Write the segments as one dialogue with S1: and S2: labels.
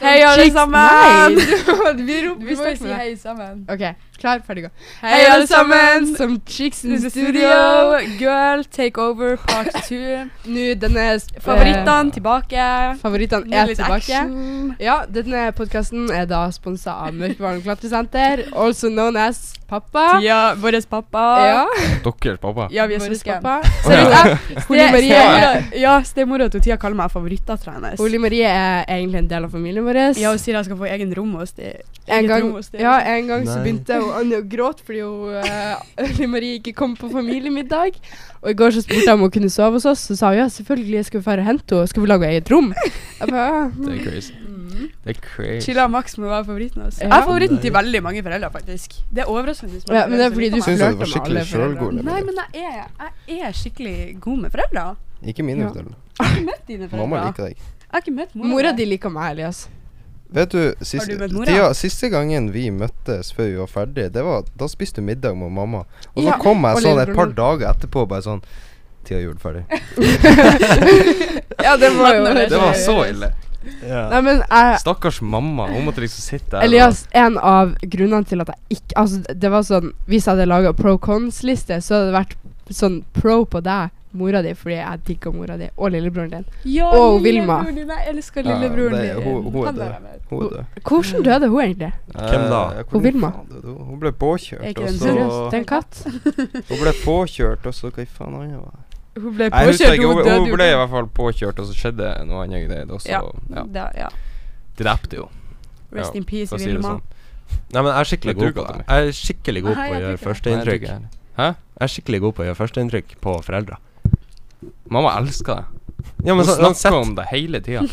S1: Hei, alle
S2: Chicks-
S1: sammen!
S2: Nei!
S1: Vi roper, vi
S2: Vi
S1: må jo
S2: snakker
S1: si
S2: med deg.
S1: hei sammen.
S2: OK, klar, ferdig, gå.
S1: Hei, alle sammen!
S2: Som Chicks in
S1: In
S2: the
S1: studio,
S2: studio.
S1: girl, take over, part two.
S2: Nå, denne eh,
S1: Favorittene tilbake.
S2: Favorittene
S1: Nå
S2: er
S1: litt
S2: tilbake.
S1: action.
S2: Ja, denne podkasten er da sponsa av Mørkebarn klatresenter, also known as Pappa.
S1: Ja, vår pappa.
S2: Ja,
S3: Deres pappa?
S1: Ja, vi er
S2: vår
S1: søsken.
S2: pappa.
S1: Seriøst,
S3: Ja.
S1: jeg-
S2: Ole
S1: ste-
S2: Marie er-
S1: stemora- Ja, stemora til Tia kaller meg favorittdattera hennes.
S2: Ole Marie er egentlig en del av familien vår.
S1: Ja, hun sier jeg skal få egen rom hos det.
S2: en
S1: eget
S2: gang,
S1: rom hos det.
S2: ja, en gang så
S3: Nei.
S2: begynte hun Anne å gråte fordi hun, eh, Ole Marie ikke kom på familiemiddag. Og i går så spurte jeg om hun kunne sove hos oss, så sa hun ja, selvfølgelig skal vi fare og hente henne. Skal vi lage eget rom? Jeg bare, «Ja,
S3: Det er crazy.
S1: Mm.
S3: Det er crazy.
S1: Chilla Max må være favoritten hans.
S2: Ja.
S1: Jeg er favoritten til veldig mange foreldre, faktisk. Det er overraskende.
S2: Ja, men det er fordi du
S3: Synes jeg
S2: flørter
S3: det var
S2: med
S3: skikkelig liksom.
S2: alle foreldre.
S3: selvgod, Ole.
S1: Nei, men jeg er, jeg er skikkelig god med foreldre. Jeg
S3: Ikke mine
S2: Ja.
S3: foreldre.
S1: har ikke møtt dine foreldre.
S3: Mamma liker
S1: Jeg
S3: deg.
S1: har ikke møtt mora,
S2: Mora di liker meg, Elias.
S3: Vet du, sist,
S1: Har du møtt mora?
S3: Thea, siste gangen vi møttes før vi var ferdige, det var, da spiste du middag med mamma. Og så
S2: Ja,
S3: kom
S2: og
S3: jeg sånn et par
S2: lillebror.
S3: dager etterpå bare sånn Thea gjorde det ferdig.
S2: Ja, det
S1: var jo-
S3: Det var så ille.
S2: Nei, men jeg,
S3: Stakkars mamma. Hun måtte liksom sitte der. og-
S2: Elias, en av grunnene til at jeg ikke Altså, det var sånn Hvis jeg hadde laga pro cons-liste, så hadde det vært sånn pro på deg, mora di, fordi jeg digger mora di, og lillebroren din.
S1: Ja,
S2: Å,
S1: lillebroren
S2: Vilma.
S1: din, Jeg elsker
S3: Ja,
S1: lillebroren
S3: det-
S1: din.
S3: hun- hun er
S1: Han er
S3: død.
S1: her med.
S3: Hun er død.
S1: Mm.
S3: Eh,
S2: Hvordan døde hun egentlig?
S3: Hvem da?
S2: Hun Vilma.
S3: Hun ble
S1: Er
S3: påkjørt,
S1: ikke
S3: og
S1: den
S3: så
S2: Seriøst, det er en katt?
S3: Hun ble påkjørt, og så Hva i faen annet var det?
S1: Hun ble
S3: Jeg husker
S1: påkjørt,
S3: ikke,
S1: hun
S3: hun,
S1: døde
S3: hun ble i
S1: jo.
S3: hvert fall påkjørt, og så skjedde noe annet greier, og så
S1: Ja.
S3: ja.
S1: Da- ja.
S4: drepte jo.
S1: Rest
S3: Ja,
S1: in peace,
S3: For å si det
S1: Vilma.
S3: sånn.
S4: Nei, men jeg er
S3: Men
S4: skikkelig
S3: du
S4: god på
S3: ga det.
S4: det. Jeg er skikkelig god
S1: Nei,
S4: på å
S1: jeg tror
S4: gjøre
S1: ikke det.
S4: førsteinntrykk.
S3: Nei, jeg tror ikke
S4: Jeg
S3: det. Hæ?
S4: er skikkelig god på å gjøre førsteinntrykk på foreldre.
S3: Mamma elsker deg.
S4: Ja,
S3: Hun
S4: men så,
S3: snakker
S4: uansett
S3: om det hele tida.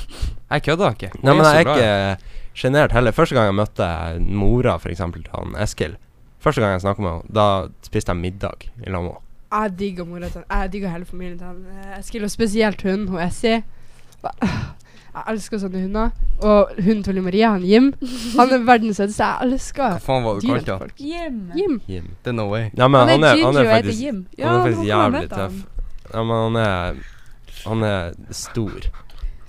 S3: Jeg kødder ikke. Hun
S4: Nei, men
S3: så
S4: jeg
S3: glad i
S4: er
S3: deg.
S4: ikke eh, sjenert heller. Første gang jeg møtte mora, for eksempel, til han Eskil Første gang jeg snakket med henne, da spiste jeg middag i lag med henne.
S2: Jeg digger mora til Jeg digger hele familien til han. Jeg skiller spesielt hun, hun Essie. Jeg elsker sånne hunder. Og hunden til Ole Maria, han Jim, han er verdens søteste. Jeg
S3: Hva
S2: elsker
S3: faen var det du
S2: dyr
S3: kalte
S2: til
S3: han?
S2: folk.
S1: Jim.
S2: Jim.
S3: Det er no way.
S4: Nei, men han er, han
S1: ginger,
S4: er
S1: og jeg heter
S4: faktisk,
S1: Jim.
S4: han er
S1: hvordan har
S4: faktisk
S1: du
S4: jævlig
S1: møtt han?
S4: tøff. Ja, men han er Han er stor.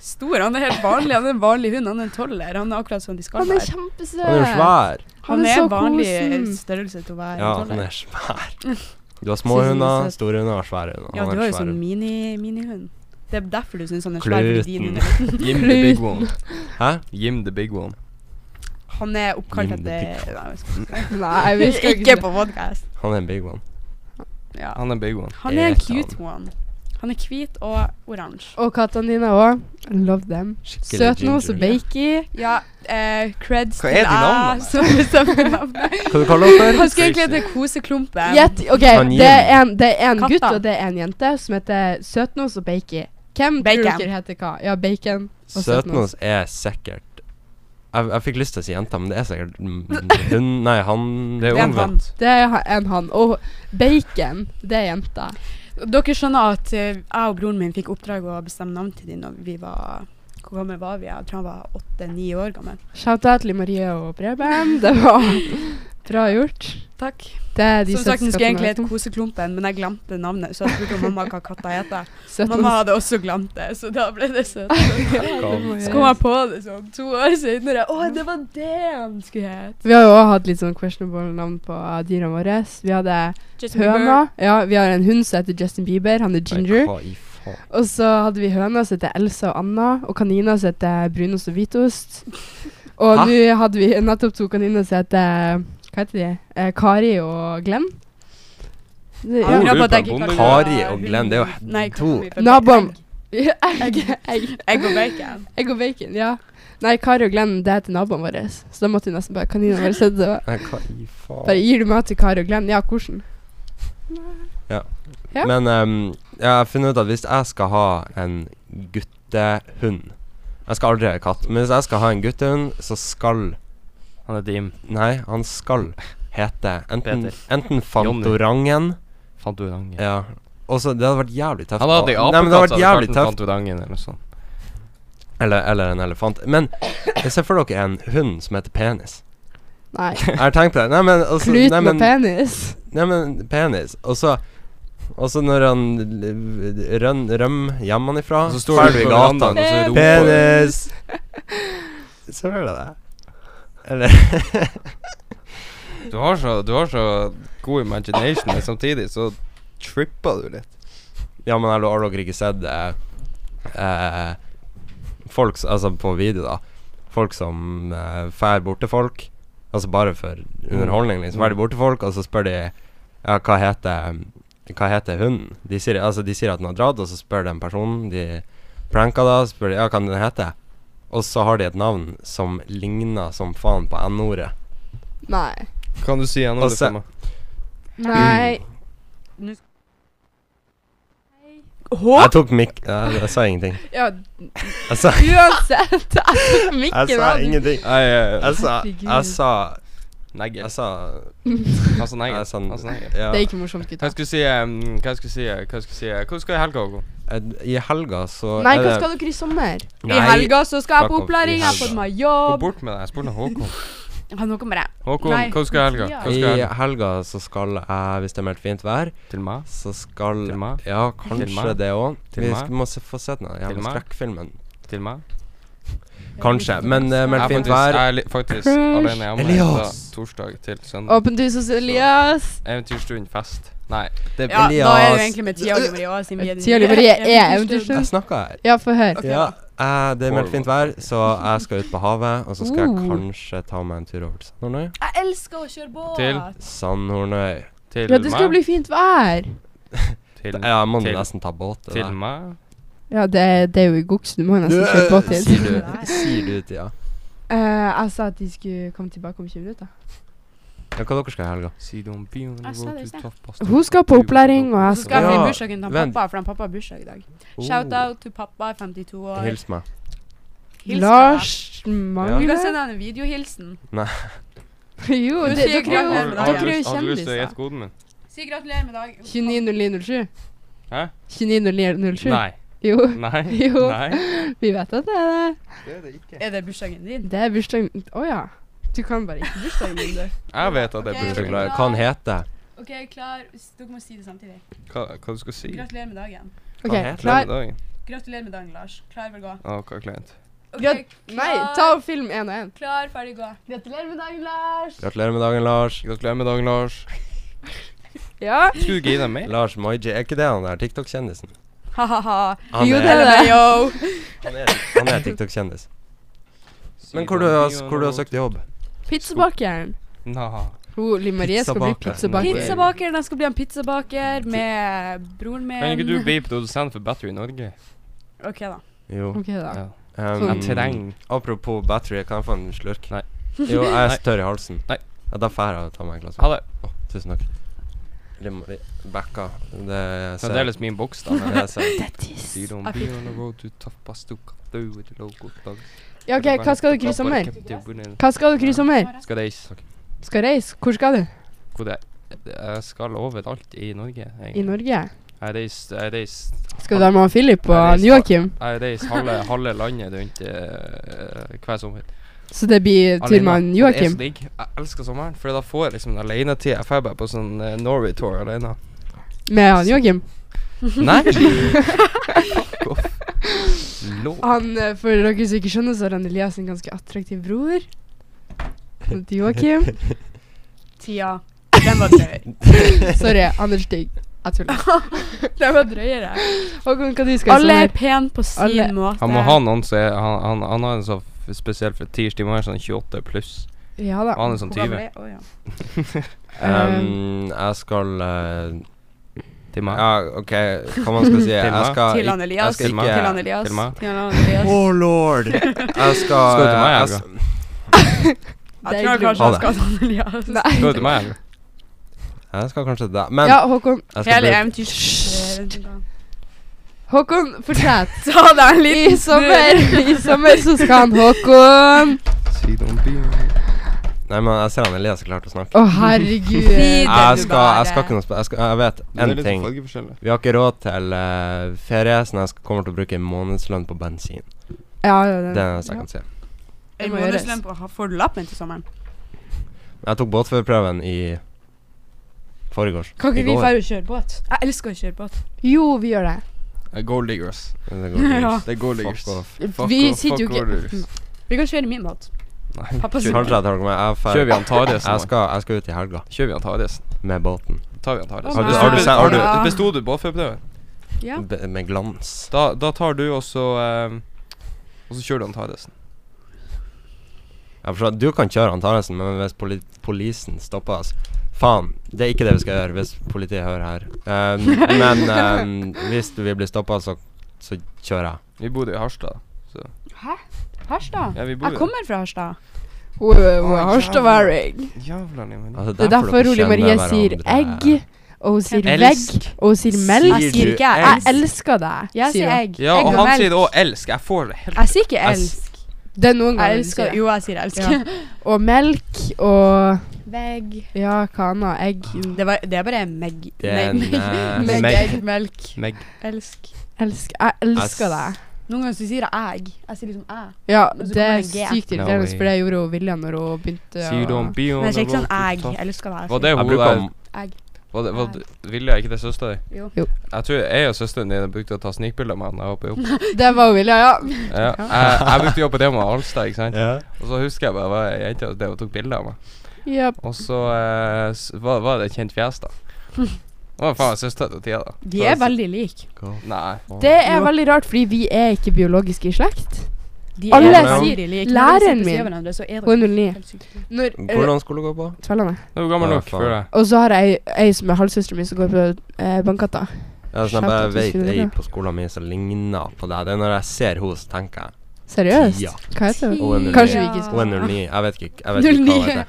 S1: Stor, han er helt vanlig. Han er en vanlig hund. Han er en toller. Han er akkurat som de skal
S2: Han er
S1: være.
S2: kjempesøt.
S4: Han er jo svær.
S1: Han er
S2: så
S1: en vanlig
S2: kosen.
S1: størrelse til å være
S4: Ja,
S1: en
S4: han
S1: toller.
S4: er svær. Du har små
S2: Synes han er
S4: hunder,
S2: søt.
S4: store hunder og svære hunder.
S1: Ja,
S4: Han er
S1: du har jo
S4: svær.
S1: sånn mini- minihund. Det er derfor du syns han er svær. fordi din
S4: Kluten.
S1: hund er liten.
S3: Jim the big
S2: Kluten.
S3: one.
S4: Hæ?
S3: Jim the big one.
S1: Han er oppkalt
S4: Jim the
S1: etter Nei, jeg skal ikke si
S2: Nei, vi
S1: det.
S2: skal
S1: Ikke på podcast
S4: Han er en big one.
S1: Ja.
S3: Han er big one.
S1: Han er en
S4: Et
S1: cute one. Han er hvit og oransje.
S2: Og kattene dine òg. Love them.
S4: Skikkelig
S2: Søt nå, så
S4: ginger.
S2: bakey.
S1: Ja, eh, creds
S3: Hva er de navnene?
S1: som bestemmer navnet.
S4: Hva du kaller du for?
S1: Han skulle egentlig hete Koseklumpen.
S2: Gjett. OK,
S4: Han
S2: det er
S4: Jim.
S2: en, det er en
S1: Katta.
S2: gutt og det er en jente som heter Søtnos og Bakey. Hvem
S1: Bacon.
S2: tror dere heter hva? Ja, Bacon. Og
S4: Søtnos er sikkert jeg, jeg fikk lyst til å si jenta, men det er sikkert mm, hun Nei, han
S3: Det er
S1: Det er en
S3: omvendt.
S1: han.
S2: Det er ha- en han. Og Bacon, det er jenta.
S1: Dere skjønner at eh, jeg og broren min fikk oppdrag å bestemme navn til dem når vi var Hvor gammel var vi? Jeg tror han var åtte-ni år gammel.
S2: Shout-out til Marie og Preben. Det var bra gjort.
S1: Takk.
S2: Det er de
S1: Som sagt, den
S2: søte
S1: skulle egentlig
S2: kattene.
S1: hete Koseklumpen, men jeg glemte navnet, så jeg spurte mamma hva katta heter.
S2: Søtnos.
S1: Mamma hadde også glemt det, så da ble det søtt. Så kom jeg på det sånn to år senere. Å, det var det han skulle hete!
S2: Vi har jo også hatt litt sånn questionable navn på eh, dyra våre. Vi hadde
S1: Justin Bieber.
S2: høna. Ja, vi har en hund som heter Justin Bieber. Han er ginger.
S4: Hva i faen?
S2: Og så hadde vi høna som heter Elsa og Anna, og kanina som heter Brunost og hvitost. Og
S4: Hæ?
S2: nå hadde vi nettopp to kaniner som heter Hva heter de? Eh, Kari og Glenn. Det,
S1: Jeg
S2: ja.
S1: angrer
S3: Bor
S1: på at
S3: du
S1: jeg
S3: på
S1: ikke
S3: en
S1: kaller
S4: bondegård?
S1: det
S4: Kari og
S1: hund.
S4: Glenn, det er jo
S1: Nei,
S4: to.
S1: kaller vi for
S2: Naboen.
S1: egg.
S2: Egg, egg, egg,
S1: Egg og bacon.
S2: egg og bacon. Ja. Nei, Kari og Glenn, det heter naboene våre. Så da måtte vi nesten bare kaninene våre sette det.
S4: Nei, hva i faen?
S2: Bare gir du mat til Kari og Glenn? Ja, hvordan? ja.
S4: Men ehm, jeg har funnet ut at hvis jeg skal ha en guttehund Jeg skal aldri ha katt, men hvis jeg skal ha en guttehund, så skal
S3: Han heter Jim.
S4: Nei, han skal hete enten,
S3: Peter.
S4: enten Fantorangen
S3: Fantorangen.
S4: Ja. Og så Det hadde vært jævlig tøft.
S3: Han
S4: å-
S3: hadde ei
S4: Nei, men det
S3: apekatt,
S4: hadde vært jævlig tøft
S3: Fantorangen eller noe sånt.
S4: Eller, eller en elefant. Men jeg ser for dere en hund som heter penis.
S2: Nei.
S4: Jeg har tenkt på det. Nei, men altså, nei,
S2: Kluten
S4: men,
S2: og penis.
S4: nei, men penis. Og så og så når han l- røn, rømmer hjemmefra,
S3: Og så står
S4: drar du i
S3: på verandaen,
S4: gata
S3: og så roper-
S4: Penis! Søler det? Eller
S3: Du har så, du har så god imagination, men samtidig så tripper du litt.
S4: Ja, men har dere- har dere ikke sett eh, eh, folk s- Altså på video, da. Folk som eh, fær bort til folk. Altså bare for underholdning, liksom. Fær de bort til folk, og så spør de Ja, hva heter Hva heter hunden? De sier, altså, de sier at den har dratt, og så spør den personen de pranka, da, så spør de ja, hva den heter. Og så har de et navn som ligner som faen på N-ordet.
S2: Nei.
S3: Kan du si gjennom
S4: Og
S3: det
S4: se-
S3: for meg?
S2: Nei.
S1: Hå?
S4: Jeg tok mik... Jeg, jeg sa ingenting.
S2: Ja,
S4: Jeg sa,
S2: uansett. Jeg tok mikken
S4: jeg sa
S2: av.
S4: ingenting.
S3: Nei,
S4: Jeg sa,
S2: Herregud.
S4: jeg sa
S3: negger.
S4: Jeg sa
S3: Altså negger.
S4: Jeg sånn- sa n-
S3: Altså negger.
S4: ja.
S2: Det er ikke morsomt,
S3: Hva
S2: gutta.
S3: skal jeg si um, Hva skal jeg si eh, Hva skal jeg si eh, Hvor skal jeg i helga, Håkon?
S4: Eh, I helga så
S2: Nei,
S4: er
S2: hva
S4: det-
S2: skal dere i sommer?
S1: I
S4: Nei,
S1: helga så skal jeg
S4: fuck
S1: på
S4: off, i
S1: opplæring, jeg har
S4: helga.
S1: fått meg
S3: Gå
S1: jobb.
S3: bort med deg. Jeg spurte Håkon.
S1: Ja, noe med det.
S3: Håkon,
S1: Nei,
S3: hva skal jeg i helga? Hva skal jeg i
S4: I
S3: helga?
S4: helga så skal jeg, hvis det er meldt fint vær,
S3: Til meg?
S4: så skal
S3: Til meg?
S4: Ja,
S3: Til meg?
S4: kanskje det òg.
S3: Til
S4: Vi
S3: meg?
S4: sk- må se, få sett den jævla
S3: Til meg?
S4: skrekkfilmen.
S3: Til meg?
S4: Kanskje, men eh,
S3: Jeg
S4: meldt
S3: er
S4: fint
S3: faktisk,
S4: vær
S3: jeg er li- faktisk
S2: Crush.
S3: alene hjemme fra
S4: Elias.
S3: torsdag til søndag.
S2: Åpent hus hos Elias.
S3: Eventyrstund, fest. Nei.
S4: det
S1: Ja, da er det jo egentlig med Tia og Maria også, siden vi er den
S2: Tia og
S1: nye
S2: Maria er
S1: eventyrstund.
S2: eventyrstund.
S4: Jeg snakka her.
S2: Ja, få høre.
S1: Ok,
S4: ja,
S1: da.
S4: eh, det er meldt fint vær, så jeg skal ut på havet. Og så skal jeg
S2: Uh.
S4: kanskje ta meg en tur over til Sandhornøy.
S1: Jeg elsker å kjøre båt.
S3: Til-
S4: Sandhornøy.
S3: Til
S2: Ja, det skal
S3: meg.
S2: bli fint vær.
S3: Til,
S4: Ja, jeg må
S3: til-
S4: nesten ta båt. til
S3: til
S4: det.
S3: meg.
S2: Ja, det, er- det er jo i Goksen. Du må jo nesten kjøre båt hit.
S4: eh, Sier du, sier du til ja.
S2: Eh, jeg sa at de skulle komme tilbake om 20 minutter.
S4: ja, hva dere skal i helga?
S3: Sidon Bion,
S1: Jeg sa
S3: road
S1: det i
S3: to
S1: sted.
S3: top pasta.
S2: Hun skal på opplæring, og
S1: Og
S2: jeg
S1: så skal
S2: skal
S1: vi i
S4: Ja,
S1: bursdagen til
S4: vent. Oh.
S1: pappa, for han pappa har bursdag i dag. Shout out til pappa, 52 år.
S4: Hils meg.
S1: Hils
S2: Lars
S1: fra deg. Du
S2: Magne.
S1: kan sende han en videohilsen.
S2: Jo,
S1: Hun
S2: det,
S1: sier
S2: dere er
S1: gratulerer
S2: jo
S1: med
S3: Har- har
S1: dagen.
S2: dere
S3: du
S2: er jo
S3: lyst- Har du lyst til å
S2: kjendiser.
S3: gjette koden min?
S1: Si gratulerer med dag.
S2: 290907.
S3: Hæ?
S2: 290907.
S3: Nei.
S2: Jo,
S3: Nei.
S2: Jo.
S3: Nei.
S2: vi vet at det er det.
S3: Det er det ikke.
S1: Er det bursdagen din?
S2: Det er bursdagen Å ja. Du kan bare ikke bursdagen min, du.
S3: Jeg vet at
S1: Ok,
S3: det er
S1: jeg
S4: Unnskyld,
S1: blir
S3: bursdagen.
S1: glad.
S4: Hva hva han heter
S1: OK, klar. S- Dere må si det samtidig.
S3: Hva, hva du skal si?
S1: Gratulerer med dagen.
S2: OK,
S4: Hva heter
S2: klar?
S3: Dagen.
S1: Gratulerer med dagen, Lars. Klar, vil gå.
S3: Å, hva kleint.
S1: Ok,
S2: Grat- Nei,
S1: klar.
S2: ta og film én og én.
S1: Klar, ferdig, gå. Gratulerer med dagen, Lars.
S4: Gratulerer med dagen, Lars.
S3: Gratulerer med dagen, Lars.
S2: Ja.
S3: Skulle du ikke gi deg mer?
S4: Lars Maiji, er ikke det han der TikTok-kjendisen?
S1: Ha-ha-ha.
S4: Han
S2: Jo,
S4: er-
S2: det er det.
S1: Yo.
S4: Han er, han er TikTok-kjendis. Men hvor du, har- hvor du har søkt jobb?
S2: Pizzabakeren.
S3: Nei.
S2: Hun Liv Marie skal bli
S4: Pizzabaker.
S2: pizzabaker.
S1: Pizzabakeren, han skal bli en pizzabaker med broren min.
S3: Kan ikke du bli produsent for Battery Norge?
S1: OK, da.
S4: Jo.
S2: OK, da.
S4: ehm,
S2: Jeg
S4: apropos battery, kan jeg få en slurk?
S3: Nei.
S4: Jo, jeg er
S3: Nei.
S4: større i halsen.
S3: Nei.
S4: Ja, da får jeg ta meg en glass.
S3: Ha det.
S4: Å, tusen takk. Lim- li- Backa. Det ser
S3: Fremdeles min boks, da. men-
S4: Det ser
S2: Det er tiss.
S3: See don't be on the road to tough bus to cut through with the local thugs.
S2: Ja, OK, hva skal dere i sommer?
S3: Hva?
S2: Hva skal dere i sommer?
S3: Skal reise.
S2: Skal reise? Hvor skal du?
S3: Hvor det Jeg skal overalt i Norge. egentlig.
S2: I Norge?
S3: Jeg reiste Jeg reiste
S2: Skal du være med han Philip og
S3: Ja, det
S2: han
S3: skal-
S2: Joakim?
S3: Jeg reiser halve, halve landet rundt eh, hver sommer.
S2: Så det blir tur med han
S3: Alene. Det er så
S2: Joakim?
S3: digg. Jeg elsker sommeren, for da får jeg liksom en alenetid. Jeg drar bare på sånn eh, Norway-tour alene.
S2: Med han Joakim?
S3: Nei! Fuck off. Lå.
S2: Han, eh, for dere som ikke skjønner, så har han Elias en ganske attraktiv bror. Han heter Joakim.
S1: Tida. Den var drøy.
S2: Sorry, Anders Stig. Jeg tuller.
S1: Den var drøyere.
S2: Håkon, hva du skal i
S1: Alle er
S2: sommer?
S1: pen på sin
S2: Alle-
S1: måte.
S3: Han må ha noen som er Han, han, han har en sånn f- spesiell fetisj. De må være sånn 28 pluss.
S2: Ja da.
S3: Han er sånn 20.
S1: Å, ja.
S4: Ehm, Jeg skal eh,
S3: Til meg.
S4: Ja, OK, hva man skal si?
S3: Til
S4: Jeg
S3: meg.
S4: skal
S1: Til
S4: ikke-
S1: han Elias.
S4: jeg skal ikke-
S1: Til han Elias.
S3: Til meg.
S1: Til han Elias.
S4: Oh lord! Jeg skal
S3: Skal du til meg,
S4: jeg s-
S1: Jeg tror
S2: Det er
S1: kanskje han
S4: Ha det.
S1: skal til han Elias.
S2: Nei.
S3: Skal du til meg, eller?
S4: Jeg skal kanskje det. Men
S2: Ja, Håkon.
S4: jeg skal
S1: Hele
S4: bli-
S1: eventyr...
S2: Håkon, fortsett.
S1: Ta deg en liten
S2: I sommer, I sommer så skal han Håkon.
S4: Nei, men jeg ser han Elias er klar til å snakke.
S2: Å, herregud.
S1: Fint. Gidder
S4: Jeg
S1: du
S4: skal, jeg
S1: bare?
S4: skal ikke noe sp- Jeg, skal, jeg vet én ting. Vi har ikke råd til eh, ferie, så jeg skal, kommer til å bruke en månedslønn på bensin.
S2: Ja, ja, ja.
S4: Det er det eneste jeg kan si.
S1: En
S2: Det må gjøres.
S1: månedslønn på å ha- Får du lappen til sommeren?
S4: Jeg tok båtførerprøven i forgårs.
S2: Kan
S4: I
S2: ikke vi
S4: går.
S2: dra
S1: Bare kjør båt. Jeg elsker å kjøre båt.
S2: Jo, vi gjør det.
S3: Eh, Gold diggers.
S4: Det går
S1: Ja.
S4: fint.
S3: Det er gold diggers.
S4: Fuck off.
S2: Vi sitter jo ikke
S1: Vi kan kjøre min båt.
S3: Nei.
S1: Pappa
S4: Kanskje
S1: sin.
S4: jeg tar noe med jeg fer-
S3: Kjører vi Antaresen?
S4: jeg, skal, jeg skal ut i helga
S3: Kjører vi Antaresen?
S4: med båten.
S3: Tar vi Antaresen?
S1: Å,
S4: Har du-
S1: nei.
S4: har du sett- har du-
S1: Ja.
S3: Bestod Eh, du båtførerprøven?
S1: Ja.
S4: B med glans.
S3: Da, da tar du også eh, Og så kjører du Antaresen.
S4: Jeg forstår, du kan kjøre Antaresen, men hvis poli polisen stopper oss Faen, det er ikke det vi skal gjøre hvis politiet hører her. Um, men um, hvis du vil bli stoppa, så, så kjører jeg.
S3: Vi bodde i Harstad.
S1: Harstad?
S3: Ja, vi bor
S1: Jeg kommer fra Harstad.
S2: Hun er hun
S3: Å,
S2: er harstadværing.
S3: Jævla Limen.
S4: Altså,
S2: Det er derfor
S4: dere
S2: Rolig
S4: kjenner
S2: Marie sier
S4: hverandre.
S2: egg, og hun sier
S1: Elsk.
S2: vegg, og hun sier melk.
S1: Jeg sier
S4: du
S1: ikke
S2: Jeg
S1: elsk.
S2: elsker deg,
S1: Jeg sier
S2: hun.
S1: egg.
S3: Ja,
S1: egg
S3: og han sier det
S1: melk.
S3: òg. Elsk. Jeg får det helt
S1: Jeg sier ikke
S4: Jeg s-
S1: elsk.
S2: Det er noen
S1: Jeg
S2: ganger hun sier
S1: elsker
S2: det.
S1: Jo, jeg sier elsk.
S2: Ja. Og melk og
S1: Vegg.
S2: Ja, hva annet? Egg.
S1: Det, var, det er bare meg...
S4: Det er en,
S1: meg-
S4: eh,
S1: meg-
S4: meg-
S1: egg, melk,
S3: Meg.
S1: elsk.
S2: Elsk. Jeg elsker
S4: Jeg
S2: deg.
S4: s-
S1: Noen ganger så sier jeg egg. Jeg sier liksom æ.
S2: Ja,
S1: Men så
S2: det
S1: kommer
S2: er
S1: det en G.
S2: sykt
S3: No
S2: irriterende,
S3: way.
S2: for det gjorde hun Vilja når hun begynte
S3: Sier du om bioen
S1: Men jeg sier ikke sånn
S3: og
S1: æg.
S3: rotet?
S1: Jeg elsker deg.
S3: Var det
S4: Jeg
S3: hun
S4: bruker
S3: der
S4: om
S1: Egg.
S3: var det, var det, Vilja, er ikke det søster di?
S1: Jo.
S2: Jo.
S3: Jeg tror jeg og søsteren din brukte å ta snikbilder med han da jeg hoppet opp.
S2: Det var hun Vilja, ja.
S3: Ja, jeg, jeg brukte å jobbe på det med Alstad, ikke sant.
S4: ja.
S3: Og så husker jeg bare det var ei jente som drev og tok bilder av meg.
S2: Ja,
S3: Og så eh, s- var, var det et kjent fjes, da. Det var faen søstera til Tia, da.
S1: De er veldig like.
S3: Nei.
S2: Det er
S1: Jo.
S2: veldig rart, fordi vi er ikke biologisk i slekt.
S1: De
S2: Alle
S1: er
S4: sier-
S1: veldig like.
S2: Læreren min-
S1: min
S2: Hun er 09. Når, eh,
S4: Hvordan skulle du gå på?
S2: Tvellene.
S3: Du er gammel
S4: Ja,
S3: nok,
S4: faen.
S3: føler jeg.
S2: Og så har jeg ei som er halvsøsteren min, som går på eh, Bankgata.
S4: Ja, sånn, jeg
S2: Skjønte
S4: bare
S2: at du
S4: vet
S2: skulle
S4: ei
S2: det.
S4: på skolen min som ligner på deg. Det er når jeg ser henne, så tenker jeg
S2: Seriøst?
S4: Ja.
S2: Hva heter hun?
S4: Og en
S2: Kanskje vi ikke
S4: Hun er 09. Jeg vet ikke, jeg vet ikke hva hun heter.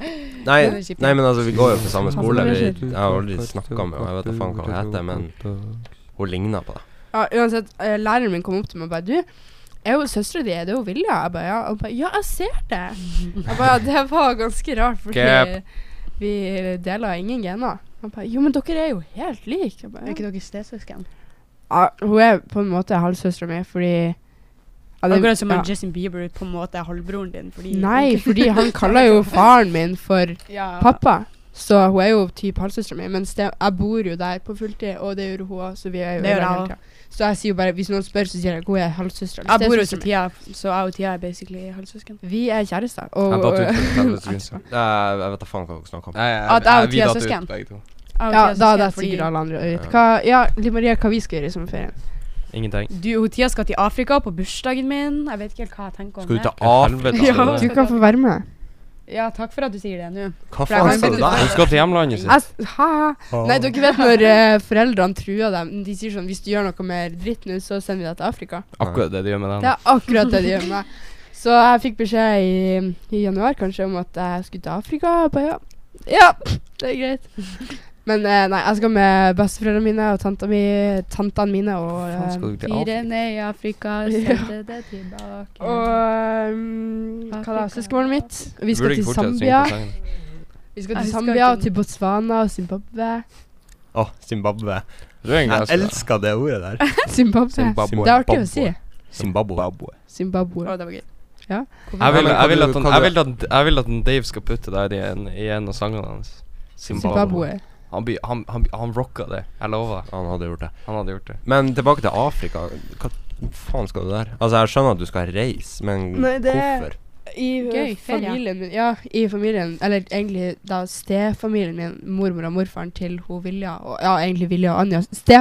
S4: Nei,
S1: Den er kjip.
S4: nei, men altså, vi går jo på samme
S2: Altså,
S4: skole.
S2: det
S4: Vi,
S2: er
S4: jeg har aldri snakka med henne. Jeg vet da faen hva hun heter, men hun ligner på deg.
S2: Ja, uansett, eh, læreren min kom opp til meg og bare Du, er jo søstera di? Er det jo Vilja? Jeg bare ja. Og bare, ja, jeg ser det. Jeg bare, ja, det var ganske rart, fordi
S3: Cap.
S2: vi deler ingen gener. Han bare jo, men dere er jo helt like. Jeg bare,
S1: Er
S2: ja.
S1: ikke dere stesøsken?
S2: ja, hun er på en måte halvsøstera mi, fordi ja, det-
S1: Akkurat som
S2: ja.
S1: at Justin Bieber på en måte er halvbroren din. Fordi
S2: Nei, fordi han kaller jo faren min for
S1: Ja.
S2: pappa. Så hun er jo typ halvsøstera mi, mens det, jeg bor jo der på fulltid, og det gjør hun òg, så vi er jo
S1: Det gjør
S2: der
S1: jeg
S2: hele
S1: også.
S2: tiden. Så jeg sier jo bare, hvis noen spør, så sier jeg hun er halvsøstera
S1: Jeg bor hos Tia, så jeg og Tia er basically halvsøsken.
S2: Vi er kjærester. Og,
S4: Jeg datt ut for 30
S2: Jeg
S4: sekunder. Jeg jeg vet da faen hva hun snakker om.
S3: Nei, jeg,
S1: At jeg og
S3: vi
S1: Tia er
S3: datt ut
S1: søsken.
S3: begge to.
S1: Jeg og
S2: ja,
S1: Tia er
S2: da
S1: søsken
S2: hadde
S1: fordi
S2: sikkert alle andre øyet.
S4: Ja.
S2: Hva, ja, Liv Maria, hva vi skal gjøre i sommerferien?
S3: Ingenting.
S1: du, hun Tia skal til Afrika på bursdagen min. Jeg vet ikke helt hva jeg tenker om
S4: Skal
S1: det.
S4: du til
S3: altså.
S4: Afrika?
S1: Ja.
S4: Stine?
S2: Du kan få være med.
S1: Ja, takk for at du sier det nå.
S4: Hva
S1: For jeg har
S4: faen sa du
S1: begynt å-
S4: der?
S3: Hun skal til hjemlandet sitt.
S2: Jeg s- ha. Nei, dere vet når eh, foreldrene truer dem. De sier sånn Hvis du gjør noe mer dritt nå, så sender vi deg til Afrika.
S3: Akkurat det de gjør med den.
S2: Det er akkurat det de gjør med meg. Så jeg fikk beskjed i, i januar kanskje om at jeg skulle til Afrika. Jeg bare, ja. ja, det er greit. Men eh, nei, jeg skal med besteforeldrene mine og tanta mi, tantene mine og
S3: Faen, skal
S2: eh,
S3: du til Afrika?
S1: ned i Afrika,
S2: Ja.
S1: det tilbake.
S2: eh, og um, hva da,
S1: Afrika.
S2: søskenbarnet mitt. Vi
S3: Burde
S2: skal
S3: ikke
S2: til
S3: fortsette å synge
S2: Zambia.
S3: på sangen.
S2: Vi skal
S1: Jeg
S2: til
S1: skal
S2: Zambia
S1: ikke-
S2: og til Botswana og Zimbabwe.
S4: Å, Zimbabwe.
S3: Du er egentlig
S4: Jeg
S3: ganske-
S4: elsker det ordet der.
S2: Zimbabwe.
S3: Zimbabwe.
S2: Det er artig å si.
S4: Zimbabwe.
S2: Zimbabwe.
S1: det var gøy.
S2: Ja.
S3: Jeg vil,
S4: Ja, men
S3: jeg,
S4: kan
S3: vil
S4: du-
S3: at han,
S4: kan
S3: jeg,
S4: du-
S3: vil at, jeg vil at han Dave skal putte der i en, i en av sangene hans.
S2: Zimbabwe.
S3: Han, blir- han, han, han rocka det. Jeg lover deg.
S4: Han hadde gjort det.
S3: Han hadde gjort det.
S4: Men tilbake til Afrika. Hva faen skal du der? Altså, jeg skjønner at du skal reise, men
S2: Nei, det-
S4: hvorfor?
S2: I ø,
S1: Gøy, ferie.
S2: familien min, ja, i familien, eller egentlig da stefamilien min, mormor og morfaren til hun Vilja, og, ja, egentlig Vilja og Anja, ste,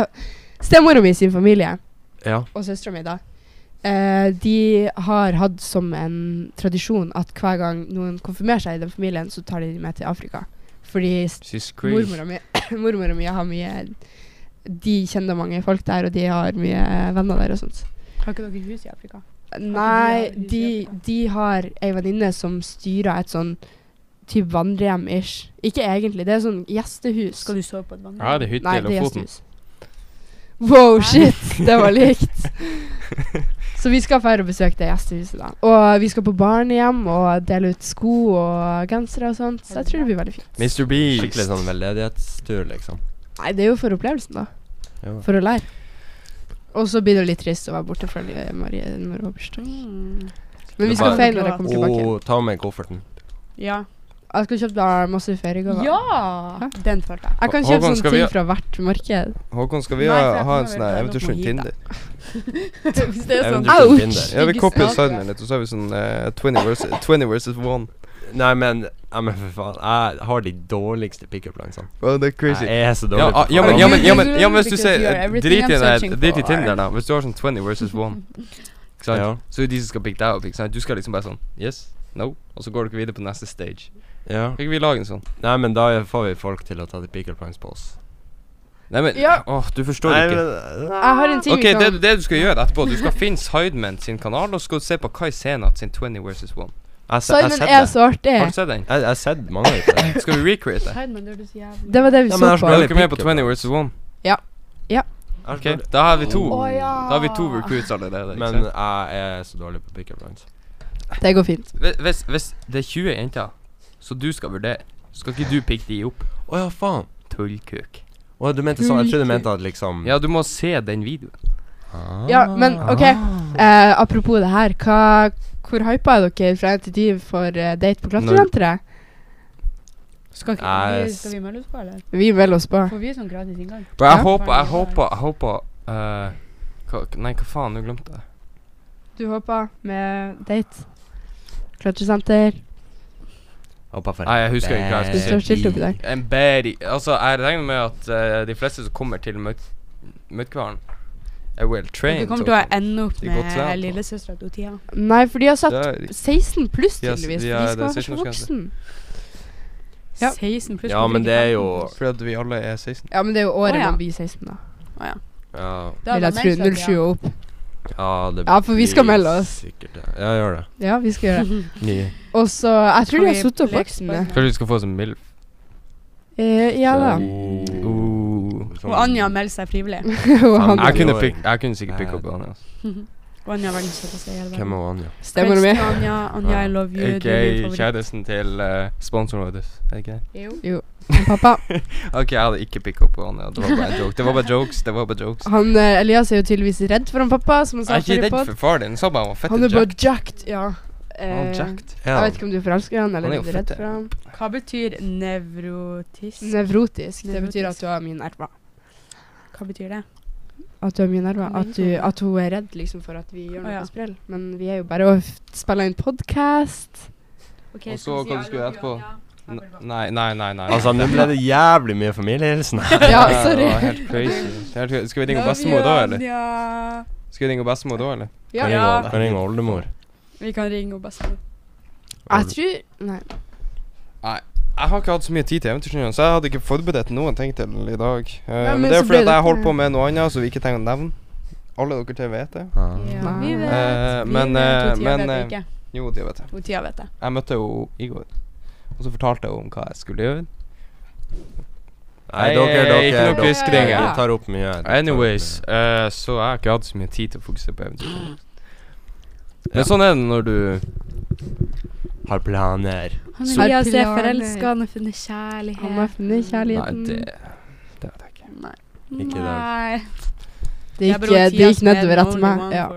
S2: stemora mi sin familie,
S4: Ja.
S2: og søstera mi da, eh, de har hatt som en tradisjon at hver gang noen konfirmerer seg i den familien, så tar de dem med til Afrika. Fordi s-
S3: She's crazy.
S2: mormora mi, mormora mi har mye, de kjenner mange folk der, og de har mye venner der og sånt.
S1: Har ikke dere hus i Afrika?
S2: Nei,
S1: At de har hus i
S2: de, de har ei venninne som styrer et sånn type vandrehjem-ish. Ikke egentlig, det er sånn gjestehus.
S1: Skal du sove på et vann?
S3: Jeg hadde hytte
S2: Nei,
S3: i
S2: det er
S3: Lofoten.
S2: gjestehus. Wow,
S1: Nei.
S2: shit! Det var likt. Så vi skal feire og besøke det gjestehuset, da. Og vi skal på barnehjem og dele ut sko og gensere og sånt. Så jeg tror det blir veldig fint.
S3: Mr. Beast.
S4: Skikkelig sånn veldedighetstur, liksom.
S2: Nei, det er jo for opplevelsen, da.
S4: Jo.
S2: For å lære. Og så blir det litt trist å være borte fra eh, Marie når hun har bursdag.
S1: Mm.
S2: Men vi skal
S4: Bare-
S2: feire når jeg kommer tilbake.
S4: Og ta med kofferten.
S1: Ja.
S2: Jeg skulle kjøpt meg masse feriegaver.
S1: Ja! Den følte jeg.
S2: Jeg kan
S3: Hå-
S2: kjøpe
S3: Håkon,
S2: sånne
S3: skal vi
S2: ting
S3: ha-
S2: fra hvert marked.
S3: Håkon, skal vi
S1: Nei, for
S3: ha,
S1: jeg
S3: ha
S1: kommer vel
S3: en
S1: til å
S3: sånn
S1: ende opp
S3: her eventursund
S1: med
S3: Tinder?
S1: Hvis det er sånn
S4: Eventursund
S2: Ouch!
S4: Tinder.
S3: Ja, vi
S1: Ikke
S3: kopier
S1: sant?
S3: sidene litt, og så har vi sånn eh, 20 versus 20 versus 1.
S4: Nei, men ja, men for faen. Jeg har de dårligste pickup-lansene.
S3: Well, det er crazy.
S4: Jeg er så dårlig
S3: Ja,
S4: på
S3: ah, ja, men, ja, men, ja, men, ja, men hvis du
S1: Because
S3: sier
S1: you are
S3: eh,
S1: everything
S3: Drit i
S1: I'm
S3: det her,
S1: searching
S3: drit i
S1: for.
S3: Tinder, da. Hvis du har sånn 20 versus 1, ikke sant?
S4: Ja.
S3: så er det de som skal pick deg opp. ikke sant? Du skal liksom bare sånn Yes, no, og så går dere videre på neste stage.
S4: Ja.
S3: Kan ikke vi lage en sånn?
S4: Nei, men da får vi folk til å ta de pickup lines på oss.
S3: Nei, men
S2: Ja.
S3: Åh, du forstår ikke.
S2: Jeg har en ting
S3: Ok,
S2: vi
S3: det,
S2: kan
S3: det du skal gjøre etterpå, du skal finne Sidemen sin kanal, og så skal du se på Kai Senat sin 20 versus 1.
S4: Jeg se- jeg
S2: Simon
S4: sett
S2: er
S4: det.
S2: så artig.
S3: Har du sett den?
S4: Jeg jeg har sett mange av dem.
S3: Skal vi recreate det?
S2: Det var det vi
S4: Ja, men
S2: så
S4: jeg
S2: på.
S4: skal-
S3: Er dere med på 20 versus 1?
S4: Jeg
S3: Ok,
S4: har spurt-
S3: da har vi to.
S1: Å, ja.
S3: Da har vi to recruits allerede. ikke
S4: Men
S3: sant?
S4: jeg er så dårlig på pickup lines.
S2: Det går fint.
S3: Hvis- hvis, hvis det er 20 jenter, så du skal vurdere, skal ikke du pikke de opp?
S4: Å ja, faen.
S3: Tullkuk.
S4: Å, du mente sånn Jeg trodde du mente at liksom Ah.
S3: Ja, du må se den videoen.
S2: Ja, men OK. Eh, apropos det her. Hva, hvor hypa er dere fra 1 til 10 for eh, date på klatresenteret?
S1: Skal, ikke,
S4: Nei,
S1: vi,
S4: s-
S1: skal vi melde oss på, eller?
S2: Vi melder oss på.
S1: Får vi sånn gratis inngang?
S3: Bro, jeg
S2: Ja.
S3: håper, jeg håper, jeg håper eh, hva, Nei, hva faen, nå glemte jeg.
S2: Du håpa med date? Klatresenter.
S4: Hoppa for
S3: Nei, jeg husker ikke hva jeg
S2: Du står
S3: skulle si.
S2: stilt oppi der.
S3: En baddie. Altså, jeg regner med at eh, de fleste som kommer til møt- Møtkvaren, er well trained. sånn.
S1: Dere kommer
S3: så-
S1: til å ende opp
S3: Det er godt
S1: med
S3: trent, da.
S1: lillesøstera til Tia.
S2: Nei, for de har satt
S3: Det er-
S2: 16 pluss,
S3: De har-
S2: tydeligvis.
S3: de
S2: For
S3: har-
S2: de
S3: det er
S2: skal være så
S3: 16-årsgrense.
S2: voksen. Ja.
S1: 16 pluss.
S4: Ja,
S1: man
S4: men
S1: drikker
S4: det er
S1: 15
S4: jo-
S1: pluss.
S3: Fordi at vi alle er 16.
S2: Ja, men det er jo året
S1: Å, ja.
S2: man blir 16, da.
S4: Ja,
S1: Da
S2: Vil
S1: var
S2: jeg tro.
S1: Manchester,
S2: 07 og opp.
S4: ja, det
S2: Ja, for vi skal
S4: blir
S2: melde oss.
S4: Sikkert, det. ja, gjør det.
S2: Ja, vi skal gjøre det.
S4: Nye.
S2: Og så Jeg tror
S1: Kan
S2: de har
S1: vi
S2: sittet opp
S1: leke
S2: voksne.
S1: spørsmål?
S3: Kanskje vi skal få oss en MILF?
S2: Eh, ja da.
S4: uh,
S1: Og
S4: sånn-
S1: Anja melder seg frivillig.
S2: Og han
S3: Jeg kunne,
S4: Åring.
S3: pick, jeg kunne sikkert picke opp
S4: Bad.
S3: han. Altså.
S1: Og Anja er verdens søteste i hele
S4: Hvem
S1: verden.
S4: er Anja?
S2: Stemmer
S1: Kvelds
S2: med.
S1: til Anja, Anja, I love you. Du
S3: Ok,
S1: er min favoritt.
S3: kjæresten til eh, sponsoren vår. er det ikke det?
S2: Pappa.
S3: Ok, jeg hadde ikke picka opp han. Ja. Det var bare en joke. Det var bare jokes. Det var bare jokes.
S2: Han, eh, Elias er jo tydeligvis redd for han pappa, som han
S3: Jeg
S2: sa
S3: er
S2: før
S3: ikke
S2: i
S3: redd
S2: pod.
S3: for far din. Sa bare han var fette
S2: Han er bare
S3: jacked.
S2: jacked, ja.
S3: Han er
S2: Eh,
S3: jacked.
S4: Ja.
S2: jeg vet ikke om du er forelska i han eller
S3: Han er
S2: er
S3: jo
S2: du redd
S3: fette.
S2: for han.
S1: Hva betyr nevrotisk?
S2: Nevrotisk. Det betyr at
S1: Nevrotisk.
S2: du har mye nerver.
S1: Hva betyr det?
S2: At du har mye nerver.
S1: Mye
S2: At, du, at hun er redd liksom for at vi gjør
S1: Å,
S2: noe
S1: ja.
S2: sprell. Men vi er jo bare å f- spille inn podkast.
S1: Ok,
S3: Og
S1: skal
S3: så
S1: vi si
S3: hva
S1: I
S3: du skulle
S1: love
S3: etterpå?
S1: you, Anja?
S3: N- Nei, nei, nei. nei.
S4: Altså, nå ble det jævlig mye familiehilsen her.
S2: Ja,
S3: Det var
S2: sorry.
S3: helt crazy. Det er helt- Skal vi ringe
S1: Love
S3: bestemor
S1: you,
S3: da, eller?
S1: Anja.
S3: Skal vi ringe bestemor da, eller?
S4: Kan
S1: Ja.
S4: ringe- Kan ringe oldemor.
S1: Vi kan ringe henne bestemor.
S2: Jeg tror Nei.
S3: Jeg har ikke hatt så mye tid til eventyrstudiene, så jeg hadde ikke forberedt noen ting til i dag. Eh,
S2: Ja,
S3: men
S2: men
S3: det er
S2: så
S3: fordi
S2: ble
S3: at jeg
S2: det-
S3: holdt på med noe annet som vi ikke trenger å nevne. Alle dere til vet det.
S4: Ah.
S1: Ja, vi vet.
S3: Eh,
S1: Vi
S3: men,
S1: vet, og
S3: eh,
S1: Tia
S3: men,
S1: vet
S3: eh,
S1: ikke.
S3: Jo, det vet jeg.
S1: Og Tia vet det.
S3: Jeg møtte henne i går, og så fortalte jeg henne om hva jeg skulle gjøre.
S4: Nei,
S3: Nei,
S4: dere, dere,
S3: ikke noe
S4: dere-
S2: hviskring her.
S4: dere tar opp mye. dere tar opp
S3: Anyways,
S4: mye.
S3: eh, så jeg har ikke hatt så mye tid til å fokusere på eventyr. Men sånn er det når du
S4: Har planer.
S1: Han
S2: Så-
S1: Elias er
S2: Pilaner.
S1: forelska, han har funnet
S2: Han har
S1: kjærlighet.
S2: funnet
S3: Nei,
S2: kjærligheten.
S3: det
S2: det,
S3: Det vet jeg ikke.
S1: Nei.
S4: Ikke i dag.
S1: Nei.
S2: gikk, eh, det gikk nedover etter meg. Ja.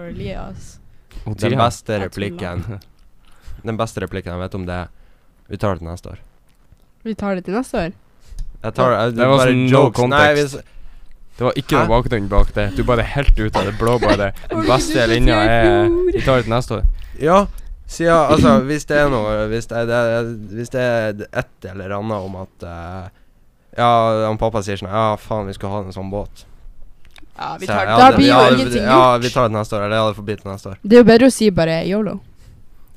S4: Den beste
S1: Jeg tuller.
S4: replikken Den beste replikken jeg vet om det Vi tar det til neste år.
S2: Vi tar det til neste år.
S4: Jeg tar jeg,
S3: Det var
S4: bare
S3: sånn no
S4: jokes. Nei,
S3: context.
S4: hvis-
S3: Det var ikke noe
S4: Hæ?
S3: bakgrunn bak det. Du bare helt ut av det blå, bare. Den beste linja er Vi tar det til neste år.
S4: ja, si ja, altså hvis det er noe Hvis det er, hvis det er et eller annet om at eh, Ja, han pappa sier sånn Ja, faen, vi skulle ha en sånn båt.
S1: Ja, vi
S4: Så
S1: tar
S4: jeg-
S1: det.
S2: Da
S4: det-
S2: blir
S4: ja,
S2: jo
S4: det-
S2: ingenting
S4: Ja, vi tar det neste år. Eller ja, det får bli til neste år.
S2: Det er jo bedre å si bare yolo.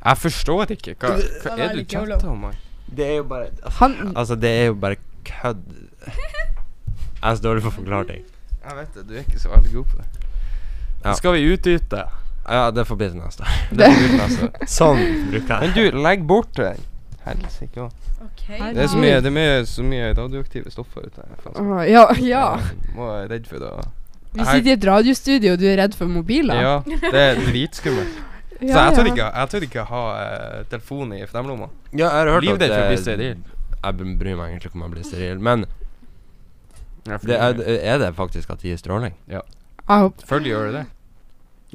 S3: Jeg forstår ikke. Hva, hva
S1: Da var
S3: er du
S1: det YOLO.
S3: chatta om? her?
S4: Det er jo bare
S2: Han
S4: Altså, det er jo bare kødd. Jeg er så dårlig på å forklare ting.
S3: Jeg vet det, du er ikke så veldig god på det.
S4: Ja.
S3: Skal vi utdype?
S4: Ja, det får bli til neste år.
S3: Det får vi til neste år.
S4: Sånn bruker
S3: Men
S4: jeg.
S3: du, legg bort den. Helsike òg.
S1: Ok.
S3: Det er så mye, det er mye, så mye radioaktive stoffer ute her. faen.
S2: Åh, Ah, Ja, ja.
S3: Jeg Må være redd for det. og-
S2: Vi sitter i et radiostudio, og du er redd for mobiler.
S3: Ja, det er dritskummelt. Så jeg tør ikke, jeg tør ikke ha eh, telefonen i fremlomma.
S4: Ja, jeg har hørt
S3: Liv
S4: at
S3: deg for å bli
S4: det-
S3: steril.
S4: Jeg b- bryr meg egentlig ikke om jeg blir steril, men det er, er det faktisk at de gir stråling?
S2: Jeg håper-
S3: Følg gjør det.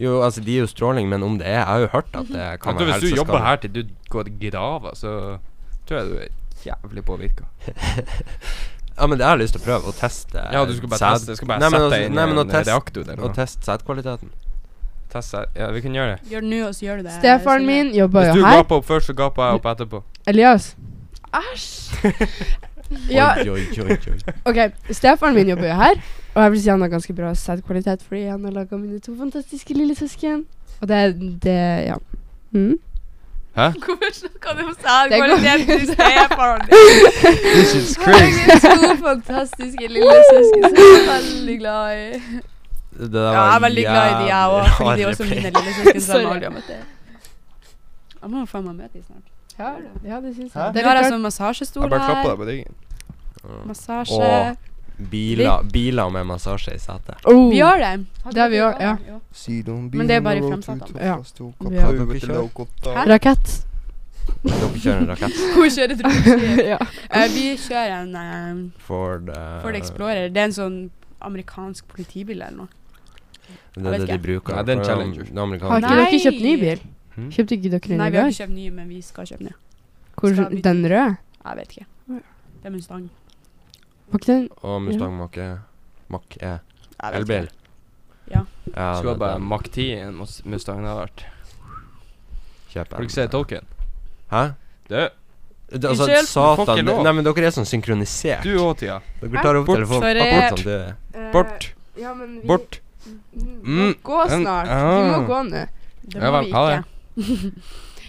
S4: Jo, altså, de gir jo stråling, men om det er Jeg har jo hørt at det kan
S3: Kan Mhm. du,
S4: være
S3: hvis du
S4: helseskadelig.
S3: jobber her til du går i grava, så tror jeg du er jævlig påvirka.
S4: Ja, men det har jeg lyst til å prøve. Å teste
S3: Ja, du skal bare
S4: sæd-
S3: teste. Du skal bare
S4: Nei, men
S3: sette
S4: også-
S3: deg inn
S4: nei,
S3: i
S4: men
S3: en
S4: å teste-
S3: reaktor der.
S4: Å teste sædkvaliteten.
S3: Test sæd. Ja, vi kan gjøre det.
S1: Gjør det nå, og så gjør du det.
S2: Stefaren min jobber
S3: Hvis
S2: jo
S3: du
S2: her.
S3: gaper opp først, så gaper jeg opp etterpå.
S2: Elias. Æsj. ja,
S4: Oi, oi, oi, oi.
S2: OK. Stefaren min jobber jo her, og jeg vil si han har ganske bra sædkvalitet fordi han har laga mine to fantastiske lille søsken. Og det det Ja. Mm.
S1: Hvorfor snakker du om
S2: Det går-
S1: sædkvalitet til stefaren din?
S3: This is crazy.
S1: Herregud, to fantastiske lille søsken som jeg er veldig glad i.
S4: Det der
S1: Ja,
S4: var
S1: jeg er veldig glad i de, jeg òg.
S4: jævlig
S1: Fordi de er
S4: rar
S1: også
S4: replikk.
S1: mine lille søsken. som jeg
S2: Sorry.
S1: aldri har møtt. Jeg må faen meg møte dem snart.
S2: Ja, ja, det syns
S1: Det
S2: jeg. Det
S3: Hæ?
S2: altså-
S1: har
S2: er
S1: jeg
S2: litt rart.
S1: sånn massasjestol
S3: Jeg bare klappa
S1: her.
S3: deg på ryggen.
S1: Massasje.
S4: Åh. Biler, biler med massasje i setet.
S2: Oh.
S1: Vi gjør det.
S2: Det har vi òg, ja.
S1: Men det er bare fremsatt.
S2: Ja.
S4: Har
S2: Ja.
S4: dere kjørt?
S2: Rakett.
S4: Dere kjører en rakett
S1: Hun kjører et romskip.
S2: ja.
S1: Eh, Vi kjører en eh,
S4: Ford eh,
S1: Ford Explorer. Det er en sånn amerikansk politibil eller noe.
S4: Det er det de
S1: Jeg
S4: bruker.
S3: Nei, det er en
S4: for
S3: Challenger.
S4: Det amerikanske-
S2: Har ikke
S1: Nei.
S2: dere kjøpt ny bil?
S3: Hmm?
S4: Hm?
S2: Kjøpte ikke dere
S1: Nei,
S2: ny
S1: vi har
S2: bil?
S1: ikke kjøpt ny, men vi skal kjøpe ny.
S2: Hvor,
S1: Skal vi-
S2: den røde?
S1: Jeg vet ikke.
S2: Ja.
S1: Det er Mustang.
S2: Var ikke den
S4: Og Mustang Mach-E. Mach-E.
S1: Jeg vet
S4: E, Elbil.
S1: ikke. Ja.
S4: ja
S3: Skulle
S4: det-
S3: bare
S4: den
S3: Mach 10 i en Mus- Mustang hadde vært.
S4: kjøper
S3: Har du
S4: jeg.
S3: ikke sett Token?
S4: Hæ?
S3: Du,
S4: Det, altså,
S3: Unnskyld, du får
S4: satan
S3: ikke lov.
S4: Nei, men dere er sånn synkronisert.
S3: du òg, Tia.
S4: Dere tar opp
S3: Bort.
S4: telefonen sånn,
S1: Sorry.
S4: akkurat samtidig.
S3: Bort.
S2: Eh, Ja, men vi
S3: Bort.
S2: må
S3: Mm.
S2: gå
S3: Mm.
S2: snart. Vi
S3: Ah.
S2: må gå nå.
S1: Det
S3: Ja
S1: må
S3: vel,
S1: vi
S3: ha det.
S1: ikke.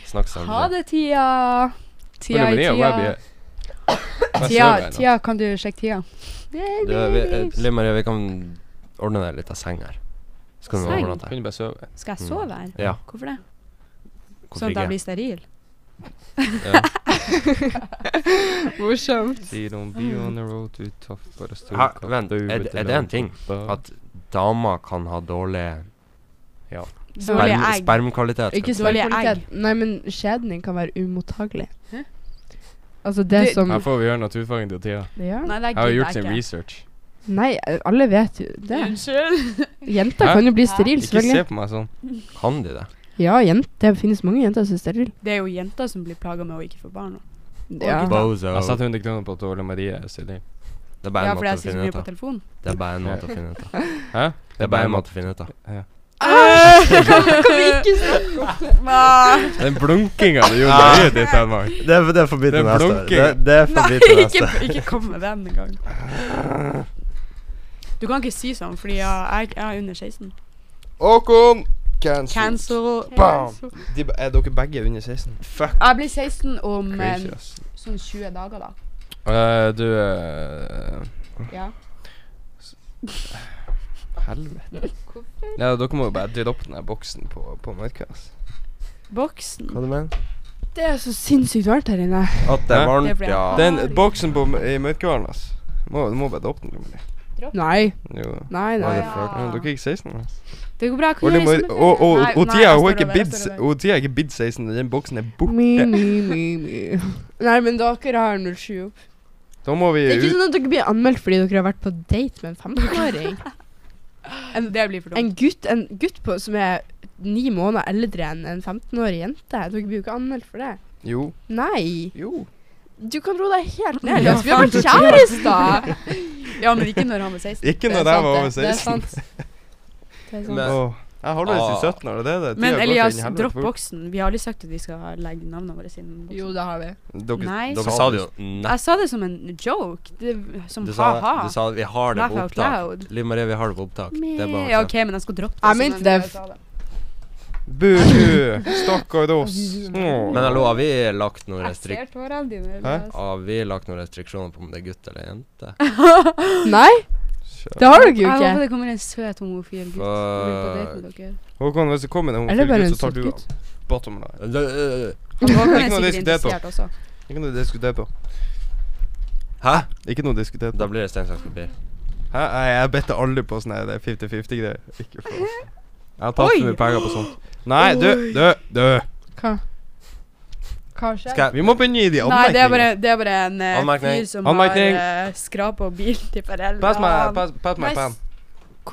S4: Snakk
S1: Ha
S4: sammen.
S1: det, Tia.
S3: Følg
S1: Tia,
S3: med Nia, hvor jeg
S1: Tia.
S3: blir. Jeg sover
S1: Tia,
S3: ennå.
S1: Tia, kan du sjekke tida?
S4: Du, vi, eh, Liv Marie, vi kan ordne deg litt av seng her. Så kan du
S1: Seng? Sånn
S4: overnatte. her.
S3: Kunne bare sove.
S1: Skal jeg
S4: Mm.
S1: sove her?
S4: Ja.
S1: Hvorfor det?
S4: Hvorfor
S1: Sånn at jeg
S4: ikke?
S1: blir steril?
S4: Ja.
S1: Mm.
S2: Morsomt.
S3: See, don't be on the road to tough, but a still
S4: Hæ,
S3: got
S4: vent,
S3: to
S4: er
S3: with
S4: det-
S3: the
S4: er det en
S3: load.
S4: ting?
S3: Da-
S4: At damer kan ha dårlig
S1: Dårlig
S4: sperm-
S1: egg.
S4: spermkvalitet.
S2: Ikke
S1: Dårlig
S2: dårlig egg.
S1: egg.
S2: Nei, men skjeden din kan være umottagelig.
S1: Hæ?
S2: Altså, det
S1: Du-
S2: som
S3: Her får vi gjøre naturfagen til Tia.
S2: ja.
S1: Nei, det
S3: Jeg har
S1: gidder
S3: gjort sin
S1: ikke.
S3: research.
S2: Nei, alle vet jo det.
S1: Unnskyld.
S2: Jenter
S3: Hæ?
S2: kan jo bli
S1: Hæ?
S2: sterile,
S3: Ikke se
S2: selvfølgelig.
S3: på meg sånn.
S4: Kan de det?
S2: Ja, jent, det finnes mange jenter som er sterile.
S1: Det er jo jenter som blir plaga med å ikke få barn. nå.
S2: Ja.
S4: Bozo.
S3: Jeg satte 100 kroner på at Ole Marie er stilling.
S4: Det er bare
S1: Ja,
S4: en
S1: for
S4: måte
S1: jeg
S4: å
S1: sitter så
S4: finne
S1: mye
S4: ut
S1: på
S4: av.
S1: telefon.
S4: Det er bare en måte å finne ut av.
S3: Hæ?
S4: Det er bare en måte å finne ut av.
S1: Ah! Kan vi ikke snakke
S3: Den blunkinga du gjorde
S4: Ah.
S3: i øyet ditt, Hedmark.
S4: Det er, det er
S3: Det
S4: forbi til
S3: er
S4: neste.
S3: blunking.
S4: Det, det er forbi til
S1: Nei,
S4: neste.
S1: ikke, ikke kom med den engang. Du kan ikke si sånn, fordi jeg, jeg, jeg er under 16.
S3: Håkon! Cancel.
S1: Cancel.
S3: Bam. De, er dere begge under 16? Fuck.
S1: Jeg blir 16 om eh,
S3: Crazy, ass.
S1: sånn 20 dager, da.
S3: Eh, du eh,
S1: Ja.
S3: Helvete. Ja, dere må jo bare droppe den der boksen på, på mørket. ass.
S1: Boksen.
S4: Hva du mener?
S2: Det er så sinnssykt varmt her inne.
S3: Hæ?
S4: At det er
S1: Det er
S4: varmt,
S1: fordi
S4: ja.
S1: jeg-
S3: Den boksen på, m- i mørkehallen, ass. Må, du må bare droppe den. Emily.
S2: Nei,
S3: Jo.
S2: nei, nei.
S4: What the fuck?
S3: Men Dere er ikke 16? ass.
S1: Det går bra. Hva
S3: Og,
S1: gjør
S3: det
S1: jeg
S3: må,
S1: i sommerferien?
S3: og, og,
S1: Nei,
S3: og
S1: nei,
S3: Tia
S1: jeg
S3: hun
S1: står
S3: er ikke
S1: over, jeg
S3: bidd
S1: står
S3: se-
S1: over.
S3: og Tia er ikke bidd 16. Den boksen er borte.
S2: Mi, mi, mi, mi. Nei, men dere har 07 opp.
S3: Da må vi
S2: Det er ikke
S3: ut
S2: sånn at dere blir anmeldt fordi dere har vært på date med en 15-åring.
S1: En- Det blir for dumt.
S2: En gutt, en gutt på, som er ni måneder eldre enn en 15-årig jente. Dere blir jo ikke anmeldt for det.
S3: Jo.
S2: Nei.
S3: Jo.
S2: Du kan roe deg helt ned.
S1: Ja,
S2: Elias. Vi har vært
S1: sant.
S2: kjærester!
S1: Ja, men ikke når han var 16.
S3: Ikke når
S2: Det er
S3: jeg var
S2: sant,
S3: over
S2: det. Det er
S3: 16.
S2: sant. Det er
S1: sånn
S2: sant.
S4: Men-
S3: Åh, Jeg holder oss i
S4: Ah.
S3: 17 år, det er det. Tida
S1: Men
S3: går til
S1: Elias,
S3: en helvete
S1: dropp
S3: fort.
S1: boksen. Vi har aldri sagt at vi skal legge navnene våre siden boksen.
S2: Jo, det har vi.
S3: Dere,
S1: Nei.
S4: Dere sa det jo
S1: Jeg sa det som en joke. Det, som
S4: Du sa,
S1: ha-ha.
S4: du sa vi har det
S1: Laugh
S4: på
S1: out
S4: opptak.
S1: loud.
S4: Liv Marie, vi har det på opptak. Det er
S1: Ja,
S4: bare å
S1: OK,
S4: se.
S1: men jeg skal droppe det.
S2: Jeg
S1: som
S2: mente
S1: en-
S2: det.
S1: sa
S3: Buhu! Stakkar oss. Åh.
S4: Men hallo, har vi lagt noen
S1: Jeg
S4: restrik
S1: ser tårene dine.
S3: Hæ?
S1: Elias.
S4: har vi lagt noen restriksjoner på om det er gutt eller jente?
S2: Nei,
S3: Kjør.
S2: det har dere jo
S1: Jeg håper
S2: ikke.
S1: det kommer en søt homofil gutt og vil på date med dere.
S3: Håkon, hvis det kommer en
S2: Eller
S3: homofil
S2: bare
S3: gutt,
S2: en
S3: så tar
S2: søt
S3: du
S2: gutt.
S3: bottom line.
S4: Det- eh, det- det-
S1: Han Håkon er
S3: Ikke noe å
S1: sikkert
S3: diskutere på.
S1: interessert også.
S3: Ikke noe å diskutere på.
S4: Hæ?
S3: Ikke noe å diskutere
S4: Da
S3: på.
S4: blir det stein, saks, papir.
S3: Hæ? Nei, jeg bedte aldri på sånne her 50-50-greier. Ikke faen. Jeg har tatt
S1: Oi.
S3: for mye penger på sånt. Nei, du, du, du.
S2: Hva? Hva skjer?
S4: Skal jeg
S3: Vi må begynne å gi de
S1: Nei, det er bare,
S3: anmerkninger.
S1: det er bare en eh,
S4: Anmerkning.
S1: fyr som
S3: Anmerkning.
S1: har uh, skrapa bilen til foreldrene.
S3: Pass meg, pass, pass
S1: Nei,
S3: meg pen.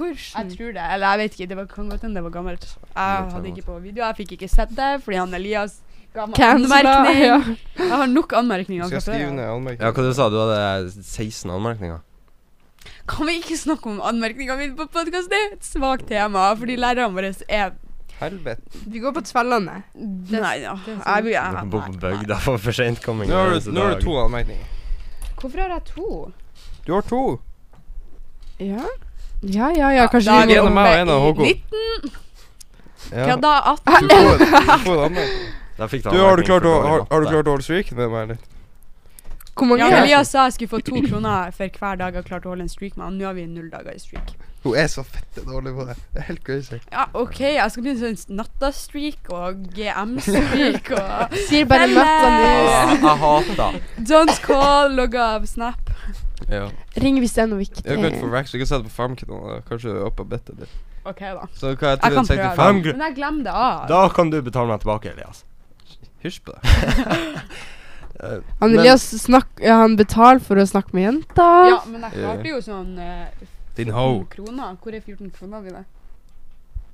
S1: s- Jeg tror det, eller jeg vet ikke. Det var, kan godt hende det var gammelt. Jeg
S4: Godt
S1: hadde
S4: gammelt.
S1: ikke på video. Jeg fikk ikke sett det fordi han Elias Gammel
S2: Cancela.
S1: anmerkning.
S2: Ja.
S1: Jeg har nok anmerkninger.
S3: Skal jeg
S1: fra før
S3: skrive
S1: av.
S3: ned
S4: Ja, hva
S3: anmerkninger?
S4: du sa du? hadde 16 anmerkninger?
S1: Kan vi ikke snakke om anmerkningene mine på podkast? Det er et svakt tema, fordi lærerne våre er
S3: Helvete.
S2: Vi går på tvellene.
S1: Nei, ja.
S2: det er
S1: Jeg vil-
S4: Dere
S1: jeg-
S4: bor på bygda for for sentkomming.
S3: Nå har du nå har du to anmerkninger.
S2: Hvorfor har jeg to?
S3: Du har to.
S2: Ja, ja, ja. ja kanskje
S1: da
S3: vi
S1: er vi
S3: en av meg
S1: oppe
S3: og en
S1: i
S3: av Håkon.
S1: 19,
S3: Ja.
S1: ja, da 18.
S3: Du får, du får en anmerkning.
S4: Da fikk
S3: Du, har du klart å har, har du klart å holde streaken med meg, eller?
S2: Hvor mange?
S1: Ja,
S2: er det?
S1: Elias sa jeg skulle få to kroner for hver dag jeg har klart å holde en streak med han. Nå har vi null dager i streak.
S3: Hun er så fette dårlig på det. Det er helt crazy.
S1: Ja, OK, jeg skal begynne sånn nattastreak og GM-streak og
S2: Sier bare
S1: Felles!
S2: natta nå.
S4: Jeg hater
S1: Don't call, logg av, snap.
S3: Ja.
S2: Ring hvis det er noe viktig.
S3: Jeg har gått
S1: Eh.
S3: for Vax. Du kan sette på femkroner. Kanskje du er oppe og better litt.
S1: OK, da.
S3: Så hva jeg
S1: Jeg
S3: tror
S1: kan
S3: jeg tenkte
S1: prøve.
S3: fem
S4: Fem gr-
S1: Men jeg glemmer det av.
S4: Da kan du betale meg tilbake, Elias.
S3: Hysj på deg.
S4: Eh,
S2: Han
S4: men-
S2: Elias snakk, ja, han betaler for å snakke med jenta.
S1: Ja, men jeg klarte jo sånn eh,
S3: Din
S1: 14 kroner. Hvor er 14 kroner mine?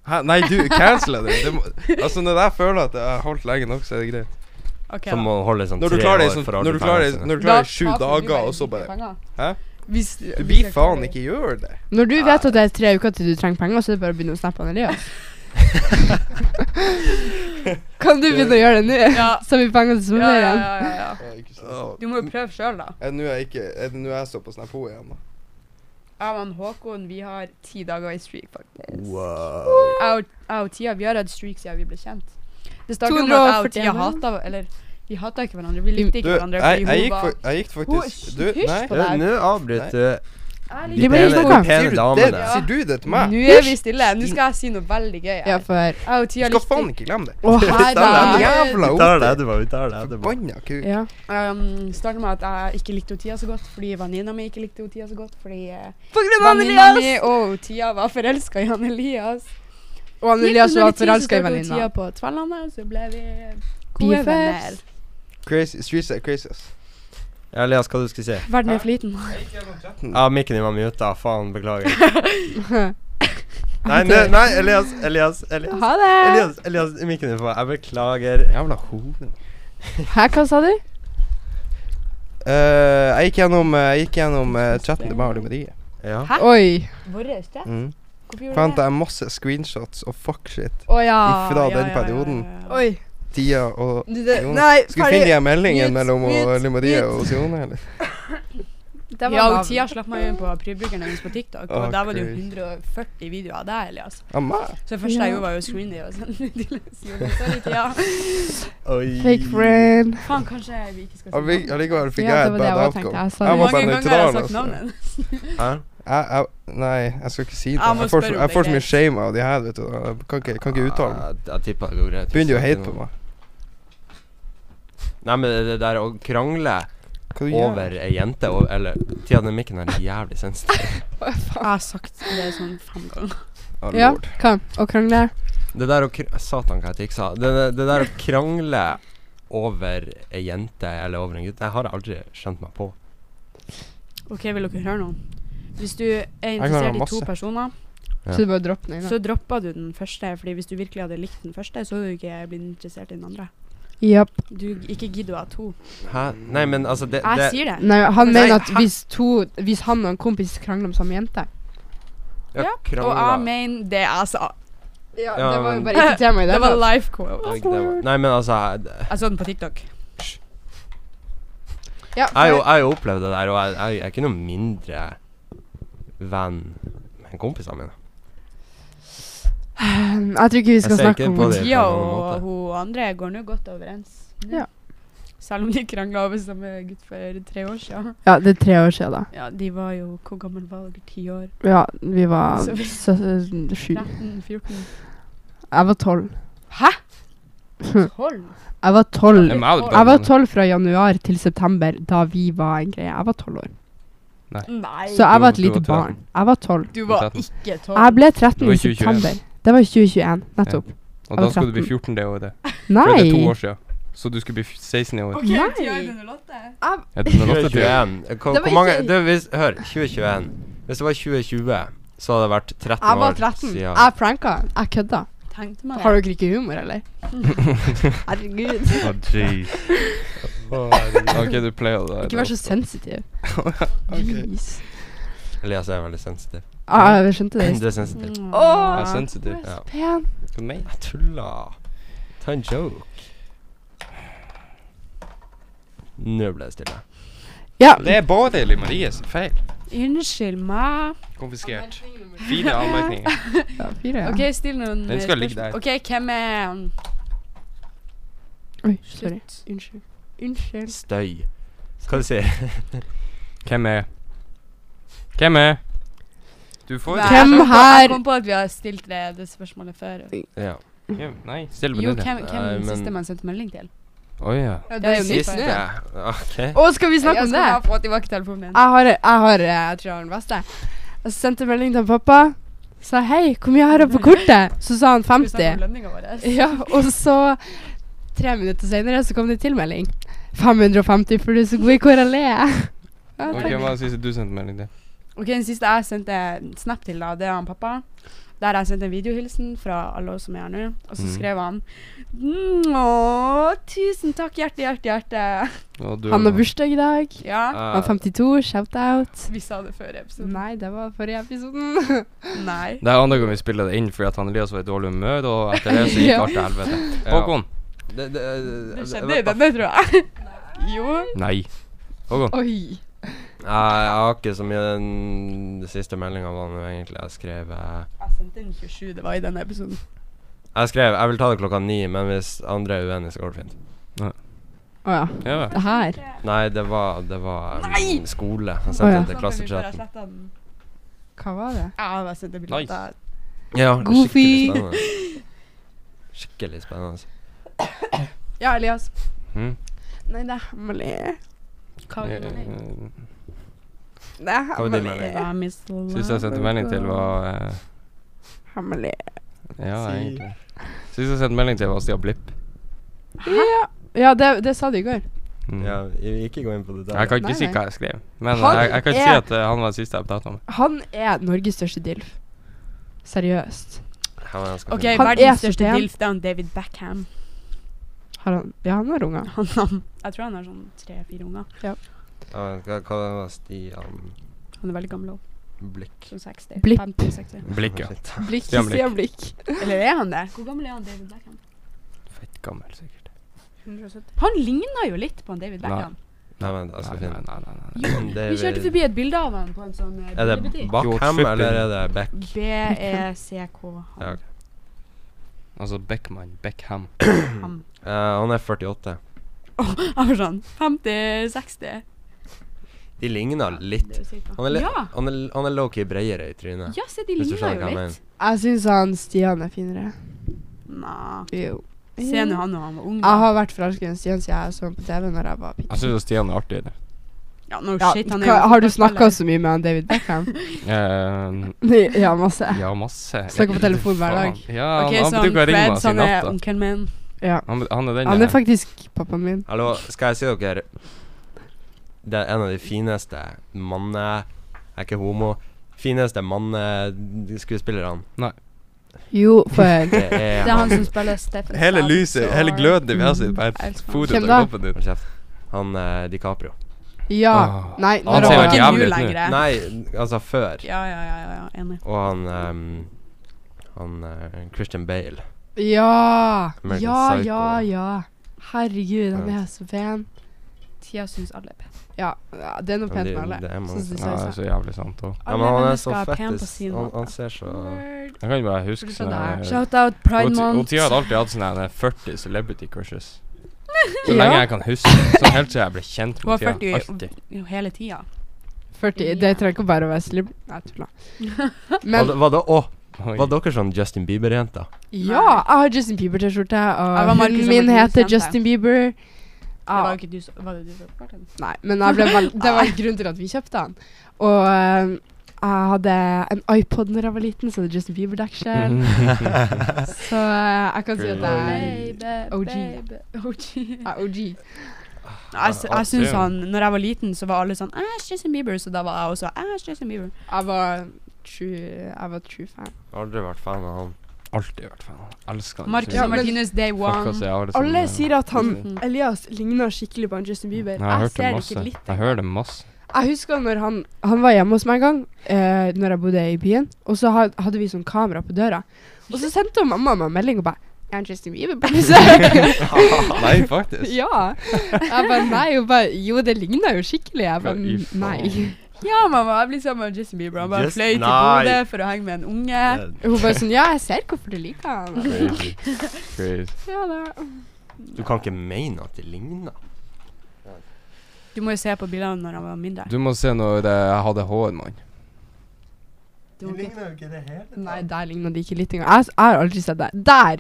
S3: Hæ? Nei, du cancela det. det må, altså, når jeg føler at jeg har holdt lenge nok, så er det greit.
S1: OK,
S4: Som
S1: da.
S4: å holde sånn
S3: Når du
S4: tre
S3: klarer det i
S4: år
S3: sånn-
S4: for å
S3: når du
S4: betale
S3: klarer det i-
S4: seg.
S3: når du klarer det i sju
S1: taper du
S3: dager, og så
S1: lite
S3: bare
S1: penger.
S3: Hæ?
S1: Hvis,
S3: Du
S1: hvis
S3: blir
S1: jeg
S3: faen
S1: klarer-
S3: ikke gjør det.
S2: Når du vet at det er tre uker til du trenger penger, så er det bare å begynne å snappe han Elias. kan du begynne å gjøre det nå?
S1: Ja.
S2: Så har vi penger
S3: Sånn
S1: Ja,
S2: til
S1: ja,
S2: sommerferien.
S1: ja, ja, ja.
S3: Åh.
S1: Du må jo prøve sjøl, da.
S3: Er det nå jeg ikke Er det nå jeg står på Snap Ho igjen, da?
S1: Jeg og han Håkon vi har ti dager i streak, faktisk.
S4: Wow.
S1: Jeg og- jeg og Tia vi har hatt streak siden vi ble kjent. Det startet jo med at jeg og Tia
S2: 241.
S1: hata Eller, vi hata ikke hverandre. Vi likte
S3: Du,
S1: ikke hverandre fordi
S3: jeg, jeg,
S1: hun
S3: gikk,
S1: var
S3: for, jeg gikk faktisk
S1: Hun-
S3: Du,
S1: hysj
S3: nei.
S1: på deg.
S4: Nå avbryter
S1: Jeg likte
S4: du
S2: Vi
S4: de
S2: blir
S4: pene,
S2: ikke
S4: de
S2: snakket.
S3: Sier du
S4: pene
S3: det?
S4: damene.
S1: Ja.
S3: Sier du det til
S1: Nå
S3: meg?
S1: er vi stille. Nå skal jeg si noe veldig gøy.
S2: Ja,
S1: her.
S2: for
S1: Jeg og
S3: Du
S1: Tia
S3: skal
S1: likte
S3: faen ikke glemme det.
S2: Å, her,
S1: da.
S3: Den
S2: da.
S3: jævla
S4: Vi tar det etterpå. Vi tar det etterpå.
S3: Forbanna kuk.
S2: Ja.
S1: um, startet med at jeg ikke likte Tia så godt fordi venninna mi ikke likte Tia så godt. Fordi eh,
S2: På grunn
S1: venninna mi og Tia var forelska i han Elias.
S2: Og han Elias var forelska i venninna.
S1: Tia på Tverlandet, så ble vi gode
S2: Bifest.
S1: venner.
S3: Crazy. Streets are crazy, ass.
S4: Ja, Elias, hva du skulle si?
S1: Verden er for liten.
S4: Ja, mikken din var muta. Faen, beklager. Nei, nei, nei Elias, Elias, Elias.
S2: Ha det!
S4: Elias, Elias, mikken din får Jeg beklager.
S3: Jævla hore.
S2: Hæ, hva sa du?
S3: Eh, jeg gikk gjennom, eh, jeg gikk gjennom eh, chatten til meg og Liv Marie.
S4: Ja.
S1: Hæ?
S2: Oi.
S1: Vår røste?
S3: Mm.
S1: Hvorfor gjorde
S3: Fant
S1: du det?
S3: jeg masse screenshots og fuck shit.
S2: Å
S1: Ah,
S2: ja.
S3: Ifra den perioden.
S1: Oi.
S2: Oi.
S3: Tida og
S2: Du, det,
S3: Jon.
S2: nei,
S3: Skal vi finne de her
S2: Mute,
S3: meldingene mellom
S2: mute,
S3: Liv Marie
S2: mute.
S3: og Sione, eller?
S2: Det var
S1: Ja, og
S2: navn.
S1: Tia slapp meg inn på Prybryggeren hennes på TikTok, og
S3: Å,
S1: der var det jo
S3: crazy.
S1: 140 videoer av deg, Elias.
S3: Av meg?
S1: Så det første jeg
S2: Ja.
S1: gjorde, var jo å screen det og sende det til Sione. Sorry, Tia.
S4: Oi.
S2: Fake friend.
S1: Faen, kanskje vi ikke skal
S3: Alli- Allikevel fikk
S2: Ja,
S3: jeg
S2: det
S3: et
S2: var det jeg
S3: bad
S2: også tenkte.
S3: outcome.
S2: Jeg sa
S3: Jeg
S2: det.
S1: Mange
S3: var bare
S1: ganger har jeg
S3: nøytral.
S1: sagt
S3: altså. Jeg,
S1: navnet.
S4: Hæ?
S3: jeg, nei, jeg skal ikke si det.
S1: Jeg må
S3: Jeg får,
S1: spørre
S3: så-
S1: om
S3: jeg
S1: det
S3: får så
S1: er
S3: mye shame av de her, vet du. Jeg kan ikke, kan ikke uttale meg.
S4: Ja, Jeg, jeg tipper det går greit.
S3: Begynner jo å hate på meg.
S4: Nei, men det der å krangle
S3: Hva du gjør
S4: over ei jente og, Eller Tida, den mikken her er jævlig sensitiv.
S1: Jeg har sagt det sånn fem ganger.
S3: Ah,
S2: Ja,
S3: lord.
S2: hva? Å krangle?
S4: Det der å kr... Satan, hva jeg tiksa. Det, det, det der å krangle over ei jente eller over en gutt, det har jeg aldri skjønt meg på.
S1: OK, vil dere høre noe? Hvis du er
S3: kan ha
S1: interessert i to
S3: masse.
S1: personer,
S4: Ja.
S2: Så du bare dropper den ene?
S1: så dropper du den første. Fordi hvis du virkelig hadde likt den første, så hadde du ikke blitt interessert i den andre.
S2: Japp.
S1: Du ikke gidder å ha to.
S4: Hæ? Nei, men altså det,
S1: Jeg
S4: det
S1: sier det.
S2: Nei, han
S4: Nei,
S2: mener at
S4: hæ?
S2: hvis to Hvis han og en kompis krangler om samme jente
S1: Ja, Og
S4: krangla-
S1: jeg mener det jeg sa.
S2: Ja,
S4: Ja,
S2: det var jo
S4: men-
S2: bare ikke tema i det.
S1: Det var
S2: hele tatt.
S1: life quote.
S4: Det var- Nei, men altså jeg- det-
S1: Jeg så den på TikTok.
S2: Ja,
S4: Jeg har jo- jeg har jo opplevd det der, og jeg, jeg, jeg er ikke noe mindre venn med kompisene mine.
S2: Ehm, Jeg tror ikke vi skal
S4: ser
S2: snakke
S4: ikke
S2: om
S4: på
S2: det.
S4: det.
S1: Tia
S4: på noen måte.
S1: og hun andre går nå godt overens. nå.
S2: Ja.
S1: Selv om de krangla over samme gutt for tre år siden.
S2: Ja, det er tre år siden, da.
S1: Ja, de var jo Hvor gammel var dere? Ti år?
S2: Ja, vi var
S1: Så vi-
S2: sø- sju.
S1: 13-14?
S2: Jeg var tolv.
S1: Hæ? 12?
S2: Jeg var tolv.
S1: Jeg
S2: Jeg var tolv fra januar til september, da vi var en greie. Jeg var tolv år.
S1: Nei.
S2: Så jeg var et
S4: Du- du
S2: lite
S4: var
S2: barn. Jeg var tolv.
S1: du var ikke
S2: Jeg
S1: 12.
S2: ble 13
S3: Det var
S2: i
S3: 2021.
S2: september. Det var 2021, nettopp.
S3: Og
S2: Jeg
S3: da
S2: var
S3: skal du bli
S2: 13.
S3: 14 det året. For det er to
S2: Nei!
S3: år siden. Så du skulle bli f- 16 i år.
S1: OK,
S2: Nei.
S1: Tia er 108.
S3: Er det noe annet du gjør?
S4: 2021. Hvor-
S2: Det var
S4: Hvor mange
S2: ikke-
S4: du, hvis, Hør, 2021. Hvis det var 2020, så hadde det vært 13 år
S2: Jeg var 13.
S4: siden.
S2: Jeg pranka. Jeg kødda.
S1: tenkte meg det.
S2: Har dere ikke humor, eller? Herregud.
S5: Å, jeez.
S3: OK, du pleier det.
S2: Ikke vær så sensitiv. Jeez.
S4: Elias er veldig sensitiv.
S2: Ah, jeg skjønte det. i
S4: Du er sensitiv.
S1: Mm.
S2: Åh!
S3: Jeg er sensitiv.
S4: Ja.
S2: sted. Pen.
S3: Hva mener
S4: Jeg tulla. Ta en joke. Nå ble det stille.
S2: Ja.
S3: du? Det er Boril i Maries feil.
S1: Unnskyld meg.
S3: Konfiskert. Fire anmerkninger.
S2: Ja, fire, ja.
S1: OK, still noen
S3: Den
S1: eh,
S3: skal ligge
S1: spørsmål.
S3: der.
S1: OK, hvem er um,
S2: Oi, sorry.
S1: slutt.
S2: Unnskyld. Unnskyld.
S4: Støy. Hva du sier
S3: Hvem er Hvem er Du får
S1: Nei,
S2: Hvem
S1: jeg kom på-
S2: her-
S1: Jeg kom på at vi har stilt det, det spørsmålet før.
S4: Ja.
S3: Hvem- Nei, still
S1: Jo,
S3: minutter.
S1: hvem, hvem er
S4: Nei,
S1: den
S4: men-
S1: siste man sendte melding til?
S3: Å ja.
S2: det er jo nytt
S1: Siste.
S2: for
S1: Ja.
S2: meg.
S4: ja. OK.
S2: Å, skal vi snakke om det?
S1: Jeg skal få tilbake telefonen din.
S2: Jeg har, jeg har, eh, jeg tror jeg har den beste. Jeg sendte melding til pappa. Sa hei, hvor mye har jeg på kortet? Så sa han 50. Ja, og så tre minutter senere så kom det en tilmelding. 550, for du er så god i KRLE. Ja,
S3: Ok,
S2: takk.
S3: Hva er det siste du sendte melding til?
S1: Ok, Den siste jeg sendte en snap til, da, det er han pappa. Der jeg sendte en videohilsen fra alle oss som er her nå. Og så
S3: Mm.
S1: skrev han mm, Å, tusen takk, hjerte, hjerte, hjerte.
S3: Å, du-
S2: Han har bursdag i dag.
S1: Ja.
S4: Ah.
S2: Han
S4: eh,
S2: er 52, shout-out.
S1: Vi sa det før episoden.
S2: Nei, det var forrige episoden.
S1: Nei.
S3: Det er andre gang vi spiller det inn fordi at han Elias var i dårlig humør, og etter det så gikk alt til helvete. Håkon.
S4: Det, det,
S1: Det skjedde i denne, tror jeg. Jo.
S3: Nei. Håkon.
S2: Oi.
S4: Jeg har ikke så mye Den siste meldinga var nå egentlig jeg skrev eh,
S1: Jeg sendte den 27, det var i denne episoden.
S4: Jeg skrev jeg vil ta det klokka ni, men hvis andre er uenige, så går det fint.
S2: Å ja.
S3: Ja.
S2: Det her.
S4: Nei, det var, det var um,
S1: Nei!
S4: skole. Jeg
S2: Å,
S4: sendte
S2: ja.
S4: det til klassechatten.
S2: Hva var det?
S1: Ja, jeg sendte bilder.
S4: Ja, det er
S2: Goofy.
S4: skikkelig spennende. Skikkelig spennende.
S2: Ja, Elias.
S3: Hm?
S2: Nei, det er hemmelig.
S1: Hva
S3: Eh,
S2: Det er
S4: var din
S2: hemmelig.
S4: melding?
S3: Siste jeg sendte melding til, var eh,
S2: Hemmelig.
S3: Ja,
S4: Si.
S3: egentlig. Siste jeg sendte melding til, var Stian Blipp.
S2: Ja, ja det, det sa du i går.
S3: Mm.
S4: Ja, vi- ikke gå inn på det
S3: Jeg kan ikke
S2: Nei,
S3: si
S2: nei.
S3: hva jeg skrev, men
S2: Han
S3: jeg, jeg kan si
S2: er-
S3: at eh, han var den siste jeg prata om.
S2: Han er Norges største dilf. Seriøst.
S1: OK,
S2: Han er
S1: verdens
S2: så
S1: største
S2: pen.
S1: dilf, det er han David Beckham.
S2: Har han Ja, han har unger.
S1: Han, han, jeg tror han har sånn tre-fire unger.
S4: Ja, hva hva var Stian
S1: Han er veldig gammel òg.
S4: Blikk?
S1: Sånn 60.
S2: Blipp.
S1: 50-60.
S3: Blikk, ja.
S4: Shit.
S2: Blikk,
S3: Stian Blikk.
S2: Stian Blikk.
S1: Eller er han det? Hvor gammel er han David Beckham?
S3: Fett gammel, sikkert.
S1: 170. Han ligner jo litt på han David
S3: Nei.
S1: Beckham.
S4: Nei, men jeg
S3: Nei,
S4: skal
S3: nei,
S4: finne
S3: nei, nei, nei.
S1: Vi kjørte forbi et bilde av han på en sånn eh,
S4: Er det
S1: bildebutikk.
S4: Backhem
S3: Fjortflipping.
S4: eller er det Beck?
S1: E B-E-C-K.
S4: Ja,
S1: Han.
S4: ok.
S3: Altså Beckman. Beckham.
S1: han.
S4: Eh, han er 48.
S1: Åh, jeg var sånn 50-60.
S4: De ligner litt. Han er, li
S1: Ja.
S4: han er, han er low-key bredere i trynet.
S1: Ja, se, de
S4: Hvis
S1: ligner
S4: du skjønner hva
S1: jo
S4: jeg
S1: litt.
S2: Jeg syns han Stian er finere.
S1: Nei.
S2: Jo.
S1: Se nå han når han var ung.
S2: Jeg
S1: da.
S2: har vært forelsket i en Stian siden jeg så ham på TV når jeg var
S3: Jeg
S2: bitte.
S3: syns Stian er artigere.
S1: Ja, no
S2: Ja,
S1: shit, han er
S2: hva,
S1: jo
S2: har du
S1: fotballspiller.
S2: snakka så mye med han David Beckham?
S3: Eh,
S2: ja, masse.
S3: ja, masse.
S2: Snakker på telefon hver dag. sånn
S3: Faen. Ja,
S1: Ok,
S3: han,
S1: så
S3: han bruker å ringe
S1: Fred,
S3: oss i
S1: han er
S3: natta.
S1: onkelen min.
S2: Ja.
S3: Han, han er den
S2: Han
S3: der.
S2: er faktisk pappaen min.
S4: Hallo, skal jeg si dere Det er en av de fineste manne... Jeg er ikke homo. Fineste manneskuespillerne.
S2: Jo, for
S4: Det er
S1: Det er han
S4: han.
S1: som spiller Stephen
S3: Hele
S1: Stab,
S3: lyset,
S1: så-
S3: hele gløden vi har sitt på
S1: Jeg elsker han.
S3: fotet
S2: Hvem
S3: til
S2: da?
S3: kroppen din.
S4: Hold kjeft. Han eh, DiCaprio.
S2: Ja.
S3: Ah.
S2: Nei,
S3: Han
S2: når
S3: ser
S2: han
S3: jo
S1: ikke
S3: jævlig
S1: nå
S3: ut nå.
S1: lenger. jeg.
S4: Nei, altså før.
S1: Ja, ja, ja, ja, ja, enig.
S4: Og han ehm, Han eh, Christian Bale.
S2: Ja!
S4: American
S2: Ja,
S4: Psycho.
S2: ja, ja. Herregud, han
S4: Ja.
S2: er så pen.
S1: Tida syns alle er pene.
S2: Ja, ja, det er noe
S4: Men
S2: pent
S4: det-
S2: med alle.
S4: det er mange
S2: Sånn som
S3: Ja, det er
S2: det ser ut.
S3: så jævlig sant òg.
S4: Ja, men han er så
S1: mennesker er pen på
S4: fettis.
S1: sin
S4: Han, han
S1: måte.
S4: ser så
S1: Word.
S3: Jeg kan bare
S2: Skal
S3: huske sånn
S2: vi se der?
S3: sånne
S1: Shout out Pride
S3: Hun hun
S1: Month.
S3: Tia hadde alltid hatt sånne her 40 celebrity crushes. Så
S2: Ja.
S3: lenge jeg kan huske. Sånn helt til jeg ble kjent
S1: Hun
S3: med
S1: er
S3: Tia.
S1: 40
S3: Alltid.
S1: jo hele tida.
S2: 40, det trenger ikke bare å være slim. Nei, jeg tuller.
S4: Men,
S2: Men
S4: var, det, å,
S3: Oi.
S4: var dere sånn Justin Bieber-jenter?
S2: ja, jeg har Justin Bieber-T-skjorte,
S1: Jeg var
S2: og
S1: Markus
S2: hunden
S1: som
S2: min
S1: ble
S2: heter
S1: produsent,
S2: Justin Bieber.
S1: Det var
S2: Ja,
S1: jo ikke du som Var det du som oppklarte den?
S2: nei, men jeg ble veld, det var en grunn til at vi kjøpte den. Og eh, jeg hadde en iPod når jeg var liten, så hadde Justin
S3: Mhm.
S2: Bieber-deksel. Så eh, jeg kan si at jeg OG.
S1: Baby, OG.
S2: er OG.
S1: Jeg, sy- jeg syns
S3: Ja.
S1: han Når jeg var liten, så var alle sånn Æsj, Justin Bieber. Så da var jeg også Æsj, Justin Bieber.
S2: Jeg var true, jeg var true fan.
S4: Aldri vært fan av han.
S3: alltid vært fan. Elsker han.
S1: Marcus
S2: Ja,
S1: og
S2: men-
S1: Martinus day
S3: Fuck,
S1: one.
S3: altså, jeg har liksom,
S2: Alle
S3: eh,
S2: sier at han
S1: Mhm.
S2: Elias ligner skikkelig på han Justin Bieber.
S3: Nei, jeg,
S2: jeg ser
S3: hørte
S2: det
S3: masse.
S2: ikke litt.
S3: jeg hører det masse.
S2: Jeg husker når han, han var hjemme hos meg en gang, eh, når jeg bodde i byen, og så ha- hadde vi sånn kamera på døra. Og så sendte mamma meg en melding og bare Er han Justin Bieber på besøk?
S3: Nei, faktisk.
S2: ja. Jeg bare nei. Hun bare Jo, det ligner jo skikkelig. Jeg bare
S3: Ja, i faen.
S2: nei.
S1: Ja, mamma, jeg blir sammen med Justin Bieber. Han bare
S4: Just-
S1: fløy til
S4: nei.
S1: Bodø for å henge med en
S4: Eh,
S1: unge.
S2: Hun bare sånn Ja, jeg ser hvorfor du liker han.
S3: Crazy. Crazy.
S2: Ja da.
S4: Du kan ikke mene at det ligner.
S1: Du må jo se på bildene når han var mindre.
S3: Du må se når eh, jeg hadde hår, mann.
S1: Du må ikke-
S4: jo ikke det hele.
S2: Nei, der ligner de ikke litt engang. Jeg, s- jeg har aldri sett deg. Der!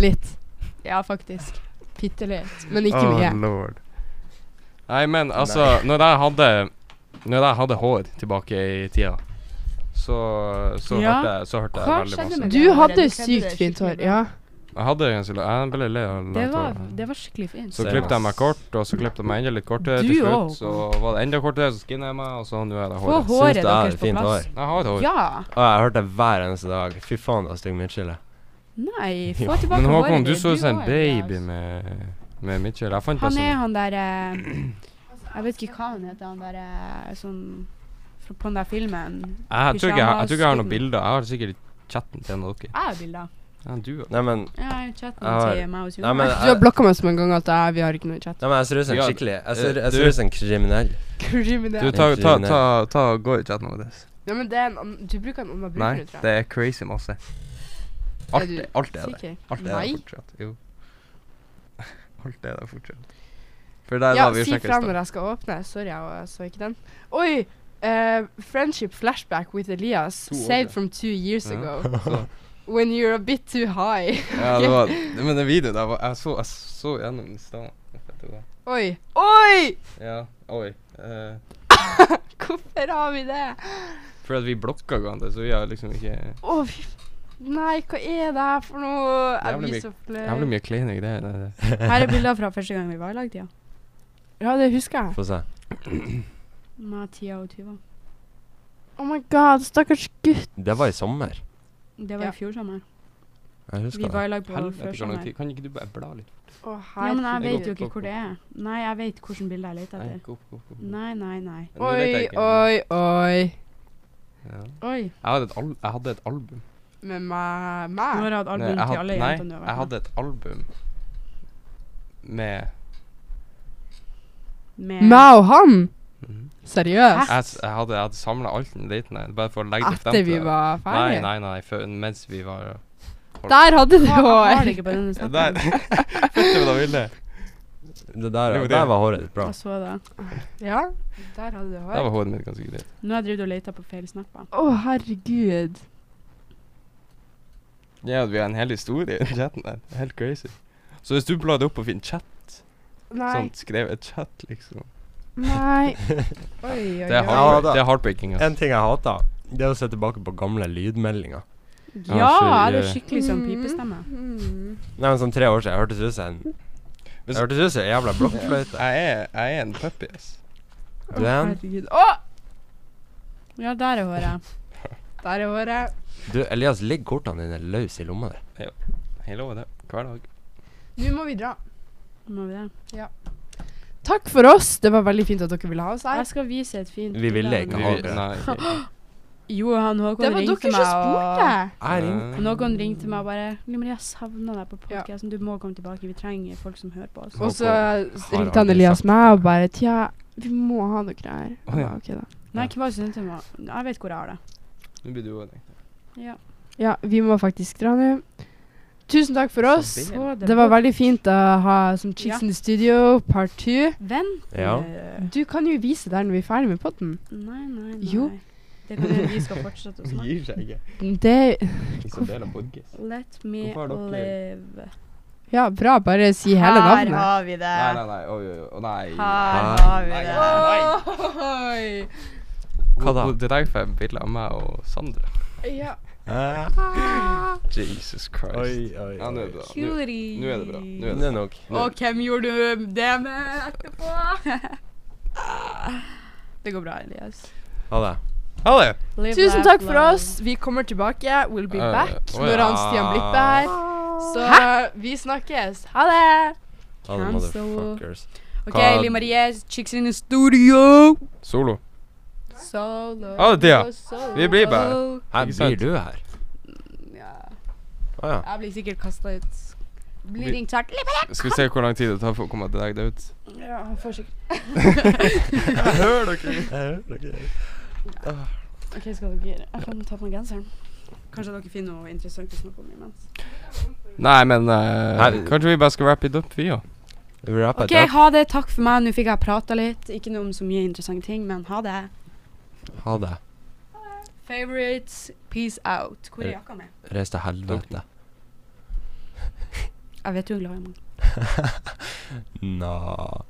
S2: Litt.
S1: Ja, faktisk.
S2: Bitte litt. Men ikke
S3: Ah,
S2: mye.
S4: lord.
S3: Nei, men altså, når jeg hadde Når jeg hadde hår tilbake i tida, så, så,
S1: Ja.
S3: hørte, jeg, så hørte
S1: Hva
S3: jeg veldig
S1: skjedde
S3: masse.
S1: med-
S2: Du
S1: det
S2: hadde
S1: allerede. Kledde
S2: sykt
S1: det
S2: fint
S1: skikkelig
S2: hår.
S1: bra.
S2: Ja.
S3: Jeg hadde ganske la- Jeg ble lei av
S1: Det
S3: langt
S1: var,
S3: hår.
S1: det var skikkelig fint.
S3: Så
S4: Same
S3: klippet jeg meg
S4: ass.
S3: kort, og så klippet jeg meg enda litt kortere
S1: Du
S3: til
S1: også.
S3: slutt. Så var det enda kortere, så skinnet jeg meg, og så nå er det
S1: Få
S3: håret.
S4: Syns
S1: håret
S4: det er
S1: deres på
S4: fint
S1: plass.
S4: hår.
S3: Jeg har hår.
S1: Ja.
S4: Å, jeg har hørt det hver eneste dag. Fy faen, du har stygg midtskille.
S1: Nei,
S4: Ja.
S1: få tilbake
S3: Men Håkon,
S1: håret
S3: du
S1: ditt.
S3: så ut som en
S1: var
S3: baby
S1: jævlig.
S3: med, med Mitchell. Jeg fant
S1: altså. Han
S3: det
S1: er
S3: sånn
S1: han der eh, Jeg vet ikke hva han heter, han der eh, som fra- På den der filmen.
S3: jeg tror, ikke, jeg, jeg tror ikke jeg har
S1: pyjamas-
S3: noen bilder. Jeg har sikkert i chatten til en av dere.
S1: Jeg har bilder.
S3: Ja, du også.
S4: Nei, men,
S1: Ja, i chatten
S4: Jeg har-
S1: til meg og
S4: nei, men,
S1: Sune.
S2: Du har
S4: jeg,
S2: blokka meg så mange ganger at jeg, vi har ikke noe chat.
S4: nei, men jeg ser ut som en
S3: Ja,
S4: skikkelig Jeg ser,
S3: eh,
S4: jeg
S3: du-
S4: ser ut som en kriminell.
S3: Du,
S2: Kriminell.
S3: ta, ta, ta, ta, gå i chatten vår.
S2: Ja, men det er en annen Du bruker en annen bruker,
S3: Nei,
S2: tror jeg.
S3: det er crazy masse. Alt,
S2: Er du
S3: alt er det.
S2: Sikker?
S3: Alt er
S2: Nei.
S3: det fortsatt. Jo. Alt er det fortsatt. For der
S2: Ja,
S3: var vi
S2: si
S3: sjekket
S2: fra
S3: i
S2: når
S3: stad.
S2: jeg skal åpne. Sorry, jeg så ikke den. Oi! eh, friendship flashback with Elias,
S3: To år
S2: saved
S3: siden.
S2: from two years
S3: Ja.
S2: ago.
S3: Så-
S2: When you're a bit too high.
S3: Ja, det var Men den videoen der var Jeg så, jeg så gjennom den i stad.
S2: Oi. Oi!
S3: Ja, oi. eh,
S2: Hvorfor har vi det?
S3: for at vi blokka hverandre, så vi har liksom ikke
S2: Å, fy f... Nei, hva er det her for noe? Jeg
S3: Jævlig
S2: blir
S3: mye-
S2: så flau.
S3: Jævlig mye kleine greier. det der.
S1: Her er bilder fra første gang vi var i lag, ja.
S2: Ja, det husker jeg.
S4: Få se.
S1: Med 10 og 20.
S2: Oh my god, stakkars gutt.
S4: Det var i sommer.
S1: Det var
S2: Ja.
S1: i fjor sommer.
S4: Jeg
S1: Vi
S4: husker
S1: var
S4: det.
S1: i lag på
S3: Helvete,
S1: før
S3: kan,
S1: sommer.
S3: dere- kan ikke du bare bla litt?
S2: Å,
S1: Ja, men jeg
S3: Jeg
S1: vet
S3: går
S1: jo
S3: på
S1: ikke hvor det er. Nei, jeg vet hvilket bilde jeg leter
S3: Nei,
S1: etter.
S3: gå opp, gå opp, gå opp.
S1: Nei, nei, nei.
S3: Nå
S2: Oi,
S3: leter jeg ikke.
S2: oi, oi.
S3: Ja.
S1: Oi.
S3: Jeg hadde et, al jeg hadde et album.
S2: Med meg?
S1: Nå
S2: meg.
S1: har jeg hatt
S3: Nei,
S1: album til
S3: jeg had-
S1: alle
S3: nei,
S1: jentene du har
S3: jeg
S1: vært med.
S3: hadde et album med
S1: Med-
S2: Meg og han?
S3: Mhm.
S2: Seriøst?
S3: Jeg, s- jeg hadde, jeg hadde samla alt den daten her, bare for å legge det frem
S2: Etter vi
S3: deg.
S2: var
S3: Nei,
S2: ferdige?
S3: nei, nei, før, mens vi var
S2: Der hadde du
S1: Hva- jeg har det
S2: hår.
S1: ikke på denne
S3: Ja,
S1: snappen.
S3: Der! Fytti hva du ville.
S4: Det der,
S3: Jo, det-
S4: der var håret ditt bra.
S1: Jeg så det.
S2: Ja, der hadde du
S3: Der
S2: hår.
S3: var hodet mitt ganske greit.
S1: Nå har jeg drevet og letet på feil snapper.
S2: Å, herregud.
S3: Ja, vi har en hel historie i chatten der. Helt crazy. Så hvis du bladde opp og finner chat,
S2: Nei,
S3: sånn skrev et chat, liksom
S2: nei. Oi, oi,
S3: Det
S2: oi.
S3: er,
S4: Ja,
S3: heartbreak,
S4: da.
S3: det er heartbreaking. ass.
S4: En ting jeg hater, det er å se tilbake på gamle lydmeldinger.
S3: Ja,
S1: Ja,
S3: så- eh,
S1: det er skikkelig sånn pipestemme.
S2: Mm.
S4: Nei, men Sånn tre år siden jeg hørtes ut som en
S3: Hvis-
S4: Jeg hørtes ut som en jævla blokkfløyte.
S3: Jeg er, jeg er en puppy, ass.
S4: Du er en
S2: Herregud. Å,
S1: Ja, der er håret.
S2: der er håret.
S4: Du, Elias, ligger kortene dine løs i lomma di?
S3: Hele året. Hver dag.
S2: Nå må vi dra.
S1: Må vi det?
S2: Takk for oss. Det var veldig fint at dere ville ha oss her.
S1: Jeg skal vise et fint
S4: Vi ville
S1: bilde av
S4: ikke
S1: den.
S4: ha det.
S3: Nei.
S1: Jo, han
S2: Det
S1: Håkon
S2: var
S1: ringte
S2: dere som
S1: meg og
S2: spurte.
S4: Jeg ringte
S1: Og Noen ringte meg og bare 'Lill Marie, jeg savner deg på podkasten. Du må komme tilbake. Vi trenger folk som hører på oss.'
S2: Og så
S4: Har
S2: ringte han
S4: aldri
S2: Elias
S4: sagt
S2: meg og bare Tja, vi må ha dere her.
S3: Å, ja.
S2: Ja, ok da.
S1: Nei, hva var det som ringte meg? Jeg vet hvor jeg har det.
S3: Nå blir du òg det.
S1: Ja.
S2: ja, vi må faktisk dra nå. Tusen takk for oss.
S1: Så
S2: Det var veldig fint å ha som
S1: Ja.
S2: Chicks in the Studio part two.
S1: Vent
S4: Ja.
S1: eh,
S2: Du kan jo vise der når vi er ferdig med podden.
S1: Nei, nei, nei.
S2: Jo.
S1: Det kan hende vi skal fortsette å snakke.
S3: Gir seg ikke.
S2: Det
S3: Isabella Borges.
S1: Let me
S3: Hvorfor har dere-
S1: live.
S2: Ja, bra. Bare si hele navnet.
S1: Her har vi det.
S3: Nei, nei, nei. Oi, oi, oi. Nei.
S1: Her
S4: Nei.
S1: har vi
S3: Nei,
S1: det.
S3: nei, nei.
S2: Oi.
S4: Hva da?
S3: Hun- Det der får jeg bilde av meg og Sandra.
S2: Ja.
S3: Jesus Christ.
S4: Eh. oi,
S3: Eh. Ja, nå er det bra. Nå-
S1: Cutie.
S3: Nå er det bra. Nå er
S4: Det
S3: det
S4: er nok.
S3: nå er
S1: Og hvem gjorde du det med etterpå? det går bra, Elias.
S4: Ha det.
S3: Ha det.
S2: Tusen takk for oss. Vi kommer tilbake. We'll be
S3: Eh,
S2: back
S3: å
S2: når
S3: ja.
S2: han Stian Blippe er her. Så vi snakkes. Ha det!
S4: Ha det,
S1: Cancel.
S4: motherfuckers.
S1: OK,
S4: Hva-
S1: Liv Marie, chicks in the studio.
S3: Solo.
S2: Solo.
S3: Ha det, Thea.
S2: solo.
S3: Vi blir bare-
S4: Her
S3: Ikke
S4: blir
S3: sant?
S4: du her.
S1: Ja,
S4: Å ja.
S1: jeg blir sikkert kasta ut. Blir
S3: Vi-
S1: ringt hardt. Liv
S3: Skal vi se hvor lang tid det tar for å komme til deg ut?
S1: Marie! Ja, han får sikkert
S3: Jeg hører dere.
S1: OK, skal dere Jeg kan ta på meg genseren. Kanskje dere finner noe interessant å snakke om imens.
S3: Nei, men eh,
S4: Nei.
S3: kanskje vi bare skal wrap it up, vi òg.
S4: Wrap it
S1: OK,
S4: up.
S1: ha det. Takk for meg. Nå fikk jeg prata litt. Ikke noe om så mye interessante ting, men ha det.
S4: Ha det.
S1: Favorites, peace out. Hvor er jakka mi?
S4: Reis til helvete.
S1: Jeg vet du er glad i meg.
S4: Nå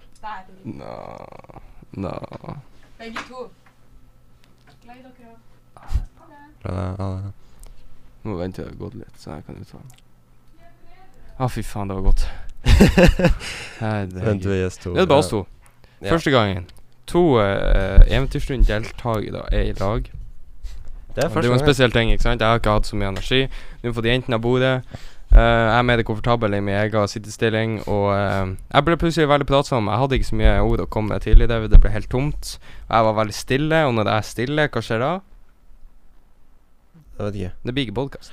S3: Nå Nå
S1: Begge to. Glei dere av.
S4: Ha det. Ha det.
S3: Nå venter jeg det har gått litt, så jeg kan uttale meg. Å, fy faen, det var godt.
S4: Vent,
S3: Herregud.
S4: vi er store.
S3: Det er bare oss to.
S4: Ja.
S3: Første gangen. To uh, eventyrstund-deltakere er i lag.
S4: Det
S3: Det er
S4: er
S3: jo
S4: første
S3: en
S4: gang.
S3: spesiell ting, ikke sant? Jeg har ikke hatt så mye energi. Nå får de jentene av bordet. Eh, jeg er mer komfortabel i min egen sittestilling, og eh, jeg ble plutselig veldig pratsom. Jeg hadde ikke så mye ord å komme med tidligere, det ble helt tomt. Jeg var veldig stille, og når jeg er stille, hva skjer da?
S4: Jeg vet ikke.
S3: Det blir ikke podkast.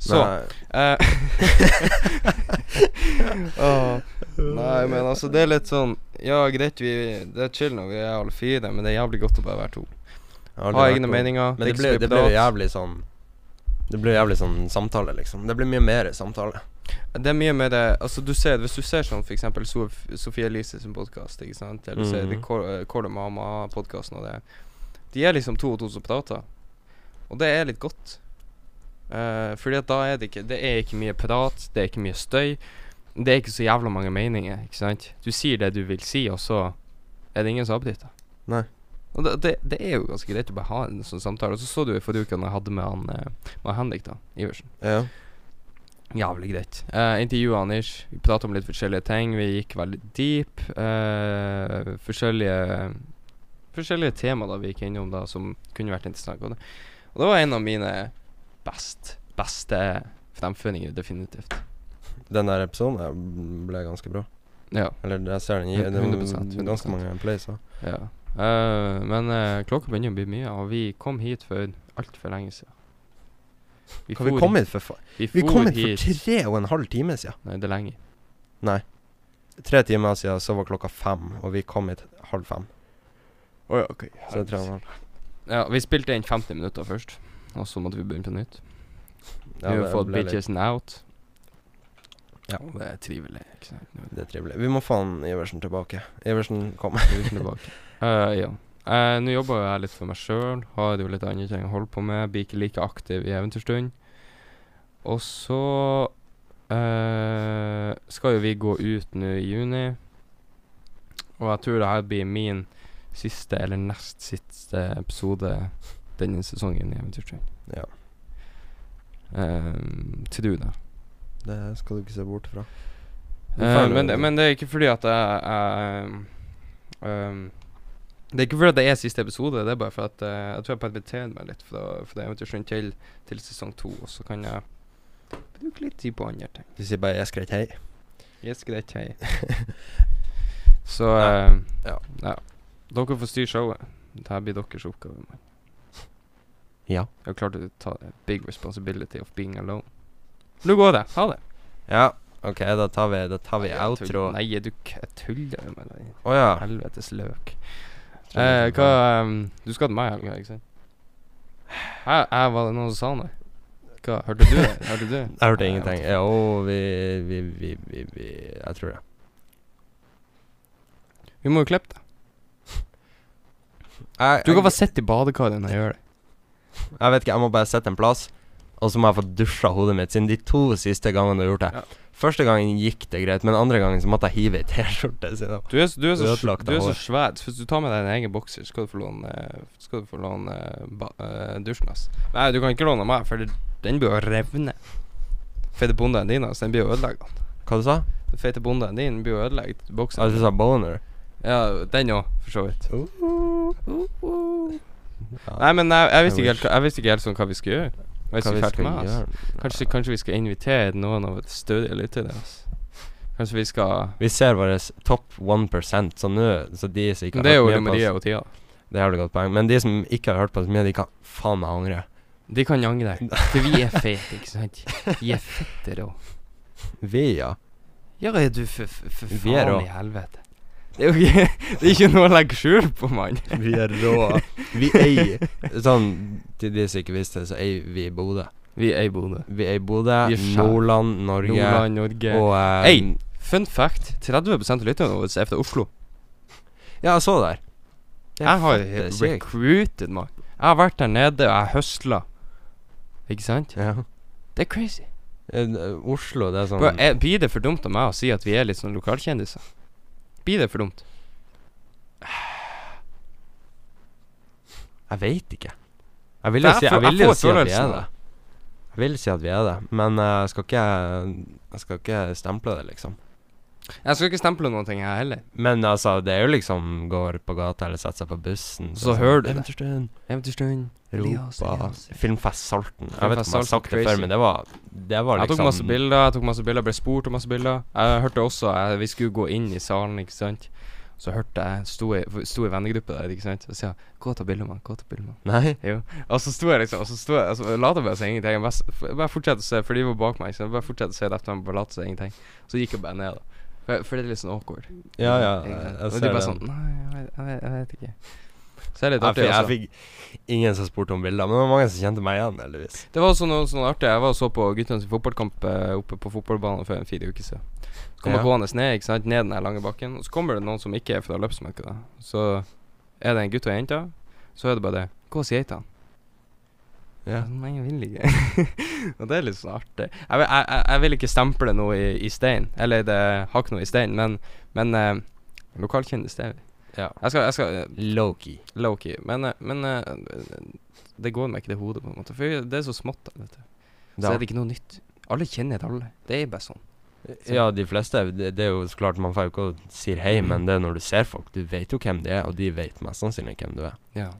S3: Så
S4: Nei.
S3: eh, Åh, Nei, men altså, det er litt sånn Ja, greit, vi, det er chill når vi er alle fire, men det er jævlig godt å bare være to.
S4: Jeg har aldri
S3: Ha
S4: vært
S3: egne
S4: på-
S3: meninger.
S4: Men det
S3: ikke så
S4: blir,
S3: mye
S4: det blir
S3: prat.
S4: jævlig sånn Det blir jævlig sånn samtale, liksom. Det blir mye mer samtale.
S3: Det er mye mer det Altså, du ser Hvis du ser sånn for eksempel Sof Sofie Elise sin podkast, ikke sant, eller du ser
S4: Mhm.
S3: mm. Kåre Mama-podkasten og det De er liksom to og to som prater, og det er litt godt. Eh, fordi at da er det ikke Det er ikke mye prat, det er ikke mye støy. Det er ikke så jævla mange meninger, ikke sant. Du sier det du vil si, og så er det ingen som avbryter.
S4: Nei.
S3: Og det, det, det er jo ganske greit å bare ha en sånn samtale. Og så så du i forrige uke når jeg hadde med han eh, med Henrik, da, Iversen.
S4: Ja.
S3: Jævlig greit. Uh, Intervjua Anders. Vi prata om litt forskjellige ting. Vi gikk veldig deep. eh, forskjellige Forskjellige tema da vi gikk innom da som kunne vært interessant. Og det, og det var en av mine best, beste fremføringer, definitivt.
S4: Den der episoden her ble ganske bra.
S3: Ja.
S4: Eller jeg ser den gir det var
S3: 100%, 100%.
S4: ganske mange plays. også.
S3: ja. Eh, men eh, klokka begynner å bli mye, og vi kom hit for altfor lenge siden. Vi
S4: Kan vi
S3: for-
S4: komme hit for faen?
S3: vi
S4: Vi
S3: for
S4: kom hit for tre og en halv time siden.
S3: Nei, det er lenge.
S4: Tre timer siden så var klokka fem, og vi kom hit halv fem.
S3: Oh, ja, okay.
S4: Så tre og en halv.
S3: ja, vi spilte inn 50 minutter først, og så måtte vi begynne på nytt.
S4: Ja,
S3: vi har
S4: det
S3: fått
S4: ble litt-
S3: bitchesen out.
S4: Ja.
S3: Og Det er trivelig. ikke sant? Nå er
S4: Det er trivelig. Vi må faen Iversen tilbake. Iversen, kom.
S3: vi tilbake. Eh, ja. Eh, Nå jobber jo jeg litt for meg sjøl, har jo litt andre ting å holde på med. Blir ikke like aktiv i Eventyrstund. Og så eh, skal jo vi gå ut nå i juni, og jeg tror det her blir min siste eller nest siste episode denne sesongen i Eventyrstund.
S4: Ja.
S3: Um, tror det.
S4: Det skal du ikke se bort fra. Du
S3: Eh,
S4: føler
S3: men,
S4: det.
S3: det- men det er ikke fordi at jeg, jeg ehm, Det er ikke fordi at det er siste episode, det er bare for at eh, jeg tror jeg permitterer meg litt fra, fra Eventyrsund til, til sesong to, og så kan jeg bruke litt tid på andre ting.
S4: Du sier bare 'jeg skrek hei'.
S3: Yes, greit, hei. så
S4: Nei.
S3: eh,
S4: Ja.
S3: ja. Dere får styre showet. Dette blir deres oppgave. mann.
S4: Ja.
S3: Jeg har klart å ta big responsibility of being alone. Nå går det. Ha det.
S4: Ja, OK, da tar vi, da tar vi
S3: Nei, jeg tull-
S4: outro. Å
S3: Nei, du k- jeg tuller med deg.
S4: ja.
S3: Helvetes løk.
S4: Tror
S3: Eh,
S4: jeg-
S3: hva ehm, Du skal til meg i helga, ikke sant? Hæ, jeg var det noen som sa noe? Hva, hørte du det? Hørte du?
S4: Jeg hørte
S3: Nei,
S4: ingenting.
S3: vet
S4: Jo, vi, vi, vi, vi, vi Jeg tror det.
S3: ikke. Vi må jo klippe det.
S4: Jeg,
S3: Du kan bare
S4: jeg,
S3: sitte i badekaret når jeg gjør det.
S4: jeg vet ikke, jeg må bare sette en plass, og så må jeg få dusja hodet mitt, siden de to siste gangene du har gjort det.
S3: Ja.
S4: Første gangen gikk det greit, men andre gangen så måtte jeg hive ei T-skjorte. siden jeg-
S3: Du er, s- du er,
S4: Du
S3: så,
S4: har
S3: sv-
S4: ødelagt
S3: du er så
S4: håret.
S3: svær. så Hvis du tar med deg en egen bokser, skal du få låne, eh, skal du få låne eh, ba, eh, dusjen hans. Nei, du kan ikke låne meg, for det- den blir å revne. Fete bondaen din, altså. Den blir jo ødelagt.
S4: Hva du sa
S3: Den Fete bondaen din blir jo ødelagt.
S4: Ah,
S3: Bokseren.
S4: du? sa boner.
S3: Ja, den òg, for så vidt. Nei, men jeg, jeg, visste
S4: I
S3: ikke helt, hva- jeg visste ikke helt sånn hva vi skulle gjøre. Jeg
S4: Hva
S3: visste
S4: vi
S3: ikke helt
S4: skal
S3: med, ass.
S4: gjøre?
S3: Kanskje, kanskje vi skal invitere noen av et stødige lyttere? ass. Kanskje vi skal
S4: Vi ser våre topp 1 så nå Så de som ikke
S3: Men Det er
S4: har
S3: jo
S4: hørt
S3: Ole
S4: mye
S3: Maria
S4: på oss,
S3: og Tia.
S4: det har du godt poeng. Men de som ikke har hørt på oss mye, de kan faen meg angre.
S3: De kan angre, for vi er fete, ikke sant? Vi er fette rå.
S4: Vi, ja.
S3: Ja, er du for, for, for
S4: Vi er rå.
S3: faen i helvete. Det er jo ikke, det er ikke noe å legge skjul på, mann.
S4: Vi er rå. Vi eier Sånn til de som ikke visste det, så eier vi Bodø.
S3: Vi er i Bodø.
S4: Vi eier Bodø,
S3: Vi er sjæl.
S4: Nordland, Norge
S3: Nordland, Norge.
S4: og eh,
S3: Ei! Fun fact 30 av lytterne våre er fra Oslo.
S4: Ja, jeg så det der. Det er
S3: Jeg har
S4: fette sykt.
S3: recruited meg. Jeg har vært der nede, og jeg høsla. Ikke sant?
S4: Ja.
S3: Det er crazy.
S4: Eh, eh, Oslo, det er sånn
S3: Bro, er, blir det for dumt av meg å si at vi er litt sånn lokalkjendiser? Blir det for dumt?
S4: Jeg veit ikke. Jeg vil
S3: For
S4: jo
S3: jeg
S4: si,
S3: får-
S4: jeg vil
S3: jeg
S4: jo
S3: får
S4: si at vi
S3: følelsen
S4: er
S3: av
S4: det.
S3: det.
S4: Jeg vil si at vi er det, men eh, jeg skal ikke Jeg skal ikke stemple det, liksom.
S3: Jeg skal ikke stemple noen ting, jeg heller.
S4: Men altså, det er jo liksom går på gata eller setter seg på bussen
S3: Så hører du det.
S4: Eventyrstuen,
S3: Eventyrstund. Elias,
S4: Europa
S3: Elias.
S4: Filmfest Salten. Jeg vet
S3: Filmfest
S4: ikke om jeg har sagt
S3: Salten,
S4: det før,
S3: crazy.
S4: men det var Det var
S3: Jeg
S4: liksom
S3: tok masse bilder, jeg tok masse bilder, ble spurt om masse bilder. Jeg hørte også eh, Vi skulle gå inn i salen, ikke sant. Så hørte jeg Sto i, sto i vennegruppe der, ikke sant. Og så sier jeg 'Gå og ta bilde med han, gå og ta bilde med han'.
S4: Nei?
S3: Og så sto jeg liksom Og så sto jeg altså, jeg Lot som ingenting. Jeg bare, s- f- bare fortsatte å se, for de var bak meg. ikke sant? Jeg bare fortsatte å se etter dem, bare lot som ingenting. Så gikk jeg bare ned, da. For, for det er litt sånn awkward.
S4: Ja, ja.
S3: Ikke sant? Og
S4: Jeg, jeg
S3: de
S4: ser
S3: bare
S4: det.
S3: sånn Nei, jeg vet, jeg vet, jeg vet ikke. Så det er litt
S4: Jeg
S3: artig.
S4: fikk, jeg
S3: altså.
S4: fikk ingen som spurte om bilder, men det var mange som kjente meg igjen, heldigvis.
S3: Det var også noe sånn artig. Jeg var og så på guttenes fotballkamp eh, oppe på fotballbanen for en fire uker siden. Så kommer
S4: Ja.
S3: gående ned, ikke sant, ned den her lange bakken, og så kommer det noen som ikke er fra løpsmarkedet. Så er det en gutt og ei jente, så er det bare det. Gå og si hei til han.
S4: Ja.
S3: Sånn, Nei, jeg vil ikke. og det er litt sånn artig. Jeg vil, jeg, jeg, jeg vil ikke stemple noe i, i stein, eller det har ikke noe i stein, men, men eh, lokalkjendis, det er vi.
S4: Ja.
S3: Jeg skal, jeg skal eh,
S4: Loki.
S3: Low-key. Men, eh, men eh, det går meg ikke til hodet, på en måte. For det er så smått. Vet du. Så
S4: Da-
S3: er det ikke noe nytt. Alle kjenner til alle. Det er bare sånn.
S4: Ja, de fleste. Det, det er jo så klart man får jo ikke å si hei, men det er når du ser folk. Du vet jo hvem de er, og de vet mest sannsynlig hvem du er.
S3: Ja.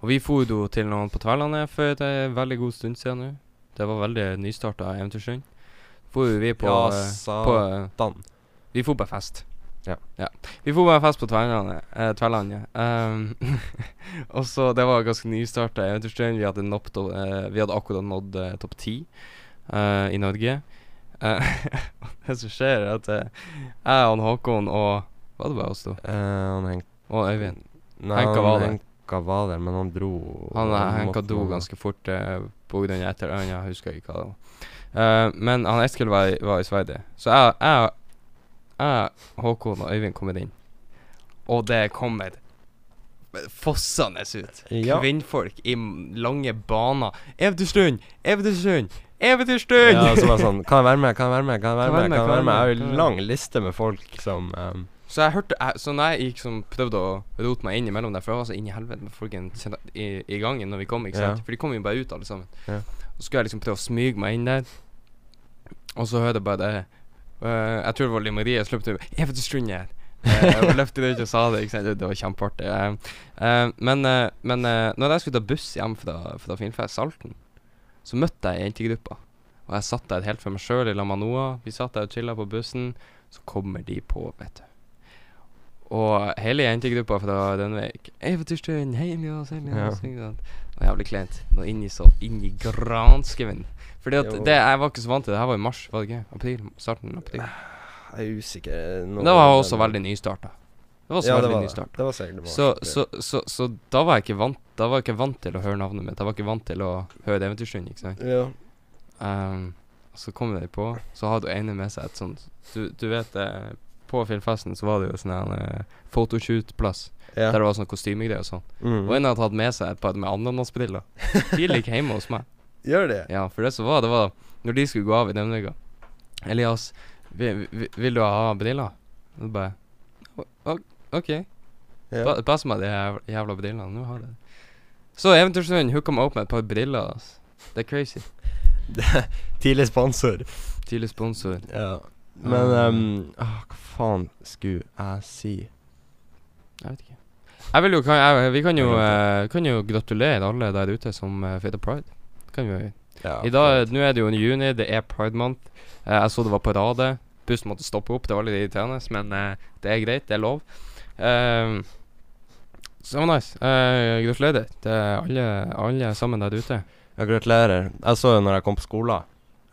S3: Og vi for jo til noen på Tverlandet for en veldig god stund siden nå. Det var veldig nystarta Eventyrsund. For jo vi på,
S4: Ja,
S3: eh,
S4: sa-
S3: på eh,
S4: Dan.
S3: Vi for på fest.
S4: Ja.
S3: Vi for på fest på Tverlandet. Eh, Tverlandet. Ehm, og så Det var ganske nystarta Eventyrsund. Vi hadde, nådd to- eh, vi hadde akkurat nådd eh, topp ti eh, i Norge. Eh, og det som skjer, er at eh, jeg og Håkon og Var det bare oss to?
S4: Eh, han Henk
S3: Og Øyvind.
S4: Nei,
S3: Henka
S4: han
S3: var der.
S4: Henka var der, men han dro
S3: Han eh, Henka
S4: måtte-
S3: do ganske fort eh, på grunn av et eller annet, jeg husker ikke hva det var. Eh, men han Eskil var, i- var i Sverige, så jeg, jeg, jeg, Håkon og Øyvind kom inn. Og det kommer fossende ut.
S4: Ja.
S3: Kvinnfolk i m- lange baner. Eventyrstund! Eventyrstund! Eventyrstund!
S4: Ja, så var det sånn Kan jeg være med? Kan jeg være med? Kan jeg være med? Kan jeg være med? Jeg har
S3: kan
S4: jo
S3: jeg være
S4: lang liste med folk som eh,
S3: Så jeg hørte jeg, Så når jeg gikk som prøvde å rote meg inn imellom der, for jeg var så inn i helvete med folk i, i- i gangen når vi kom, ikke sant?
S4: Ja.
S3: For de kom jo bare ut, alle sammen.
S4: Ja.
S3: Så skulle jeg liksom prøve å smyge meg inn der, og så hørte jeg bare det eh, Jeg tror det var Liv Marie som løp til meg. 'Jeg vet du strunder her.' Eh, og løftet det ut og sa det. ikke sant? Det- Det var kjempeartig. Eh, eh, men eh, men eh, når jeg skulle ta buss hjem fra, fra Filmfest Salten, så møtte jeg jentegruppa. Og jeg satt der helt for meg sjøl i lag med Noah. Vi satt der og chilla på bussen. Så kommer de på, vet du. Og hele jentegruppa fra Rønvik Eventyrstund, hei Elias, hei Elias.
S4: Ja.
S3: ikke sant? Det var jævlig kleint. Nå inni så inn i granskauen. Fordi at
S4: Jo.
S3: det, jeg var ikke så vant til det. her var i mars, var det ikke? April? Starten av april.
S4: Jeg er usikker. nå-
S3: Men det var også veldig nystarta. Det var også
S4: Ja, det
S3: veldig
S4: var det.
S3: nystarta.
S4: Det var sikkert det var
S3: Så,
S4: sikkert det.
S3: så, så, så da var jeg ikke vant Da var jeg ikke vant til å høre navnet mitt. Jeg var ikke vant til å høre Eventyrstund, ikke sant.
S4: Ja.
S3: Ehm, og så kom de på, så hadde hun ene med seg et sånt Du, du vet, eh, på filmfesten så var det jo sånn her eh, photoshoot-plass.
S4: Ja.
S3: Der det var sånn kostymegreier og sånn.
S4: Mm.
S3: Og en hadde tatt med seg et par med ananasbriller. De ligger hjemme hos meg.
S4: Gjør det?
S3: Ja, for det som var, det var Når de skulle gå av i Nemnega Elias, vi, vi, vil du ha briller? Og så bare «Å, å- OK.
S4: Ja.
S3: Pa- Pass meg de jæv- jævla brillene. Nå har jeg det. Så Eventyrsund hooka meg opp med et par briller. ass. Det er crazy.
S4: Tidlig sponsor.
S3: Tidlig sponsor.
S4: Ja. Men ah,
S3: Um,
S4: ehm, ah, hva faen skulle jeg si?
S3: Jeg vet ikke. Jeg vil jo, kan, jeg, vi kan jo, eh, kan jo gratulere alle der ute som uh, feira pride. Kan vi,
S4: Ja,
S3: I dag, Nå er det jo en juni, det er pride month. Eh, jeg så det var parade. Bussen måtte stoppe opp, det var litt irriterende, men eh, det er greit, det er lov. Um, så det var nice. Eh, gratulerer til alle, alle sammen der ute.
S4: Ja, gratulerer. Jeg så jo når jeg kom på skolen.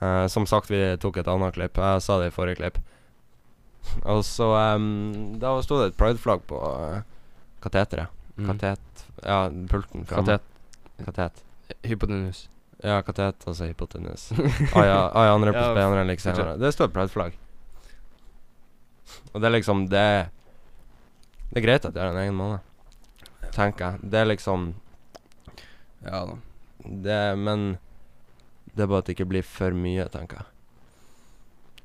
S4: Eh, som sagt, vi tok et annet klipp. Jeg sa det i forrige klipp. Og så em, Da sto det et prideflagg på eh, kateteret.
S3: Mm.
S4: Katet Ja, pulten. fremme.
S3: Katet.
S4: Katet.
S3: Hypotenus.
S4: Ja, katet, altså hypotenus. Ai, ja, ai, andre på
S3: Ah, Ja,
S4: spe, andre like senere. Det står et prideflagg. Og det er liksom Det er- Det er greit at jeg har en egen måned, tenker jeg. Det er liksom
S3: Ja da.
S4: det, Men det er bare at det ikke blir for mye, tenker jeg.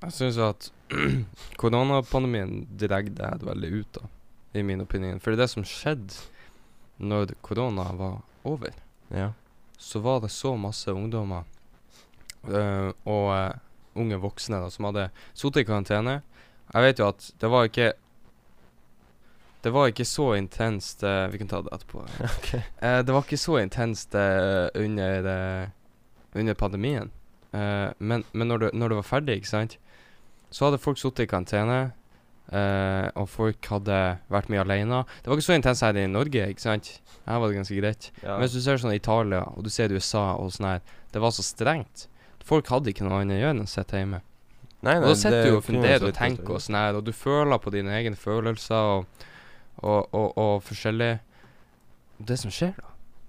S3: Jeg syns at koronapandemien dregde det her veldig ut, da, i min opinion. For det som skjedde når korona var over,
S4: Ja.
S3: så var det så masse ungdommer eh, og eh, unge voksne da, som hadde sittet i karantene. Jeg vet jo at det var ikke Det var ikke så intenst eh, Vi kan ta det etterpå. Eh, det var ikke så intenst eh, under, eh, under pandemien. Eh, men men når, det, når det var ferdig, ikke sant, så hadde folk sittet i karantene. eh, og folk hadde vært mye alene. Det var ikke så intenst her i Norge, ikke sant? Her var det ganske greit. Men hvis du ser sånn Italia, og du ser USA og sånn her, det var så strengt. Folk hadde ikke noe annet å gjøre enn å sitte hjemme.
S4: Nei,
S3: Og
S4: nei,
S3: da sitter
S4: det
S3: du og
S4: kunne jo altså
S3: funderer
S4: så
S3: og
S4: vidt vært
S3: tenker
S4: det.
S3: og sånn her, og du føler på dine egne følelser og, og, og, og forskjellig. Det som skjer, da,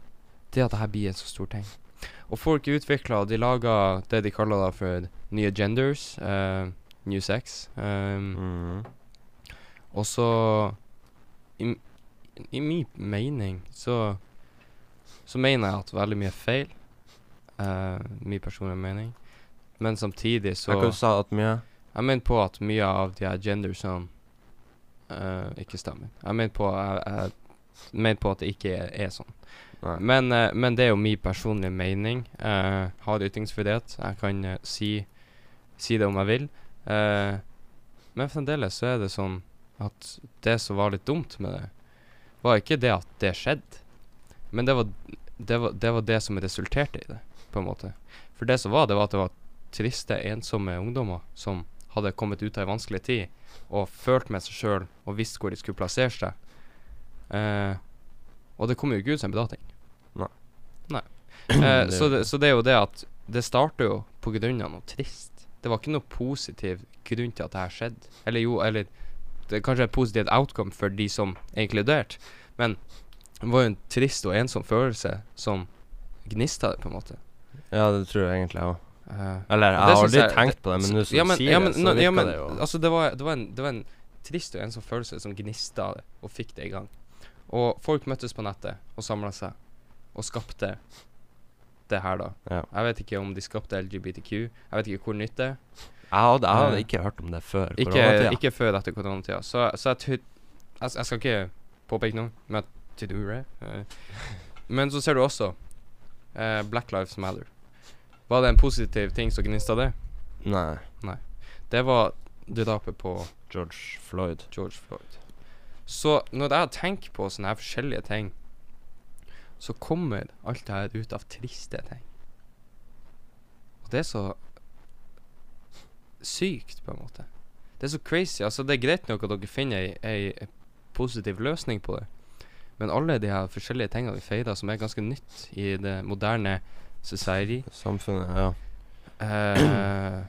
S3: det er at det her blir en så stor ting. Og folk utvikler, og de lager det de kaller da for nye genders, eh, new sex. eh,
S4: Mhm.
S3: og så i, m- I min mening så Så mener jeg at veldig mye er feil. eh, min personlige mening. Men samtidig så
S4: Jeg kan sa at mye
S3: Jeg mener på at mye av de her gendersene eh, ikke stemmer. Jeg mener på, jeg, jeg mener på at det ikke er, er sånn.
S4: Nei.
S3: Men, eh, men det er jo min personlige mening. Eh, har ytringsfrihet. Jeg kan eh, si, si det om jeg vil. Eh, men fremdeles så er det sånn at det som var litt dumt med det, var ikke det at det skjedde, men det var det, var, det, var det som resulterte i det, på en måte. For det som var, det var at det var triste, ensomme ungdommer som hadde kommet ut av ei vanskelig tid og følt med seg sjøl og visst hvor de skulle plassere seg. Eh, og det kom jo ikke ut som en bedating.
S4: Nei.
S3: Nei.
S4: Det
S3: Eh,
S4: er jo
S3: så, det,
S4: ikke.
S3: så det er jo det at det starter jo på grunn av noe trist. Det var ikke noe positiv grunn til at det her skjedde. Eller jo, eller det er kanskje et positivt outcome for de som er inkludert, men det var jo en trist og ensom følelse som gnista det, på en måte.
S4: Ja, det tror jeg egentlig jeg òg.
S3: Eh, Og
S4: Eller jeg
S3: det
S4: har
S3: synes
S4: aldri
S3: jeg-
S4: tenkt på det, men nå som
S3: ja,
S4: du
S3: men,
S4: sier
S3: ja, men,
S4: det, så
S3: nå-
S4: virker
S3: ja, men,
S4: det jo
S3: Altså, det var, det, var en, det var en trist og ensom følelse som gnista det, og fikk det i gang. Og folk møttes på nettet og samla seg, og skapte det her, da.
S4: Ja.
S3: Jeg vet ikke om de skapte LGBTQ. Jeg vet ikke hvor nytt det er.
S4: Jeg hadde, jeg hadde
S3: Eh,
S4: ikke hørt om det før
S3: Ikke,
S4: koronatida.
S3: ikke før etter koronatida. Så, så jeg, tror- jeg, jeg skal ikke påpeke noe, men jeg tror det. eh. Men så ser du også eh, Black Lives Matter. Var det en positiv ting som gnista det?
S4: Nei.
S3: Det var drapet på
S4: George Floyd.
S3: George Floyd. Så når jeg tenker på sånne her forskjellige ting, så kommer alt det her ut av triste ting. Og det er så sykt, på en måte. Det er så crazy. Altså, det er greit nok at dere finner ei, ei positiv løsning på det, men alle de her forskjellige tingene vi feirer, som er ganske nytt i det moderne society,
S4: Samfunnet, ja.
S3: eh,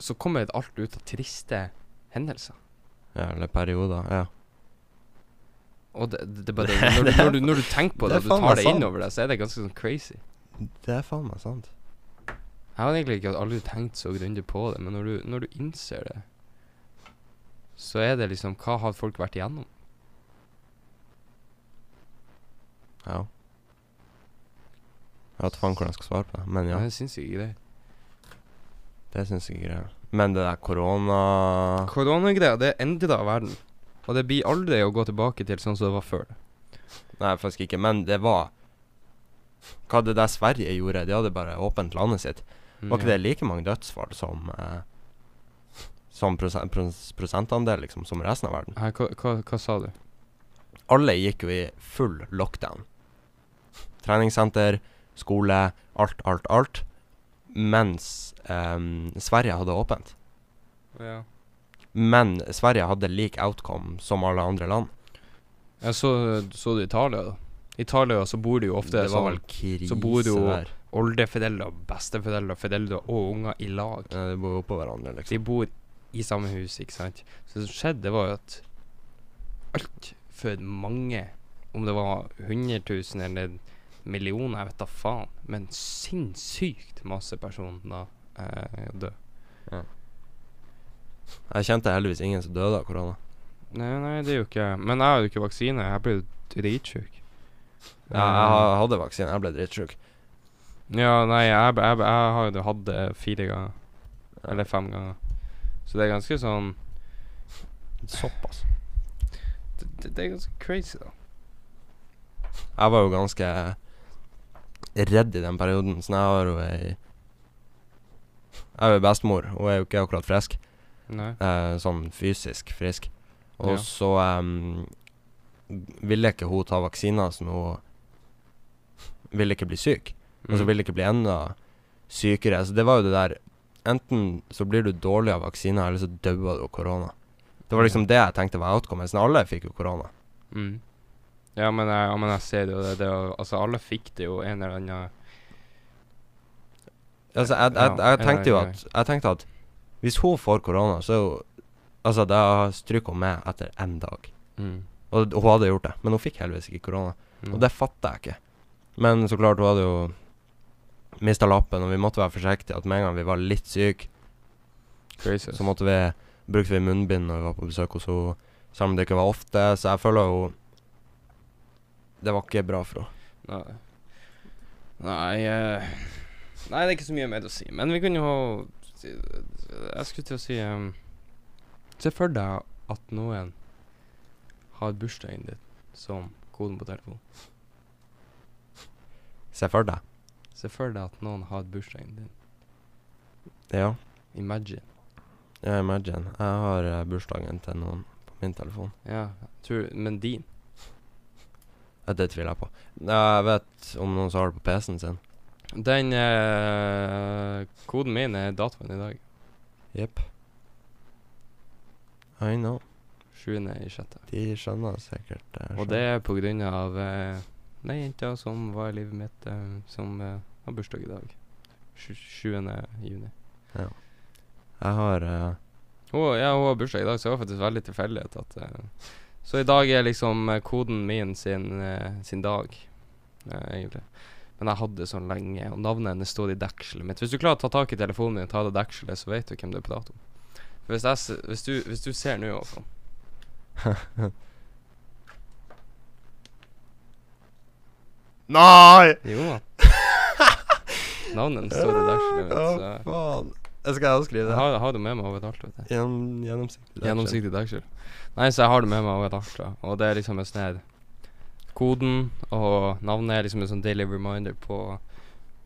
S3: så kommer alt ut av triste hendelser.
S4: ja. Eller perioder. Ja.
S3: Og det, det, det er bare når, du, når, du, når du tenker på
S4: Det
S3: det, og
S4: er
S3: du
S4: faen
S3: tar
S4: meg
S3: det
S4: sant.
S3: innover deg, så er det ganske sånn crazy.
S4: Det er faen meg sant.
S3: Jeg har egentlig ikke aldri tenkt så grundig på det, men når du, når du innser det, så er det liksom Hva har folk vært igjennom?
S4: Ja. Jeg vet faen hvordan jeg skal svare på det, men ja.
S3: Det er sinnssyke greier.
S4: Det syns jeg er greit. Men det der korona
S3: Koronagreier, det endra verden. Og det blir aldri å gå tilbake til sånn som det var før.
S4: Nei, faktisk ikke. Men det var Hva det der Sverige gjorde? De hadde bare åpent landet sitt.
S3: Mm.
S4: Var ikke det like mange dødsfall som eh, Som prosen- pros- prosentandel, liksom, som resten av verden?
S3: Hæ, hva, hva, hva sa du?
S4: alle gikk jo i full lockdown. Treningssenter, skole, alt, alt, alt. Mens ehm, Sverige hadde åpent.
S3: Ja.
S4: Men Sverige hadde lik outcome som alle andre land.
S3: Jeg så, så du Italia, da? Italia så bor det jo ofte
S4: det var
S3: sånn
S4: vel krise
S3: så bor det jo-
S4: der.
S3: oldeforeldre, besteforeldre, foreldre og unger i lag.
S4: Ja, de bor jo oppå hverandre,
S3: De
S4: liksom.
S3: bor i samme hus, ikke sant. Så det som skjedde, var jo at altfor mange, om det var 100 000 eller millioner, jeg vet da faen, men sinnssykt masse personer eh, døde.
S4: Jeg kjente heldigvis ingen som døde av korona.
S3: Nei, nei, det er jo ikke Men jeg hadde jo ikke vaksine. Jeg ble jo dritsjuk.
S4: Ja, jeg ha- hadde vaksine, jeg ble dritsjuk.
S3: Ja, nei, jeg, jeg, jeg har jo hatt det fire ganger. Eller fem ganger. Så det er ganske sånn
S4: Såpass.
S3: Det, det, det er ganske crazy, da.
S4: Jeg var jo ganske redd i den perioden, så jeg har jo ei Jeg er jo bestemor, hun er jo ikke akkurat frisk.
S3: Nei.
S4: Eh, sånn fysisk frisk. Og
S3: Ja.
S4: så em, ville ikke hun ta vaksiner, så hun ville ikke bli syk. Og
S3: Mm.
S4: så vil det ikke bli enda sykere. Så det var jo det der Enten så blir du dårlig av vaksiner, eller så dauer du av korona. Det var liksom det jeg tenkte var outcomen. Så alle fikk jo korona.
S3: Mm. Ja, men jeg, ja, men jeg ser jo det, det er jo- Altså, alle fikk det jo en eller annen
S4: Altså, jeg, jeg,
S3: Ja,
S4: jeg tenkte jo
S3: ja, ja.
S4: at Jeg tenkte at hvis hun får korona, så er jo Altså, da stryker hun med etter én dag. Og d- hun hadde gjort det, men hun fikk heldigvis ikke korona.
S3: Mm.
S4: Og det fatter jeg ikke. Men så klart, hun hadde jo mista lappen, og vi måtte være forsiktige. At med en gang vi var litt syke,
S3: crazy.
S4: Så måtte vi brukte vi munnbind når vi var på besøk hos henne, selv om det ikke var ofte. Så jeg føler jo Det var ikke bra for henne.
S3: Nei. Nei, eh, nei, det er ikke så mye mer å si. Men vi kunne jo si- Jeg skulle til å si em, Se for deg at noen har bursdagen din som koden på telefonen.
S4: Se for deg.
S3: Se for deg at noen har bursdagen din.
S4: Ja,
S3: Imagine.
S4: ja, imagine. Jeg har eh, bursdagen til noen på min telefon.
S3: Ja, tror, men din?
S4: Ja, Eh, Det tviler jeg på. Nei, Jeg vet om noen som har det på PC-en sin.
S3: Den eh, koden min er datoen i dag.
S4: Jepp. I know.
S3: 7. i sjette.
S4: De skjønner sikkert eh, det.
S3: Og det er på grunn av eh, den jenta som var i livet mitt, eh, som eh, har bursdag i dag. Sju- 7. juni.
S4: Jeg har eh,
S3: Hun, ja, hun har bursdag i dag, så det var faktisk veldig tilfeldighet at eh, Så i dag er liksom eh, koden min sin, eh, sin dag, eh, egentlig. Men jeg hadde det sånn lenge, og navnet hennes står i dekselet mitt. Hvis du klarer å ta tak i telefonen din og ta av deg dekselet, så vet du hvem det er på dato. For hvis, jeg, s- hvis, du, hvis du ser nå, Håkon
S4: Nei!
S3: Jo da. Navnet hennes står i dekselet
S4: Å,
S3: mitt, så
S4: faen. Jeg skal også skrive
S3: Jeg
S4: det.
S3: har, har det med meg overalt, vet jeg.
S4: Gjennom, gjennomsiktig. der, skjønner.
S3: Gjennomsiktig dagsskill. Nei, så jeg har det med meg overalt, da. og det er liksom en sånn her Koden og navnet er liksom en sånn daily reminder på,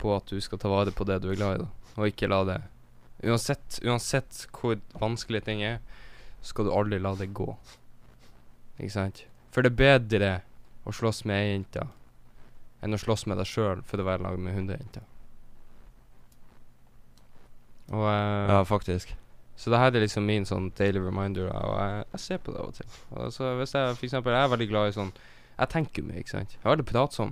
S3: på at du skal ta vare på det du er glad i, da. Og ikke la det Uansett, uansett hvor vanskelig ting er, skal du aldri la det gå. Ikke sant? For det er bedre å slåss med ei jente enn å slåss med deg sjøl for å være i lag med hundre jenter. Og eh,
S4: Ja, faktisk.
S3: så det her er liksom min sånn daily reminder, og jeg, jeg ser på det av og til. Og så hvis jeg for eksempel, jeg er veldig glad i sånn Jeg tenker mye, ikke sant. Jeg er veldig pratsom.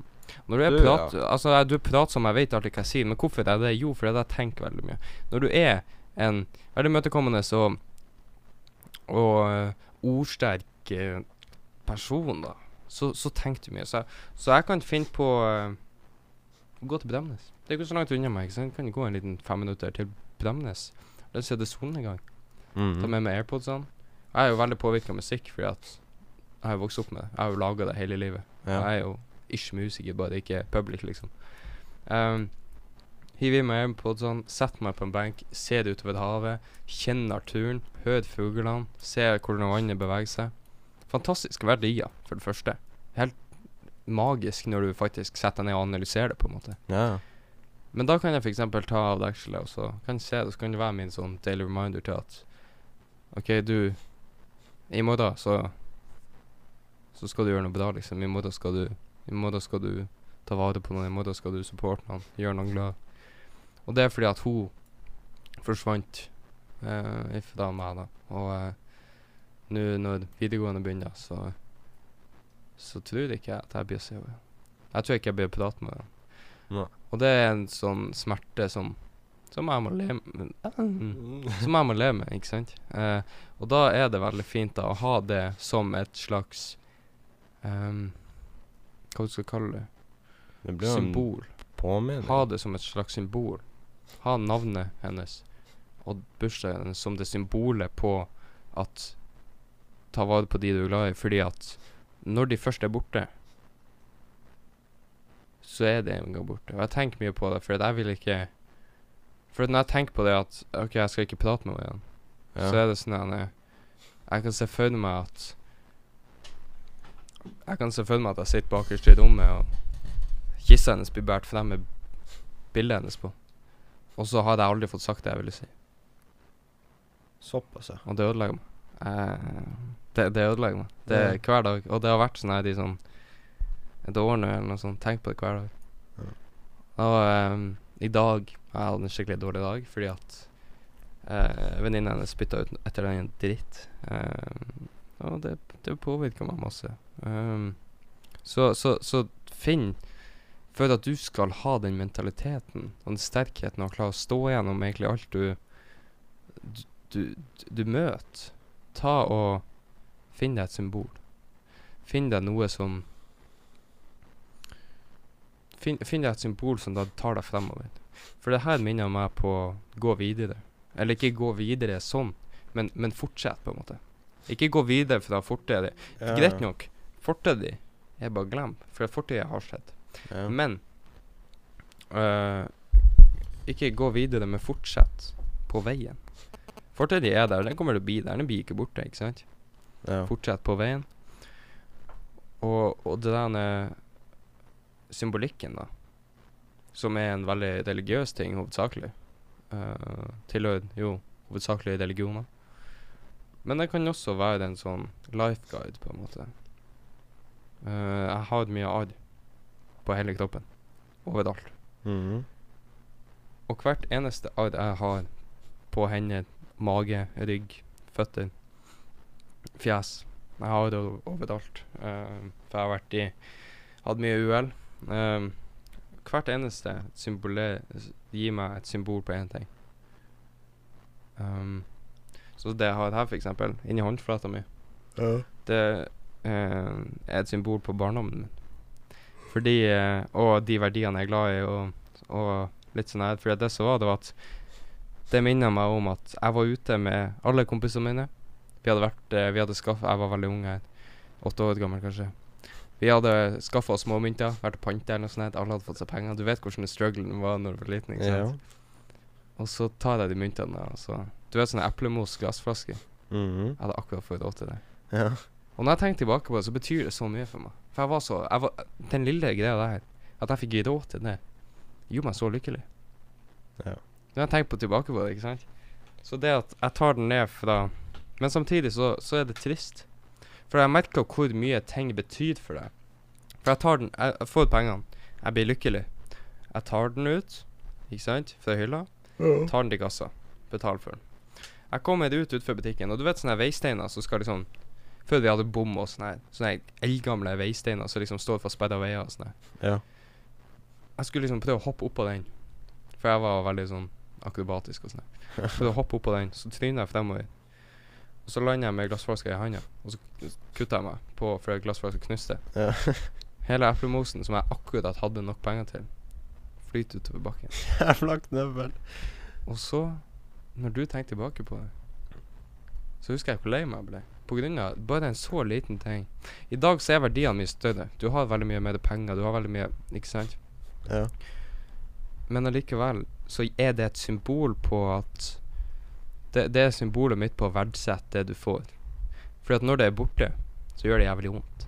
S3: Når du er
S4: Du,
S3: prat, altså, jeg- du er pratsom, jeg vet alltid hva jeg sier, men hvorfor er jeg det? Jo, fordi jeg tenker veldig mye. Når du er en veldig imøtekommende og, og eh, ordsterk eh, person, da, så, så tenker du mye. Så, jeg- så jeg kan finne på eh, å gå til Bremnes. Det er ikke så langt unna meg, ikke sant. Kan gå en liten fem minutter til Bremnes. La oss si det er solnedgang.
S4: Mhm.
S3: Ta med meg AirPodsene. Jeg er jo veldig påvirka av musikk, fordi at jeg har jo vokst opp med det. Jeg har jo laga det hele livet.
S4: Ja.
S3: Jeg er jo ikke musiker, bare ikke public, liksom. Um, Hiv i meg AirPodsene, sett meg på en benk, ser det utover havet, kjenn naturen, hør fuglene, se hvordan vannet beveger seg. Fantastiske verdier, for det første. Helt magisk når du faktisk setter deg ned og analyserer det, på en måte.
S4: Ja.
S3: Men da kan jeg f.eks. ta av dekselet, og så kan jeg se det, så kan det være min sånn daily reminder til at OK, du I morgen så så skal du gjøre noe bra, liksom. I morgen skal du I morgen skal du ta vare på noen, i morgen skal du supporte noen, gjøre noen glad. Og det er fordi at hun forsvant eh, ifra meg, da. Og eh, nå når videregående begynner, så så tror ikke jeg at jeg blir å se henne. Jeg tror ikke jeg blir å prate med henne.
S4: Nei.
S3: Og det er en sånn smerte som som jeg må leve med. Mm.
S4: Mm.
S3: Som jeg må leve med, ikke sant. Eh, og da er det veldig fint da, å ha det som et slags ehm, Hva du skal kalle det?
S4: Det blir jo en
S3: Symbol.
S4: påminning.
S3: Ha det som et slags symbol. Ha navnet hennes og bursdagen hennes som det symbolet på at Ta vare på de du er glad i, fordi at når de først er borte, så er de en gang borte. Og jeg tenker mye på det, for at jeg vil ikke For at når jeg tenker på det at OK, jeg skal ikke prate med henne igjen,
S4: Ja.
S3: så er det sånn at Jeg kan se for meg at Jeg kan se for meg at jeg sitter bakerst i rommet, og kissa hennes blir båret frem med bildet hennes på. Og så har jeg aldri fått sagt det jeg ville si.
S4: Såpass, ja.
S3: Og det ødelegger meg. Eh, det, det ødelegger meg. Det er hver dag. Og det har vært sånn her i sånn et år nå eller noe sånt. Tenk på det hver dag. Og ehm, i dag har jeg hatt en skikkelig dårlig dag fordi at uh, venninna hennes spytta ut etter den dritt. Ehm, og det, det påvirker meg masse. Ehm, så, så, så finn For at du skal ha den mentaliteten og den sterkheten og klare å stå gjennom egentlig alt du du, du møter, ta og finn deg et symbol. Finn deg noe som Finn, finn deg et symbol som da tar deg fremover. For det her minner meg på gå videre. Eller ikke gå videre sånn, men, men fortsett, på en måte. Ikke gå videre fra fortida di. Greit nok, fortida di er bare glem, for fortida har skjedd.
S4: Ja.
S3: Men eh, ikke gå videre, men fortsett på veien. Fortiden er der, den kommer til å bli der. Den blir ikke borte, ikke sant?
S4: Ja.
S3: Fortsett på veien. Og, og det der med symbolikken, da, som er en veldig religiøs ting, hovedsakelig, eh, tilhører jo hovedsakelig religioner. Men det kan også være en sånn life guide, på en måte. Eh, jeg har mye arr på hele kroppen. Overalt.
S4: Mhm.
S3: Og hvert eneste arr jeg har på hender, mage, rygg, føtter, fjes Jeg har det o- overalt. eh, for jeg har vært i Hatt mye uhell. Eh, hvert eneste symbole s- gir meg et symbol på én ting. Um, så det jeg har her, f.eks., inni håndflata mi, det eh, er et symbol på barndommen min. Fordi eh, Og de verdiene jeg er glad i, og, og litt sånn her. For det som var, det var at det minner meg om at jeg var ute med alle kompisene mine. Vi hadde vært eh, Vi hadde skaffet Jeg var veldig ung her. Åtte år gammel, kanskje. Vi hadde skaffa oss småmynter, vært og panta eller noe sånt. her, Alle hadde fått seg penger. Du vet hvordan strugglen var når du var liten, ikke sant?
S4: Ja.
S3: Og så tar jeg de myntene der, og så Du vet sånne eplemos glassflasker?
S4: Mhm.
S3: Jeg hadde akkurat fått råd til det.
S4: Ja.
S3: Og når jeg tenker tilbake på det, så betyr det så mye for meg. For jeg var så jeg var, Den lille greia der, at jeg fikk råd til det, gjorde meg så lykkelig.
S4: Ja.
S3: Når jeg tenker på tilbake på det, ikke sant. Så det at jeg tar den ned fra Men samtidig så, så er det trist. For jeg merker hvor mye ting betyr for deg. For jeg tar den Jeg jeg får pengene. Jeg blir lykkelig. Jeg tar den ut, ikke sant, fra hylla. Tar den til kassa. Betaler for den. Jeg kommer ut utenfor butikken, og du vet sånne veisteiner som skal liksom før vi hadde bom og sånne, her- sånne her eldgamle veisteiner som liksom står for sperra veier og sånne.
S4: Ja.
S3: Jeg skulle liksom prøve å hoppe opp på den, for jeg var veldig sånn akrobatisk og sånn. Prøvde å hoppe opp på den, så tryna jeg fremover. Og så lander jeg med glassflaska i handa, og så kutter jeg meg på for glassflaska knuste.
S4: Ja.
S3: Hele eplemosen som jeg akkurat hadde nok penger til, flyter utover bakken.
S4: Jævla knøvel.
S3: Og så, når du tenker tilbake på det, så husker jeg hvor lei meg ble. På grunn av bare en så liten ting. I dag så er verdiene mye større. Du har veldig mye mer penger, du har veldig mye Ikke sant?
S4: Ja.
S3: Men allikevel så er det et symbol på at det, det er symbolet mitt på å verdsette det du får. For at når det er borte, så gjør det jævlig vondt.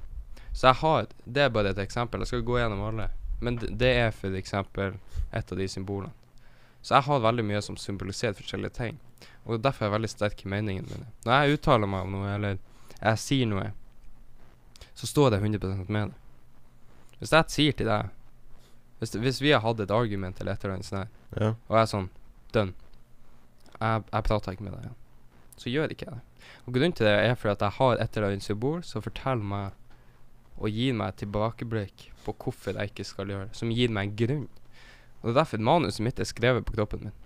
S3: Så jeg har Det er bare et eksempel. Jeg skal gå gjennom alle. Men d- det er for eksempel et av de symbolene. Så jeg har veldig mye som symboliserer forskjellige ting. Og det er derfor jeg er veldig sterk i meningene mine. Når jeg uttaler meg om noe, eller jeg sier noe, så står jeg deg 100 med det. Hvis jeg sier til deg Hvis, hvis vi har hatt et argument eller et eller annet sånt her,
S4: Ja.
S3: og jeg er sånn Done. Jeg, jeg prater ikke med deg igjen. Så gjør ikke jeg det. Og Grunnen til det er fordi at jeg har et eller annet symbol som forteller meg og gir meg et tilbakeblikk på hvorfor jeg ikke skal gjøre det, som gir meg en grunn. Og Det er derfor manuset mitt er skrevet på kroppen min.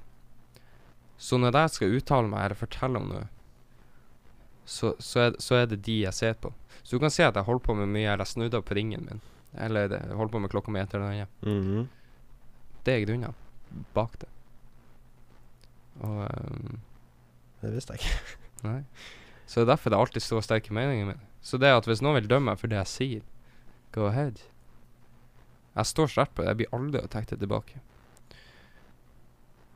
S3: Så når jeg skal uttale meg eller fortelle om noe, så, så, er, så er det de jeg ser på. Så du kan se at jeg holder på med mye, eller jeg snudde opp ringen min, eller det- holder på med klokka mi, et eller annet.
S4: Mhm.
S3: Det er grunnen bak det. Og ehm,
S4: Det visste jeg ikke.
S3: Nei. Så det er derfor det alltid står sterke meninger med det. Så det at hvis noen vil dømme meg for det jeg sier, go ahead. Jeg står sterkt på det. Jeg blir aldri å tenke det tilbake.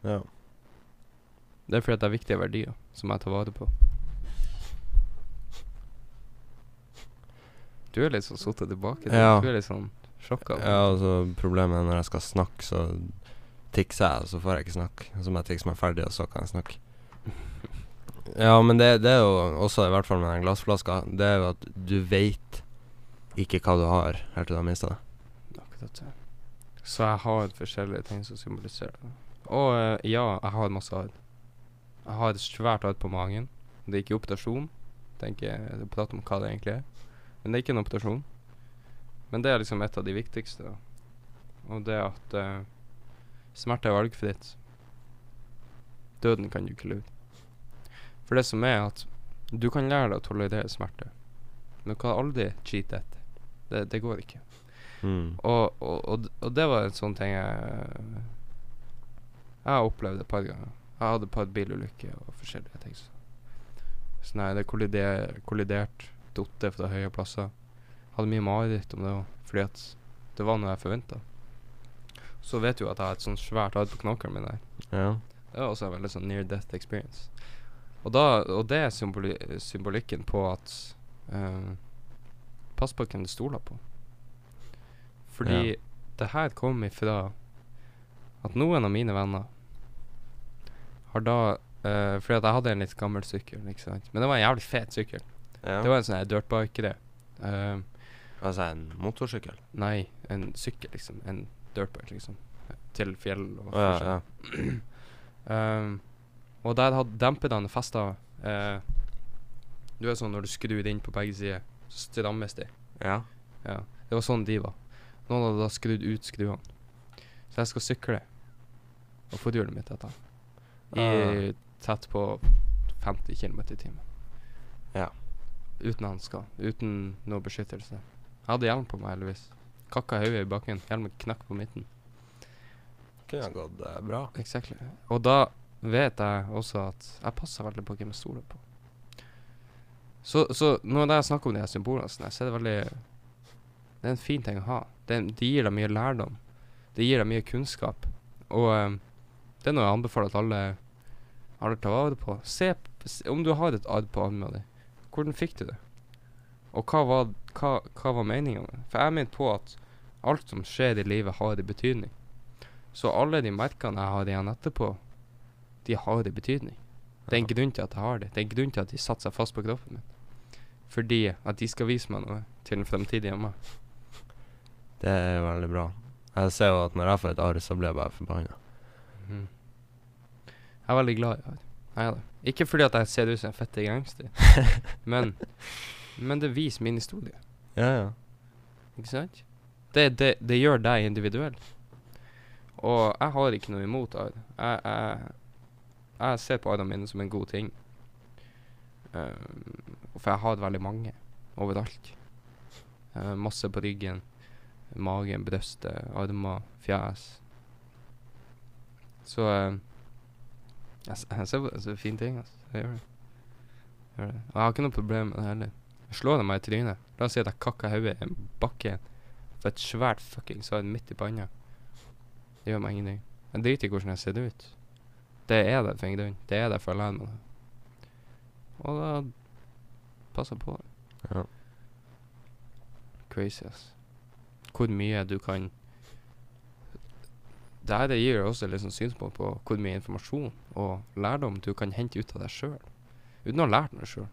S4: Ja.
S3: Det er fordi at det er viktige verdier som jeg tar vare på. Du er litt sånn sittet tilbake. Du,
S4: Ja.
S3: du er litt sånn sjokka.
S4: Ja, altså Problemet er når jeg skal snakke, så tikser jeg, og så får jeg ikke snakke. Og Så må jeg tikse meg ferdig, og så kan jeg snakke. Ja, men det, det er jo også, i hvert fall med den glassflaska, det er jo at du veit ikke hva du har helt til du har mista det.
S3: Akkurat det. Så jeg har forskjellige ting som symboliserer det. Og eh, ja, jeg har masse arr. Jeg har et svært arr på magen. Det er ikke operasjon. Tenker jeg jeg prater om hva det egentlig er. Men det er ikke en operasjon. Men det er liksom et av de viktigste. da. Og det at eh, smerte er valgfritt. Døden kan du ikke lure. For det som er at du kan lære deg å tolerere smerte, men du kan aldri cheate etter. Det, det går ikke.
S4: Mm.
S3: Og, og, og, d- og det var en sånn ting jeg Jeg har opplevd et par ganger. Jeg hadde et par bilulykker og forskjellige ting. så- Sånn her, det kollider, kollidert, dotter fra høye plasser. Hadde mye mareritt om det òg, fordi at det var noe jeg forventa. Så vet du jo at jeg har et sånn svært arr på knokkelen min her.
S4: Ja.
S3: Det var også en veldig sånn near death experience. Og, da, og det er symboli symbolikken på at eh, Pass på hvem du stoler på. Fordi det her kom ifra at noen av mine venner har da eh, Fordi at jeg hadde en litt gammel sykkel, ikke sant. Men det var en jævlig fet sykkel.
S4: ja.
S3: Det var en sånn her dirtbike-greie. Eh,
S4: altså en motorsykkel.
S3: nei, en sykkel, liksom. En dirtbike, liksom. Til fjell og
S4: Å ja, ja.
S3: Um, og der hadde demperne festa eh, Du er sånn når du skrur inn på begge sider, så strammes de.
S4: Ja.
S3: Ja. Det var sånn de var. Noen hadde da skrudd ut skruene. Så jeg skal sykle og forhjulet mitt etter. I tett på 50 km i timen.
S4: Ja.
S3: Uten hansker. Uten noe beskyttelse. Jeg hadde hjelm på meg, heldigvis. Kakka hodet i bakken. Hjelmen knakk på midten.
S4: Kunne ha gått eh, bra.
S3: Exactly. Og da vet jeg også at jeg passer veldig på hvem jeg stoler på. Så, så når jeg snakker om de her symbolene, sånn her, så er det veldig Det er en fin ting å ha. Det, det gir deg mye lærdom. Det gir deg mye kunnskap. Og eh, det er noe jeg anbefaler at alle, alle tar vare på. Se, p- s- om du har et arr på armen din, hvordan fikk du det? Og hva var, hva, hva var meninga med det? For jeg mener på at alt som skjer i livet, har en betydning. Så alle de merkene jeg har igjen etterpå, de har en betydning. Det er en grunn til at jeg har det. Det er en grunn til at de satte seg fast på kroppen min. Fordi at de skal vise meg noe til den fremtidige meg.
S4: Det er veldig bra. Jeg ser jo at når jeg får et arr, så blir jeg bare forbanna.
S3: Mhm. Jeg er veldig glad i det. Jeg er det. Ikke fordi at jeg ser ut som en fette gangster, men, men det viser min historie.
S4: Ja, ja.
S3: Ikke sant? Det, det, det gjør deg individuell. Og jeg har ikke noe imot arr. Jeg, jeg, jeg ser på arrene mine som en god ting. Um, for jeg har veldig mange overalt. Eh, masse på ryggen, magen, brøstet, armer, fjes. Så eh, jeg, s- jeg ser på det som en fin ting. Altså. Jeg gjør det. Jeg gjør det. Og jeg har ikke noe problem med det heller. Slår de meg i trynet La oss si at jeg kakker hodet i en bakke for et svært fuckings svar midt i panna. Det gjør meg ingenting. Jeg driter i hvordan jeg ser ut. Det er der for en grunn. Det er der for å lære meg det. Og da passer jeg på det.
S4: Ja.
S3: Crazy, ass. Hvor mye du kan Det her gir jo også litt sånn synspunkt på hvor mye informasjon og lærdom du kan hente ut av deg sjøl. Uten å ha lært noe sjøl.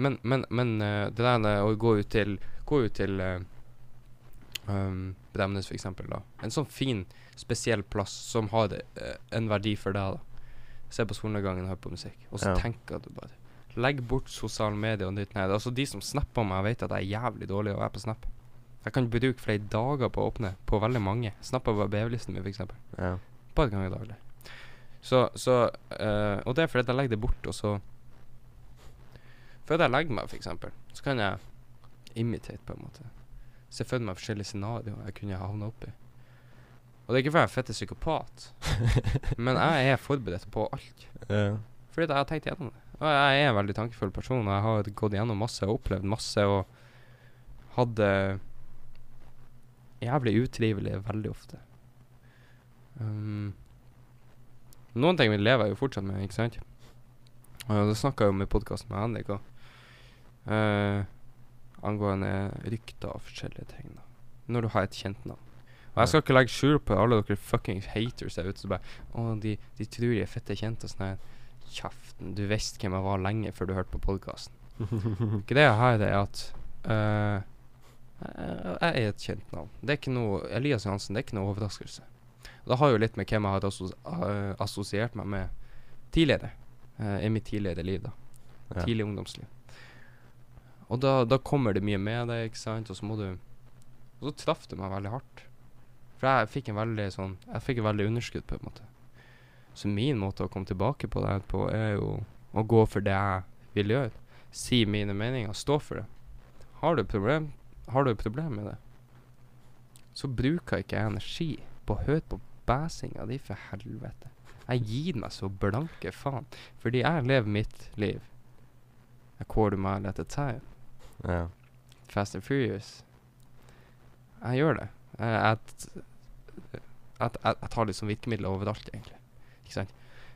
S3: Men, men, men eh, det der med å gå ut til Gå ut til eh, um, Bremnes, for eksempel, da. En sånn fin, spesiell plass som har det, eh, en verdi for deg, da. Se på solnedgangen, hør på musikk. Og så
S4: Ja.
S3: tenker du bare Legg bort sosiale medier og ditt ned. Altså, de som snapper meg, vet at jeg er jævlig dårlig å være på snap. Jeg kan bruke flere dager på å åpne på veldig mange. Snapper på BV-listen min, for eksempel.
S4: Ja.
S3: Bare et gang i daglig. Så, så eh, Og det er fordi at jeg legger det bort, og så Før jeg legger meg, for eksempel, så kan jeg imitate, på en måte. Se for meg forskjellige scenarioer jeg kunne havna oppi. Og det er ikke fordi jeg er fette psykopat, men jeg er forberedt på alt.
S4: Ja.
S3: Fordi at jeg har tenkt gjennom det. Og jeg er en veldig tankefull person, og jeg har gått gjennom masse og opplevd masse og hadde jævlig utrivelig veldig ofte. Um, noen ting lever jeg jo fortsatt med, ikke sant? Og det snakka jeg om i podkasten med Henrik òg. angående rykter og forskjellige ting. da. Når du har et kjent navn. Og jeg skal ikke legge skjul på alle dere fucking haters der ute som bare Å, de, de tror de er fette kjent og sånn her. Kjeften. Du visste hvem jeg var lenge før du hørte på podkasten. Greia her er at eh, jeg jeg er et kjent navn. Det er ikke noe Elias Johansen, det er ikke noe overraskelse. Det har jo litt med hvem jeg har assos eh, assosiert meg med tidligere. eh, I mitt tidligere liv, da.
S4: Ja.
S3: Tidlig ungdomsliv. Og da, da kommer det mye med det, ikke sant, og så må du Og så traff det meg veldig hardt. For jeg fikk en veldig sånn Jeg fikk et veldig underskudd, på en måte. Så min måte å komme tilbake på det her på, er jo å gå for det jeg vil gjøre. Si mine meninger, stå for det. Har du problem, har du et problem med det, så bruker ikke jeg energi på å høre på bæsinga di, for helvete. Jeg gir meg så blanke faen, fordi jeg lever mitt liv. According at the time.
S4: ja.
S3: Fast and Furious. Jeg gjør det. Eh, Jeg, t- jeg, t- jeg, jeg tar det som virkemiddel overalt, egentlig. Ikke sant?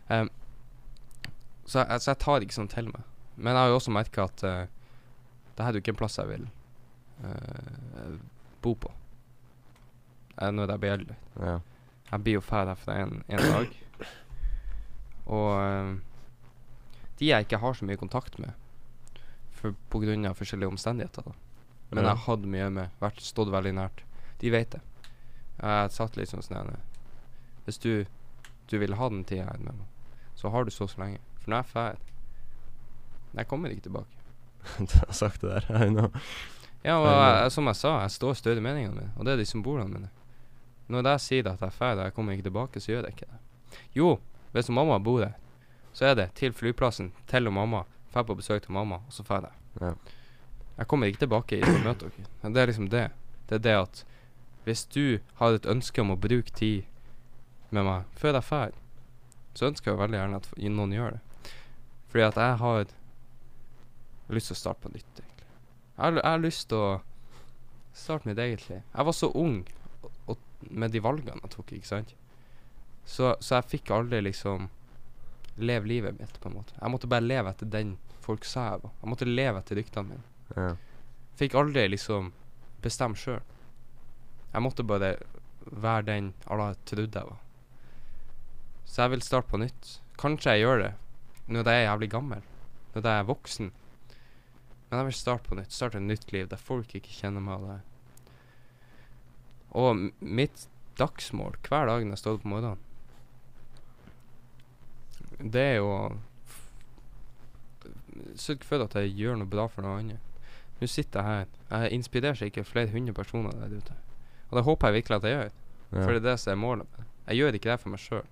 S3: Em, så, jeg, så jeg tar det ikke sånn til meg. Men jeg har jo også merka at eh, det her er jo ikke en plass jeg vil eh, bo på Eh, når jeg blir eldre.
S4: ja.
S3: Jeg blir jo ferdig herfra en, en dag. Og eh, de jeg ikke har så mye kontakt med, for, på grunn av forskjellige omstendigheter, da. Men
S4: Ja.
S3: jeg hadde mye med, vært, stått veldig nært. De vet det. Jeg satt liksom sånn her Hvis du, du vil ha den tida jeg er med meg, så har du så og så lenge. For når jeg er ferdig Jeg kommer ikke tilbake.
S4: Du har sagt det der. I know.
S3: Ja, og
S4: Eller-
S3: jeg, jeg- som jeg sa, jeg står stødig i meningene mine, og det er de symbolene mine. Når jeg sier at jeg er ferdig og jeg kommer ikke tilbake, så gjør jeg ikke det. Jo, hvis mamma bor der, så er det til flyplassen, til og mamma, drar på besøk til mamma, og så drar jeg.
S4: Ja.
S3: Jeg kommer ikke tilbake til å møte dere. Men Det er liksom det. Det er det at hvis du har et ønske om å bruke tid med meg før jeg drar, så ønsker jeg veldig gjerne at f- noen gjør det. Fordi at jeg har lyst til å starte på nytt, egentlig. Jeg har, jeg har lyst til å starte mitt eget liv. Jeg var så ung og, og med de valgene jeg tok, ikke sant. Så, så jeg fikk aldri liksom leve livet mitt, på en måte. Jeg måtte bare leve etter den folk sa jeg var. Jeg måtte leve etter ryktene mine.
S4: Ja.
S3: Fikk aldri liksom bestemme sjøl. Jeg måtte bare være den Allah trodde jeg var. Så jeg vil starte på nytt. Kanskje jeg gjør det når jeg er jævlig gammel, når jeg er voksen. Men jeg vil starte på nytt. Starte et nytt liv der folk ikke kjenner meg. og det. Og m- mitt dagsmål hver dag når jeg står opp om morgenen, det er jo å f- sørge for at jeg gjør noe bra for noen andre. Nå sitter jeg her. Jeg inspirerer sikkert flere hundre personer der ute. Og det håper jeg virkelig at jeg gjør, for det
S4: Ja.
S3: er det som er målet. med det. Jeg gjør ikke det for meg sjøl.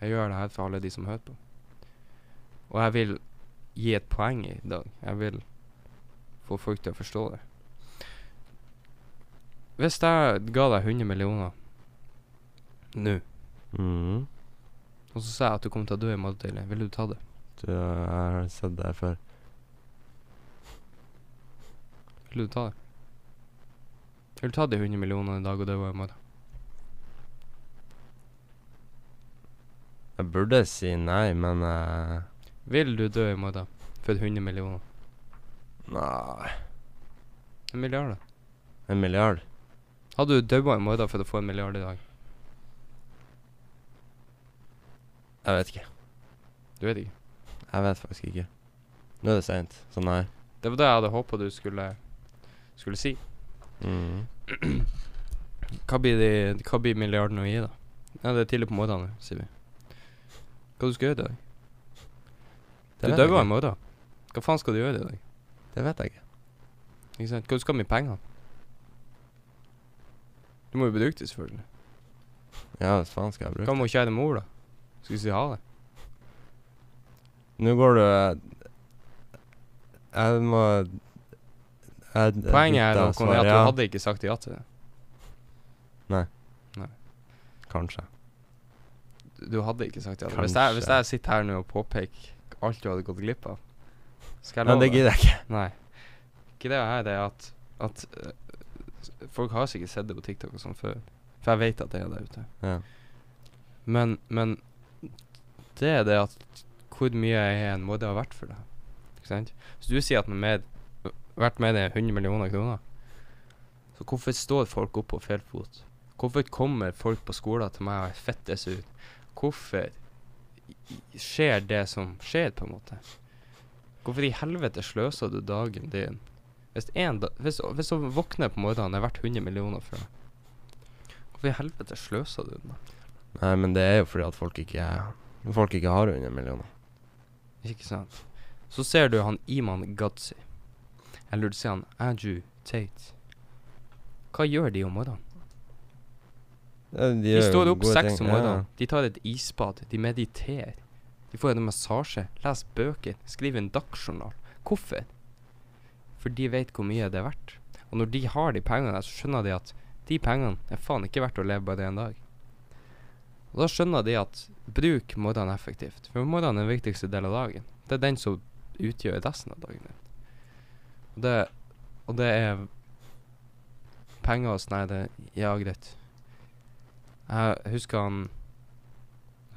S3: Jeg gjør det her for alle de som hører på. Og jeg vil gi et poeng i dag. Jeg vil få folk til å forstå det. Hvis jeg ga deg 100 millioner nå,
S4: Mhm.
S3: og så sa jeg at du kommer til å dø i morgen tidlig, ville du ta det?
S4: Du, jeg har sett det her før.
S3: Vil du ta det? Vil du ta de 100 millionene i dag og dø i morgen?
S4: Jeg burde si nei, men eh,
S3: Vil du dø i morgen for 100 millioner?
S4: Nei.
S3: En milliard, da.
S4: En milliard?
S3: Hadde du daua i morgen for å få en milliard i dag?
S4: Jeg vet ikke.
S3: Du vet ikke.
S4: Jeg vet faktisk ikke. Nå er det seint, så nei.
S3: Det var det jeg hadde håpa du skulle, skulle si.
S4: Mm.
S3: Hva blir, de, hva blir milliarden å gi, da? Ja, det er tidlig på morgenen, sier vi. Hva du skal gjøre i dag? Du
S4: Det vet jeg
S3: dauer i
S4: ikke.
S3: morgen. Hva faen skal du gjøre i dag?
S4: Det vet jeg ikke.
S3: Ikke sant? Hva du skal med pengene? Du må jo bruke det, selvfølgelig.
S4: Ja, hva faen skal jeg bruke
S3: Hva med kjære mor, da? Skal vi si ha det?
S4: Nå går du eh, Jeg må jeg, jeg
S3: Poenget er
S4: bytter
S3: Håkon,
S4: svar,
S3: er at du
S4: ja.
S3: hadde ikke sagt ja til det.
S4: Kanskje.
S3: Du hadde ikke sagt ja til det. Hvis jeg, hvis
S4: Kanskje.
S3: jeg sitter her nå og påpeker alt du hadde gått glipp av Skal jeg
S4: Men
S3: love
S4: det
S3: deg?
S4: gidder jeg ikke.
S3: Nei. Greia her det er at, at eh, folk har sikkert sett det på TikTok og sånn før. For jeg vet at det er der ute.
S4: Ja.
S3: Men, men det er det at hvor mye er en måte har vært for deg. Ikke sant? Hvis du sier at den er mer- verdt mer enn 100 millioner kroner, så hvorfor står folk opp på feil fot? Hvorfor kommer folk på skolen til meg og er fette sur? Hvorfor i- i- skjer det som skjer, på en måte? Hvorfor i helvete sløser du dagen din? Hvis, en da, hvis, hvis du våkner på morgenen, er verdt 100 millioner for deg. Hvorfor i helvete sløser du den? da?
S4: Nei, men det er jo fordi at folk ikke Folk ikke har 100 millioner.
S3: Ikke sant? Så ser du han Iman Gadzi. Eller du ser han Andrew Tate. Hva gjør de om morgenen?
S4: Ja, De,
S3: De
S4: gjør jo
S3: står opp
S4: gode
S3: seks
S4: ting,
S3: om
S4: ja, ja.
S3: morgenen. De tar et isbad. De mediterer. De får en massasje. Leser bøker. Skriver en dagsjournal. Hvorfor? For de vet hvor mye det er verdt. Og når de har de pengene, der, så skjønner de at de pengene er faen ikke verdt å leve bare en dag. Og da skjønner de at bruk morgenen effektivt. For morgenen er den viktigste delen av dagen. Det er den som utgjør resten av dagen din. Og det, og det er penger og sånn her, det Ja, greit. Jeg husker han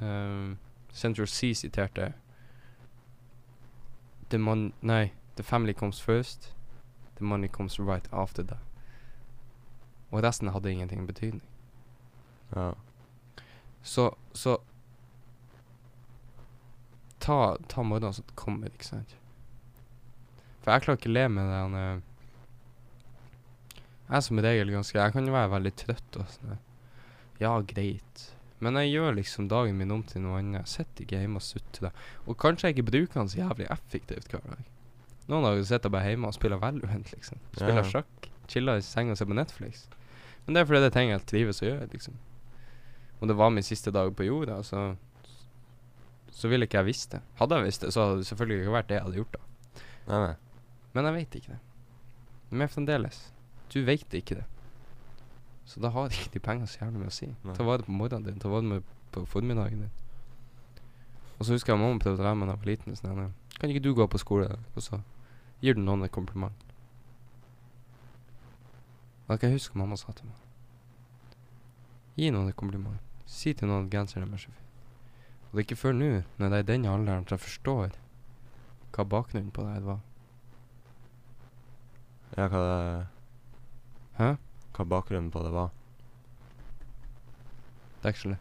S3: ehm, Central C siterte The mon... Nei. The family comes first. The money comes right after that. Og resten hadde ingenting betydning.
S4: Ja.
S3: Så, så Ta, ta morgenen som kommer, ikke sant. For jeg klarer ikke å le med den eh, Jeg er som regel ganske Jeg kan være veldig trøtt og sånn. der. Ja, greit. Men jeg gjør liksom dagen min om til noe annet. Jeg sitter ikke hjemme og sutrer. Og kanskje jeg ikke bruker den så jævlig effektivt hver dag. Noen dager sitter jeg bare hjemme og spiller Valorant, liksom. Spiller
S4: Ja.
S3: sjakk. Chiller i senga og ser på Netflix. Men det er fordi det er ting jeg trives å gjøre, liksom. Og det var min siste dag på jorda, så Så ville ikke jeg visst det. Hadde jeg visst det, så hadde det selvfølgelig ikke vært det jeg hadde gjort, da.
S4: Nei, nei.
S3: Men jeg veit ikke det. Men fremdeles. Du veit ikke det. Så da har ikke de pengene så jævlig mye å si.
S4: Nei.
S3: Ta vare på morgenen din, ta vare med- på formiddagen din. Og så husker jeg mamma prøvde å lære meg da jeg var liten. Sånn, her, kan ikke du gå på skole, og så gir du noen et kompliment? Og jeg kan huske mamma sa til meg Gi noen et kompliment. Si til noen at genseren deres er fin. Og det er ikke før nå, når det er i den alderen, at jeg forstår hva bakgrunnen på det her var.
S4: Ja, hva,
S3: Hæ?
S4: hva bakgrunnen på det var.
S3: Det er ikke skjelett.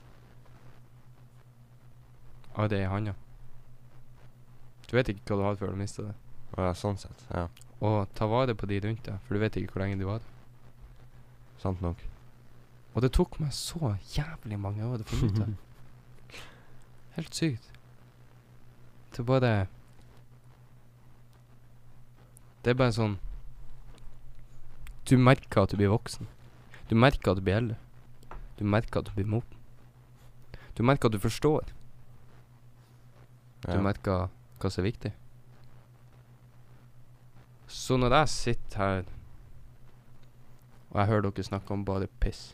S3: Å, det er i handa. Du vet ikke hva du har før du mister det.
S4: Å ja, sånn sett. Ja,
S3: Og ta vare på de rundt deg, for du vet ikke hvor lenge de var.
S4: sant nok.
S3: Og det tok meg så jævlig mange år å finne ut av. Helt sykt. Det er bare Det er bare sånn Du merker at du blir voksen. Du merker at du blir eldre. Du merker at du blir moden. Du merker at du forstår. Du
S4: Ja.
S3: merker hva som er viktig. Så når jeg sitter her og jeg hører dere snakke om bare piss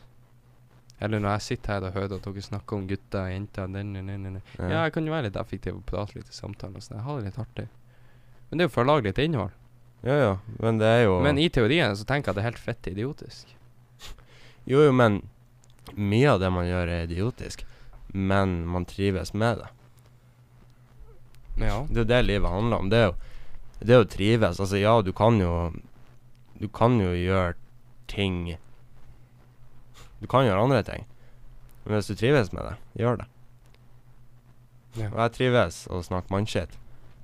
S3: Eller når jeg sitter her og hører at dere snakker om gutter og jenter den, den, den, den.
S4: Ja.
S3: Ja, jeg kan jo være litt effektiv og prate litt i samtalen og sånn. Jeg har det litt artig. Men det er jo for å lage litt innhold.
S4: Jo, jo, men det er jo
S3: Men i teorien så tenker jeg at det er helt fett idiotisk.
S4: Jo, jo, men mye av det man gjør, er idiotisk. Men man trives med det.
S3: Ja.
S4: Det er jo det livet handler om. Det er jo det er å trives. Altså, ja, du kan jo Du kan jo gjøre ting Du kan gjøre andre ting. Men hvis du trives med det, gjør det.
S3: Ja.
S4: Og jeg trives å snakke mannskitt.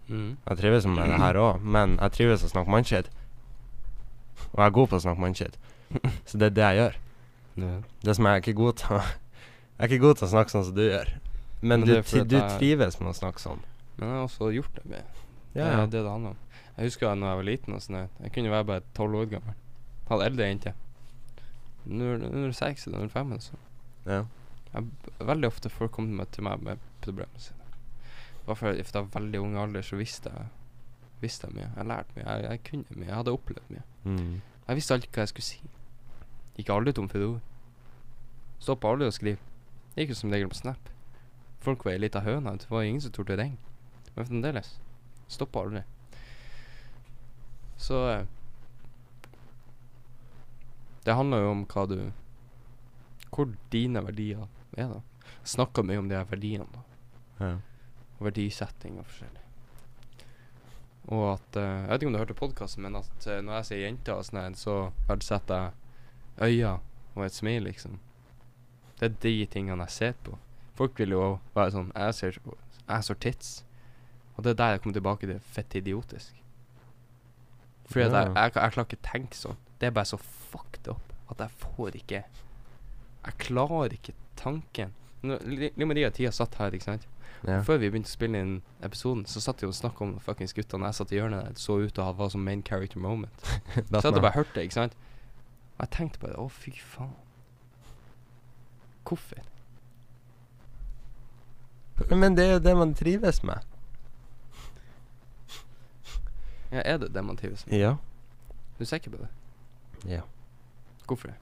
S3: Mm.
S4: Jeg trives med det her òg, men jeg trives å snakke mannskitt. Og jeg er god på å snakke mannskitt, så det er det jeg gjør.
S3: Ja.
S4: Det som jeg er ikke god til Jeg er ikke god til å snakke sånn som du gjør. Men
S3: Men
S4: du,
S3: det er fordi
S4: tri-
S3: at
S4: du
S3: jeg-
S4: trives med å snakke sånn.
S3: Men jeg har også gjort det. med-
S4: Ja,
S3: Det
S4: ja.
S3: er Eh, det det handler om. Jeg husker da jeg var liten. og sånn, Jeg kunne være bare tolv år gammel. Hadde eldre jenter. Når når du er seks eller når du er fem, eller så
S4: Ja.
S3: Veldig ofte folk kom til meg, til meg med problemene sine. Det var fordi fra veldig ung alder så visste jeg Visste jeg mye. Jeg lærte mye. Jeg, jeg kunne mye. Jeg hadde opplevd mye.
S4: Mm.
S3: Jeg visste alltid hva jeg skulle si. Gikk aldri tom for ord. Stoppa aldri å skrive. Gikk jo som regel på Snap. Folk var ei lita høne. vet du. Det var ingen som torde å ringe. Men fremdeles. Stoppa aldri. Så eh, Det handler jo om hva du Hvor dine verdier er, da. Snakka mye om de her verdiene, da
S4: Ja.
S3: og verdisetting og forskjellig. Og at eh, Jeg vet ikke om du hørte podkasten, men at eh, når jeg sier jenter og sånn, her, så verdsetter jeg øyne og et smil, liksom. Det er de tingene jeg ser på. Folk vil jo være sånn Jeg ser, jeg ser tits. Og det er der jeg kommer tilbake til fett idiotisk. Fordi at jeg,
S4: Ja.
S3: jeg, jeg klarer ikke tenke sånn. Det er bare så fucked up at jeg får ikke Jeg klarer ikke tanken. Nå- Li- Li Maria Tia satt her, ikke sant?
S4: Ja.
S3: Før vi begynte å spille inn episoden, så satt vi og snakka om fuckings guttene. Jeg satt i hjørnet der, så ut til å ha- var som main character moment. Så jeg hadde bare hørt det, ikke sant. Og jeg tenkte bare å, fy faen. Hvorfor?
S4: Men det er jo det man trives med.
S3: Ja, er det det man trives med?
S4: Ja.
S3: Du er sikker på det?
S4: Ja.
S3: Hvorfor det?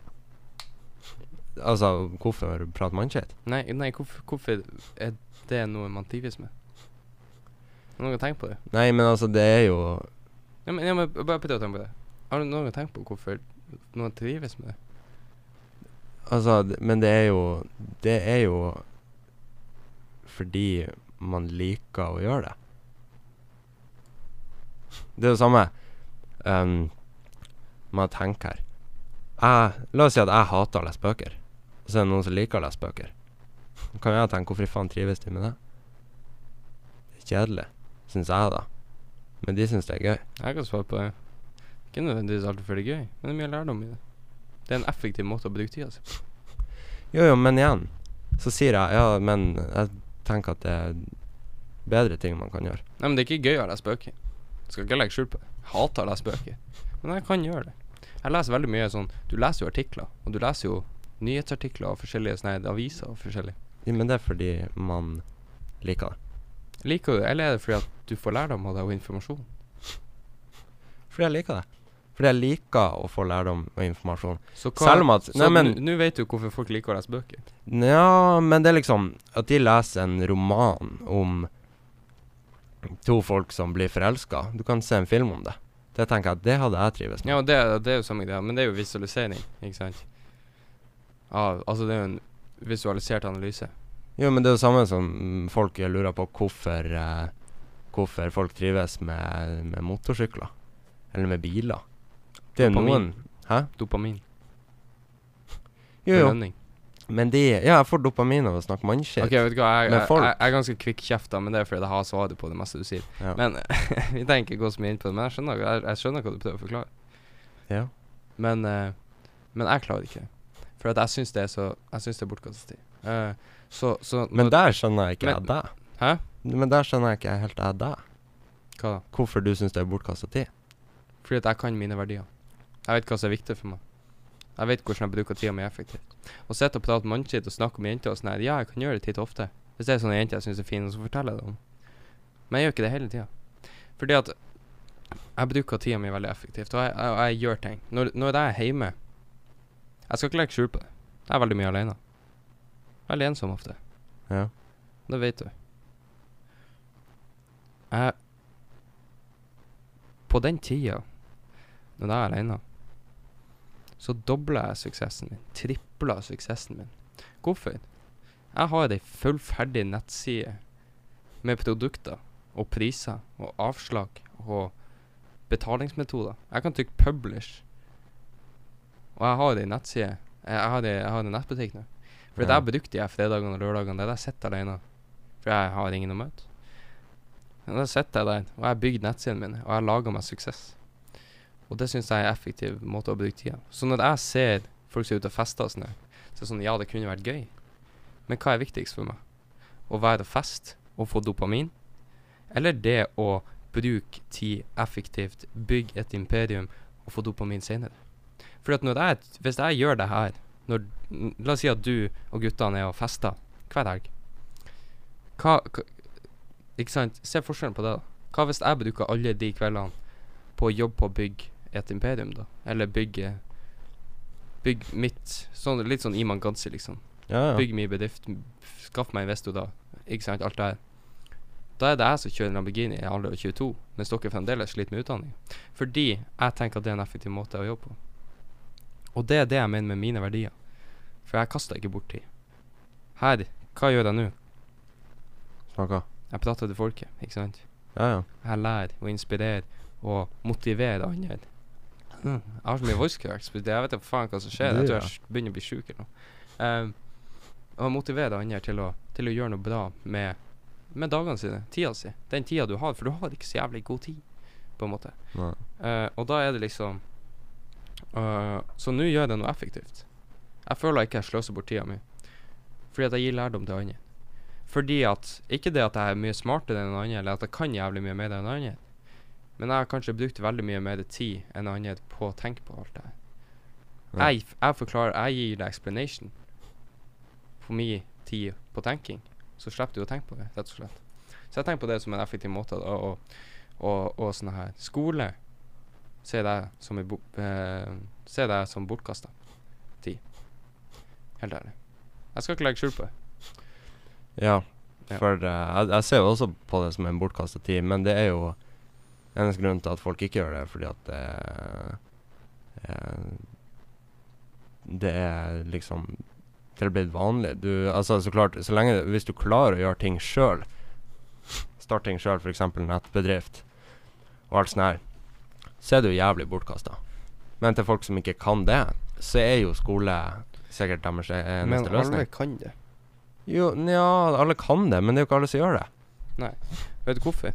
S4: Altså, hvorfor prate mannskitt?
S3: Nei, nei hvorfor, hvorfor er det noe man trives med? Har du noen tenkt på det?
S4: Nei, men altså, det er jo
S3: Ja, men, ja, men bare prøv å tenke på det. Har du noen gang tenkt på hvorfor noen trives med det?
S4: Altså, d- men det er jo Det er jo fordi man liker å gjøre det. Det er jo samme um, med å tenke her. Jeg, la oss si at jeg hater å lese bøker, og så er det noen som liker å lese bøker. Da kan jeg tenke hvorfor i faen trives de med det? Det er kjedelig, syns jeg, da. Men de syns det er gøy.
S3: Jeg kan svare på det. Ikke nødvendigvis alltid for det gøy, men det er mye lærdom i det. Det er en effektiv måte å bruke tida si på.
S4: Jo, jo, men igjen så sier jeg ja, men jeg tenker at det er bedre ting man kan gjøre.
S3: Nei, men det er ikke gøy å lese bøker. Jeg skal ikke legge skjul på det. Jeg hater å lese bøker. Men jeg kan gjøre det. Jeg leser veldig mye sånn Du leser jo artikler, og du leser jo nyhetsartikler og forskjellige sånne her aviser og forskjellig.
S4: Jo, men det er fordi man liker det.
S3: Liker du det, eller er det fordi at du får lærdom av det og informasjon?
S4: Fordi jeg liker det. Fordi jeg liker å få lærdom og informasjon.
S3: Så
S4: Selv om at
S3: Så
S4: Nei, men
S3: n- nå vet du hvorfor folk liker å lese bøker.
S4: Ja, men det er liksom At de leser en roman om to folk som blir forelska. Du kan se en film om det. Det tenker jeg at det hadde jeg trives med.
S3: Ja, og det, det er jo samme greia, men det er jo visualisering, ikke sant? Ja, altså det er jo en visualisert analyse.
S4: Jo, men det er jo samme som mm, folk lurer på hvorfor eh, Hvorfor folk trives med, med motorsykler. Eller med biler. Det er jo noen
S3: Dopamin. Dopamin.
S4: Jo, jo.
S3: Belønning.
S4: Men de Ja, jeg får dopamin av å snakke mannskitt.
S3: Ok, vet du hva, jeg,
S4: Men
S3: jeg,
S4: folk-
S3: jeg, jeg er ganske kvikkjefta, men det er fordi jeg har svaret på det meste du sier.
S4: Ja.
S3: Men vi trenger ikke gå så mye inn på det, men jeg skjønner, jeg, jeg skjønner hva du prøver å forklare.
S4: Ja.
S3: Men, eh, men jeg klarer ikke det. For at jeg syns det er så Jeg syns det er bortkastet tid. Eh, så, så
S4: Men
S3: når-
S4: der skjønner jeg ikke
S3: Men-
S4: jeg deg.
S3: Hæ?
S4: Men der skjønner jeg ikke helt jeg deg.
S3: Hva da?
S4: Hvorfor du syns det er bortkasta tid.
S3: Fordi at jeg kan mine verdier. Jeg vet hva som er viktig for meg. Jeg vet hvordan jeg bruker tida mi effektivt. Å sitte og prate mannskitt og snakke om jenter og sånn her, ja, jeg kan gjøre det titt og ofte. Hvis det er sånne jenter jeg syns er fine, så forteller jeg det om. Men jeg gjør ikke det hele tida. Fordi at jeg bruker tida mi veldig effektivt, og jeg, jeg, og jeg gjør ting. Når, når jeg er hjemme Jeg skal ikke legge skjul på det. Jeg er veldig mye alene. Veldig ensom ofte.
S4: Ja.
S3: Det vet du. Jeg På den tida når jeg er alene, så dobler jeg suksessen min. Tripler suksessen min. Hvorfor? Jeg har ei fullferdig nettside med produkter og priser og avslag og betalingsmetoder. Jeg kan trykke 'publish', og jeg har ei nettside Jeg jeg har ei, jeg har ei nettbutikk nå. For
S4: Ja.
S3: der brukte jeg fredagene og lørdagene der jeg sitter alene. For jeg har ingen å møte. Og Da sitter jeg der, og jeg har bygd nettsidene mine, og jeg har laga meg suksess. Og det syns jeg er en effektiv måte å bruke tida. Så når jeg ser folk som er ute og fester og sånn, her, så er det sånn Ja, det kunne vært gøy, men hva er viktigst for meg? Å være og feste og få dopamin, eller det å bruke tid effektivt, bygge et imperium og få dopamin senere? Fordi at når jeg, hvis jeg gjør det her når, n- La oss si at du og guttene er og fester hver helg. Hva, hva ikke sant? Se forskjellen på det. da. Hva hvis jeg bruker alle de kveldene på å jobbe på å bygge et imperium, da? Eller bygge Bygg mitt sånn, Litt sånn Iman Gansi, liksom.
S4: Ja, ja.
S3: Bygg min bedrift, m- skaff meg investorer, ikke sant, alt det her. Da er det jeg som kjører Lamborghini i alder av 22, mens dere fremdeles sliter med utdanning. Fordi jeg tenker at det er en effektiv måte å jobbe på. Og det er det jeg mener med mine verdier. For jeg kaster ikke bort tid. Her, hva gjør jeg nå?
S4: Snakka.
S3: Jeg prater til folket, ikke sant?
S4: Ja, ja.
S3: Jeg lærer og inspirerer og motiverer andre. Mm. Jeg har så mye voice cracks, men jeg vet ikke faen hva som skjer. Jeg tror jeg s- begynner å bli sjuk eller noe. Um, og motiverer andre til å, til å gjøre noe bra med, med dagene sine, tida si. Den tida du har, for du har ikke så jævlig god tid, på en måte.
S4: Nei.
S3: Eh, og da er det liksom eh, Så nå gjør jeg det noe effektivt. Jeg føler ikke jeg sløser bort tida mi. Fordi at jeg gir lærdom til andre. Fordi at Ikke det at jeg er mye smartere enn andre, eller at jeg kan jævlig mye mer enn andre, men jeg har kanskje brukt veldig mye mer tid enn andre på å tenke på alt det her.
S4: Ja.
S3: Jeg, f- jeg forklarer Jeg gir deg explanation på min tid på tenking. Så slipper du å tenke på det, rett og slett. Så jeg tenker på det som en effektiv måte å, å, å, å sånn her Skole ser deg som, en bo- eh, ser deg som bortkasta tid. Helt ærlig. Jeg skal ikke legge skjul på det.
S4: Ja,
S3: Ja.
S4: for eh, jeg, jeg ser jo også på det som en bortkasta tid, men det er jo eneste grunnen til at folk ikke gjør det, fordi at det eh, Det er liksom til det er blitt vanlig. Du, altså, så klart, så lenge Hvis du klarer å gjøre ting sjøl, starte ting sjøl, f.eks. nettbedrift og alt sånt her, så er du jævlig bortkasta. Men til folk som ikke kan det, så er jo skole sikkert deres eh, neste løsning.
S3: kan det.
S4: Jo, nja, alle kan det, men det er jo ikke alle som gjør det.
S3: Vet du hvorfor?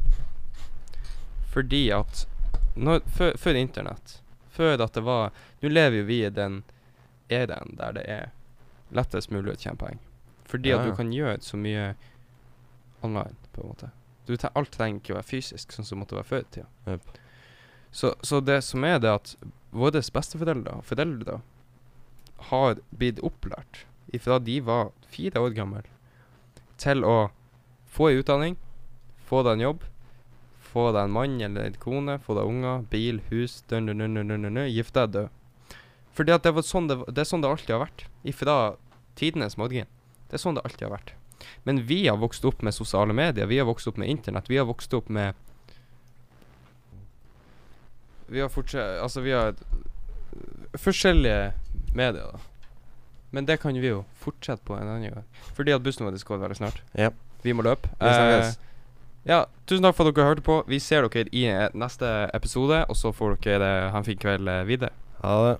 S3: Fordi at når, før, før internett, før at det var Nå lever jo vi i den æraen der det er lettest mulig å tjene penger. Fordi
S4: Ja,
S3: at du
S4: ja.
S3: kan gjøre så mye online, på en måte. Du tre alt trenger ikke å være fysisk, sånn som det måtte være før i tida.
S4: Jep.
S3: Så, så det som er, det at våre besteforeldre og foreldre har blitt opplært ifra de var fire år gammel til å få ei utdanning, få deg en jobb, få deg en mann eller en kone, få deg unger, bil, hus, dun, dun, dun, dun, dun, dun, dun, gift deg, dø. Fordi at det, var sånn det, det er sånn det alltid har vært, ifra tidenes morgen. Det er sånn det alltid har vært. Men vi har vokst opp med sosiale medier, vi har vokst opp med internett, vi har vokst opp med Vi har fortsatt Altså, vi har øh, forskjellige medier, da. Men det kan vi jo fortsette på en annen gang. Fordi at bussen vår går veldig snart.
S4: Jep.
S3: Vi må løpe. Eh,
S4: Vi snakkes.
S3: Ja, tusen takk for at dere hørte på. Vi ser dere i eh, neste episode, og så får dere eh, ha en fin kveld eh, videre.
S4: Ha det.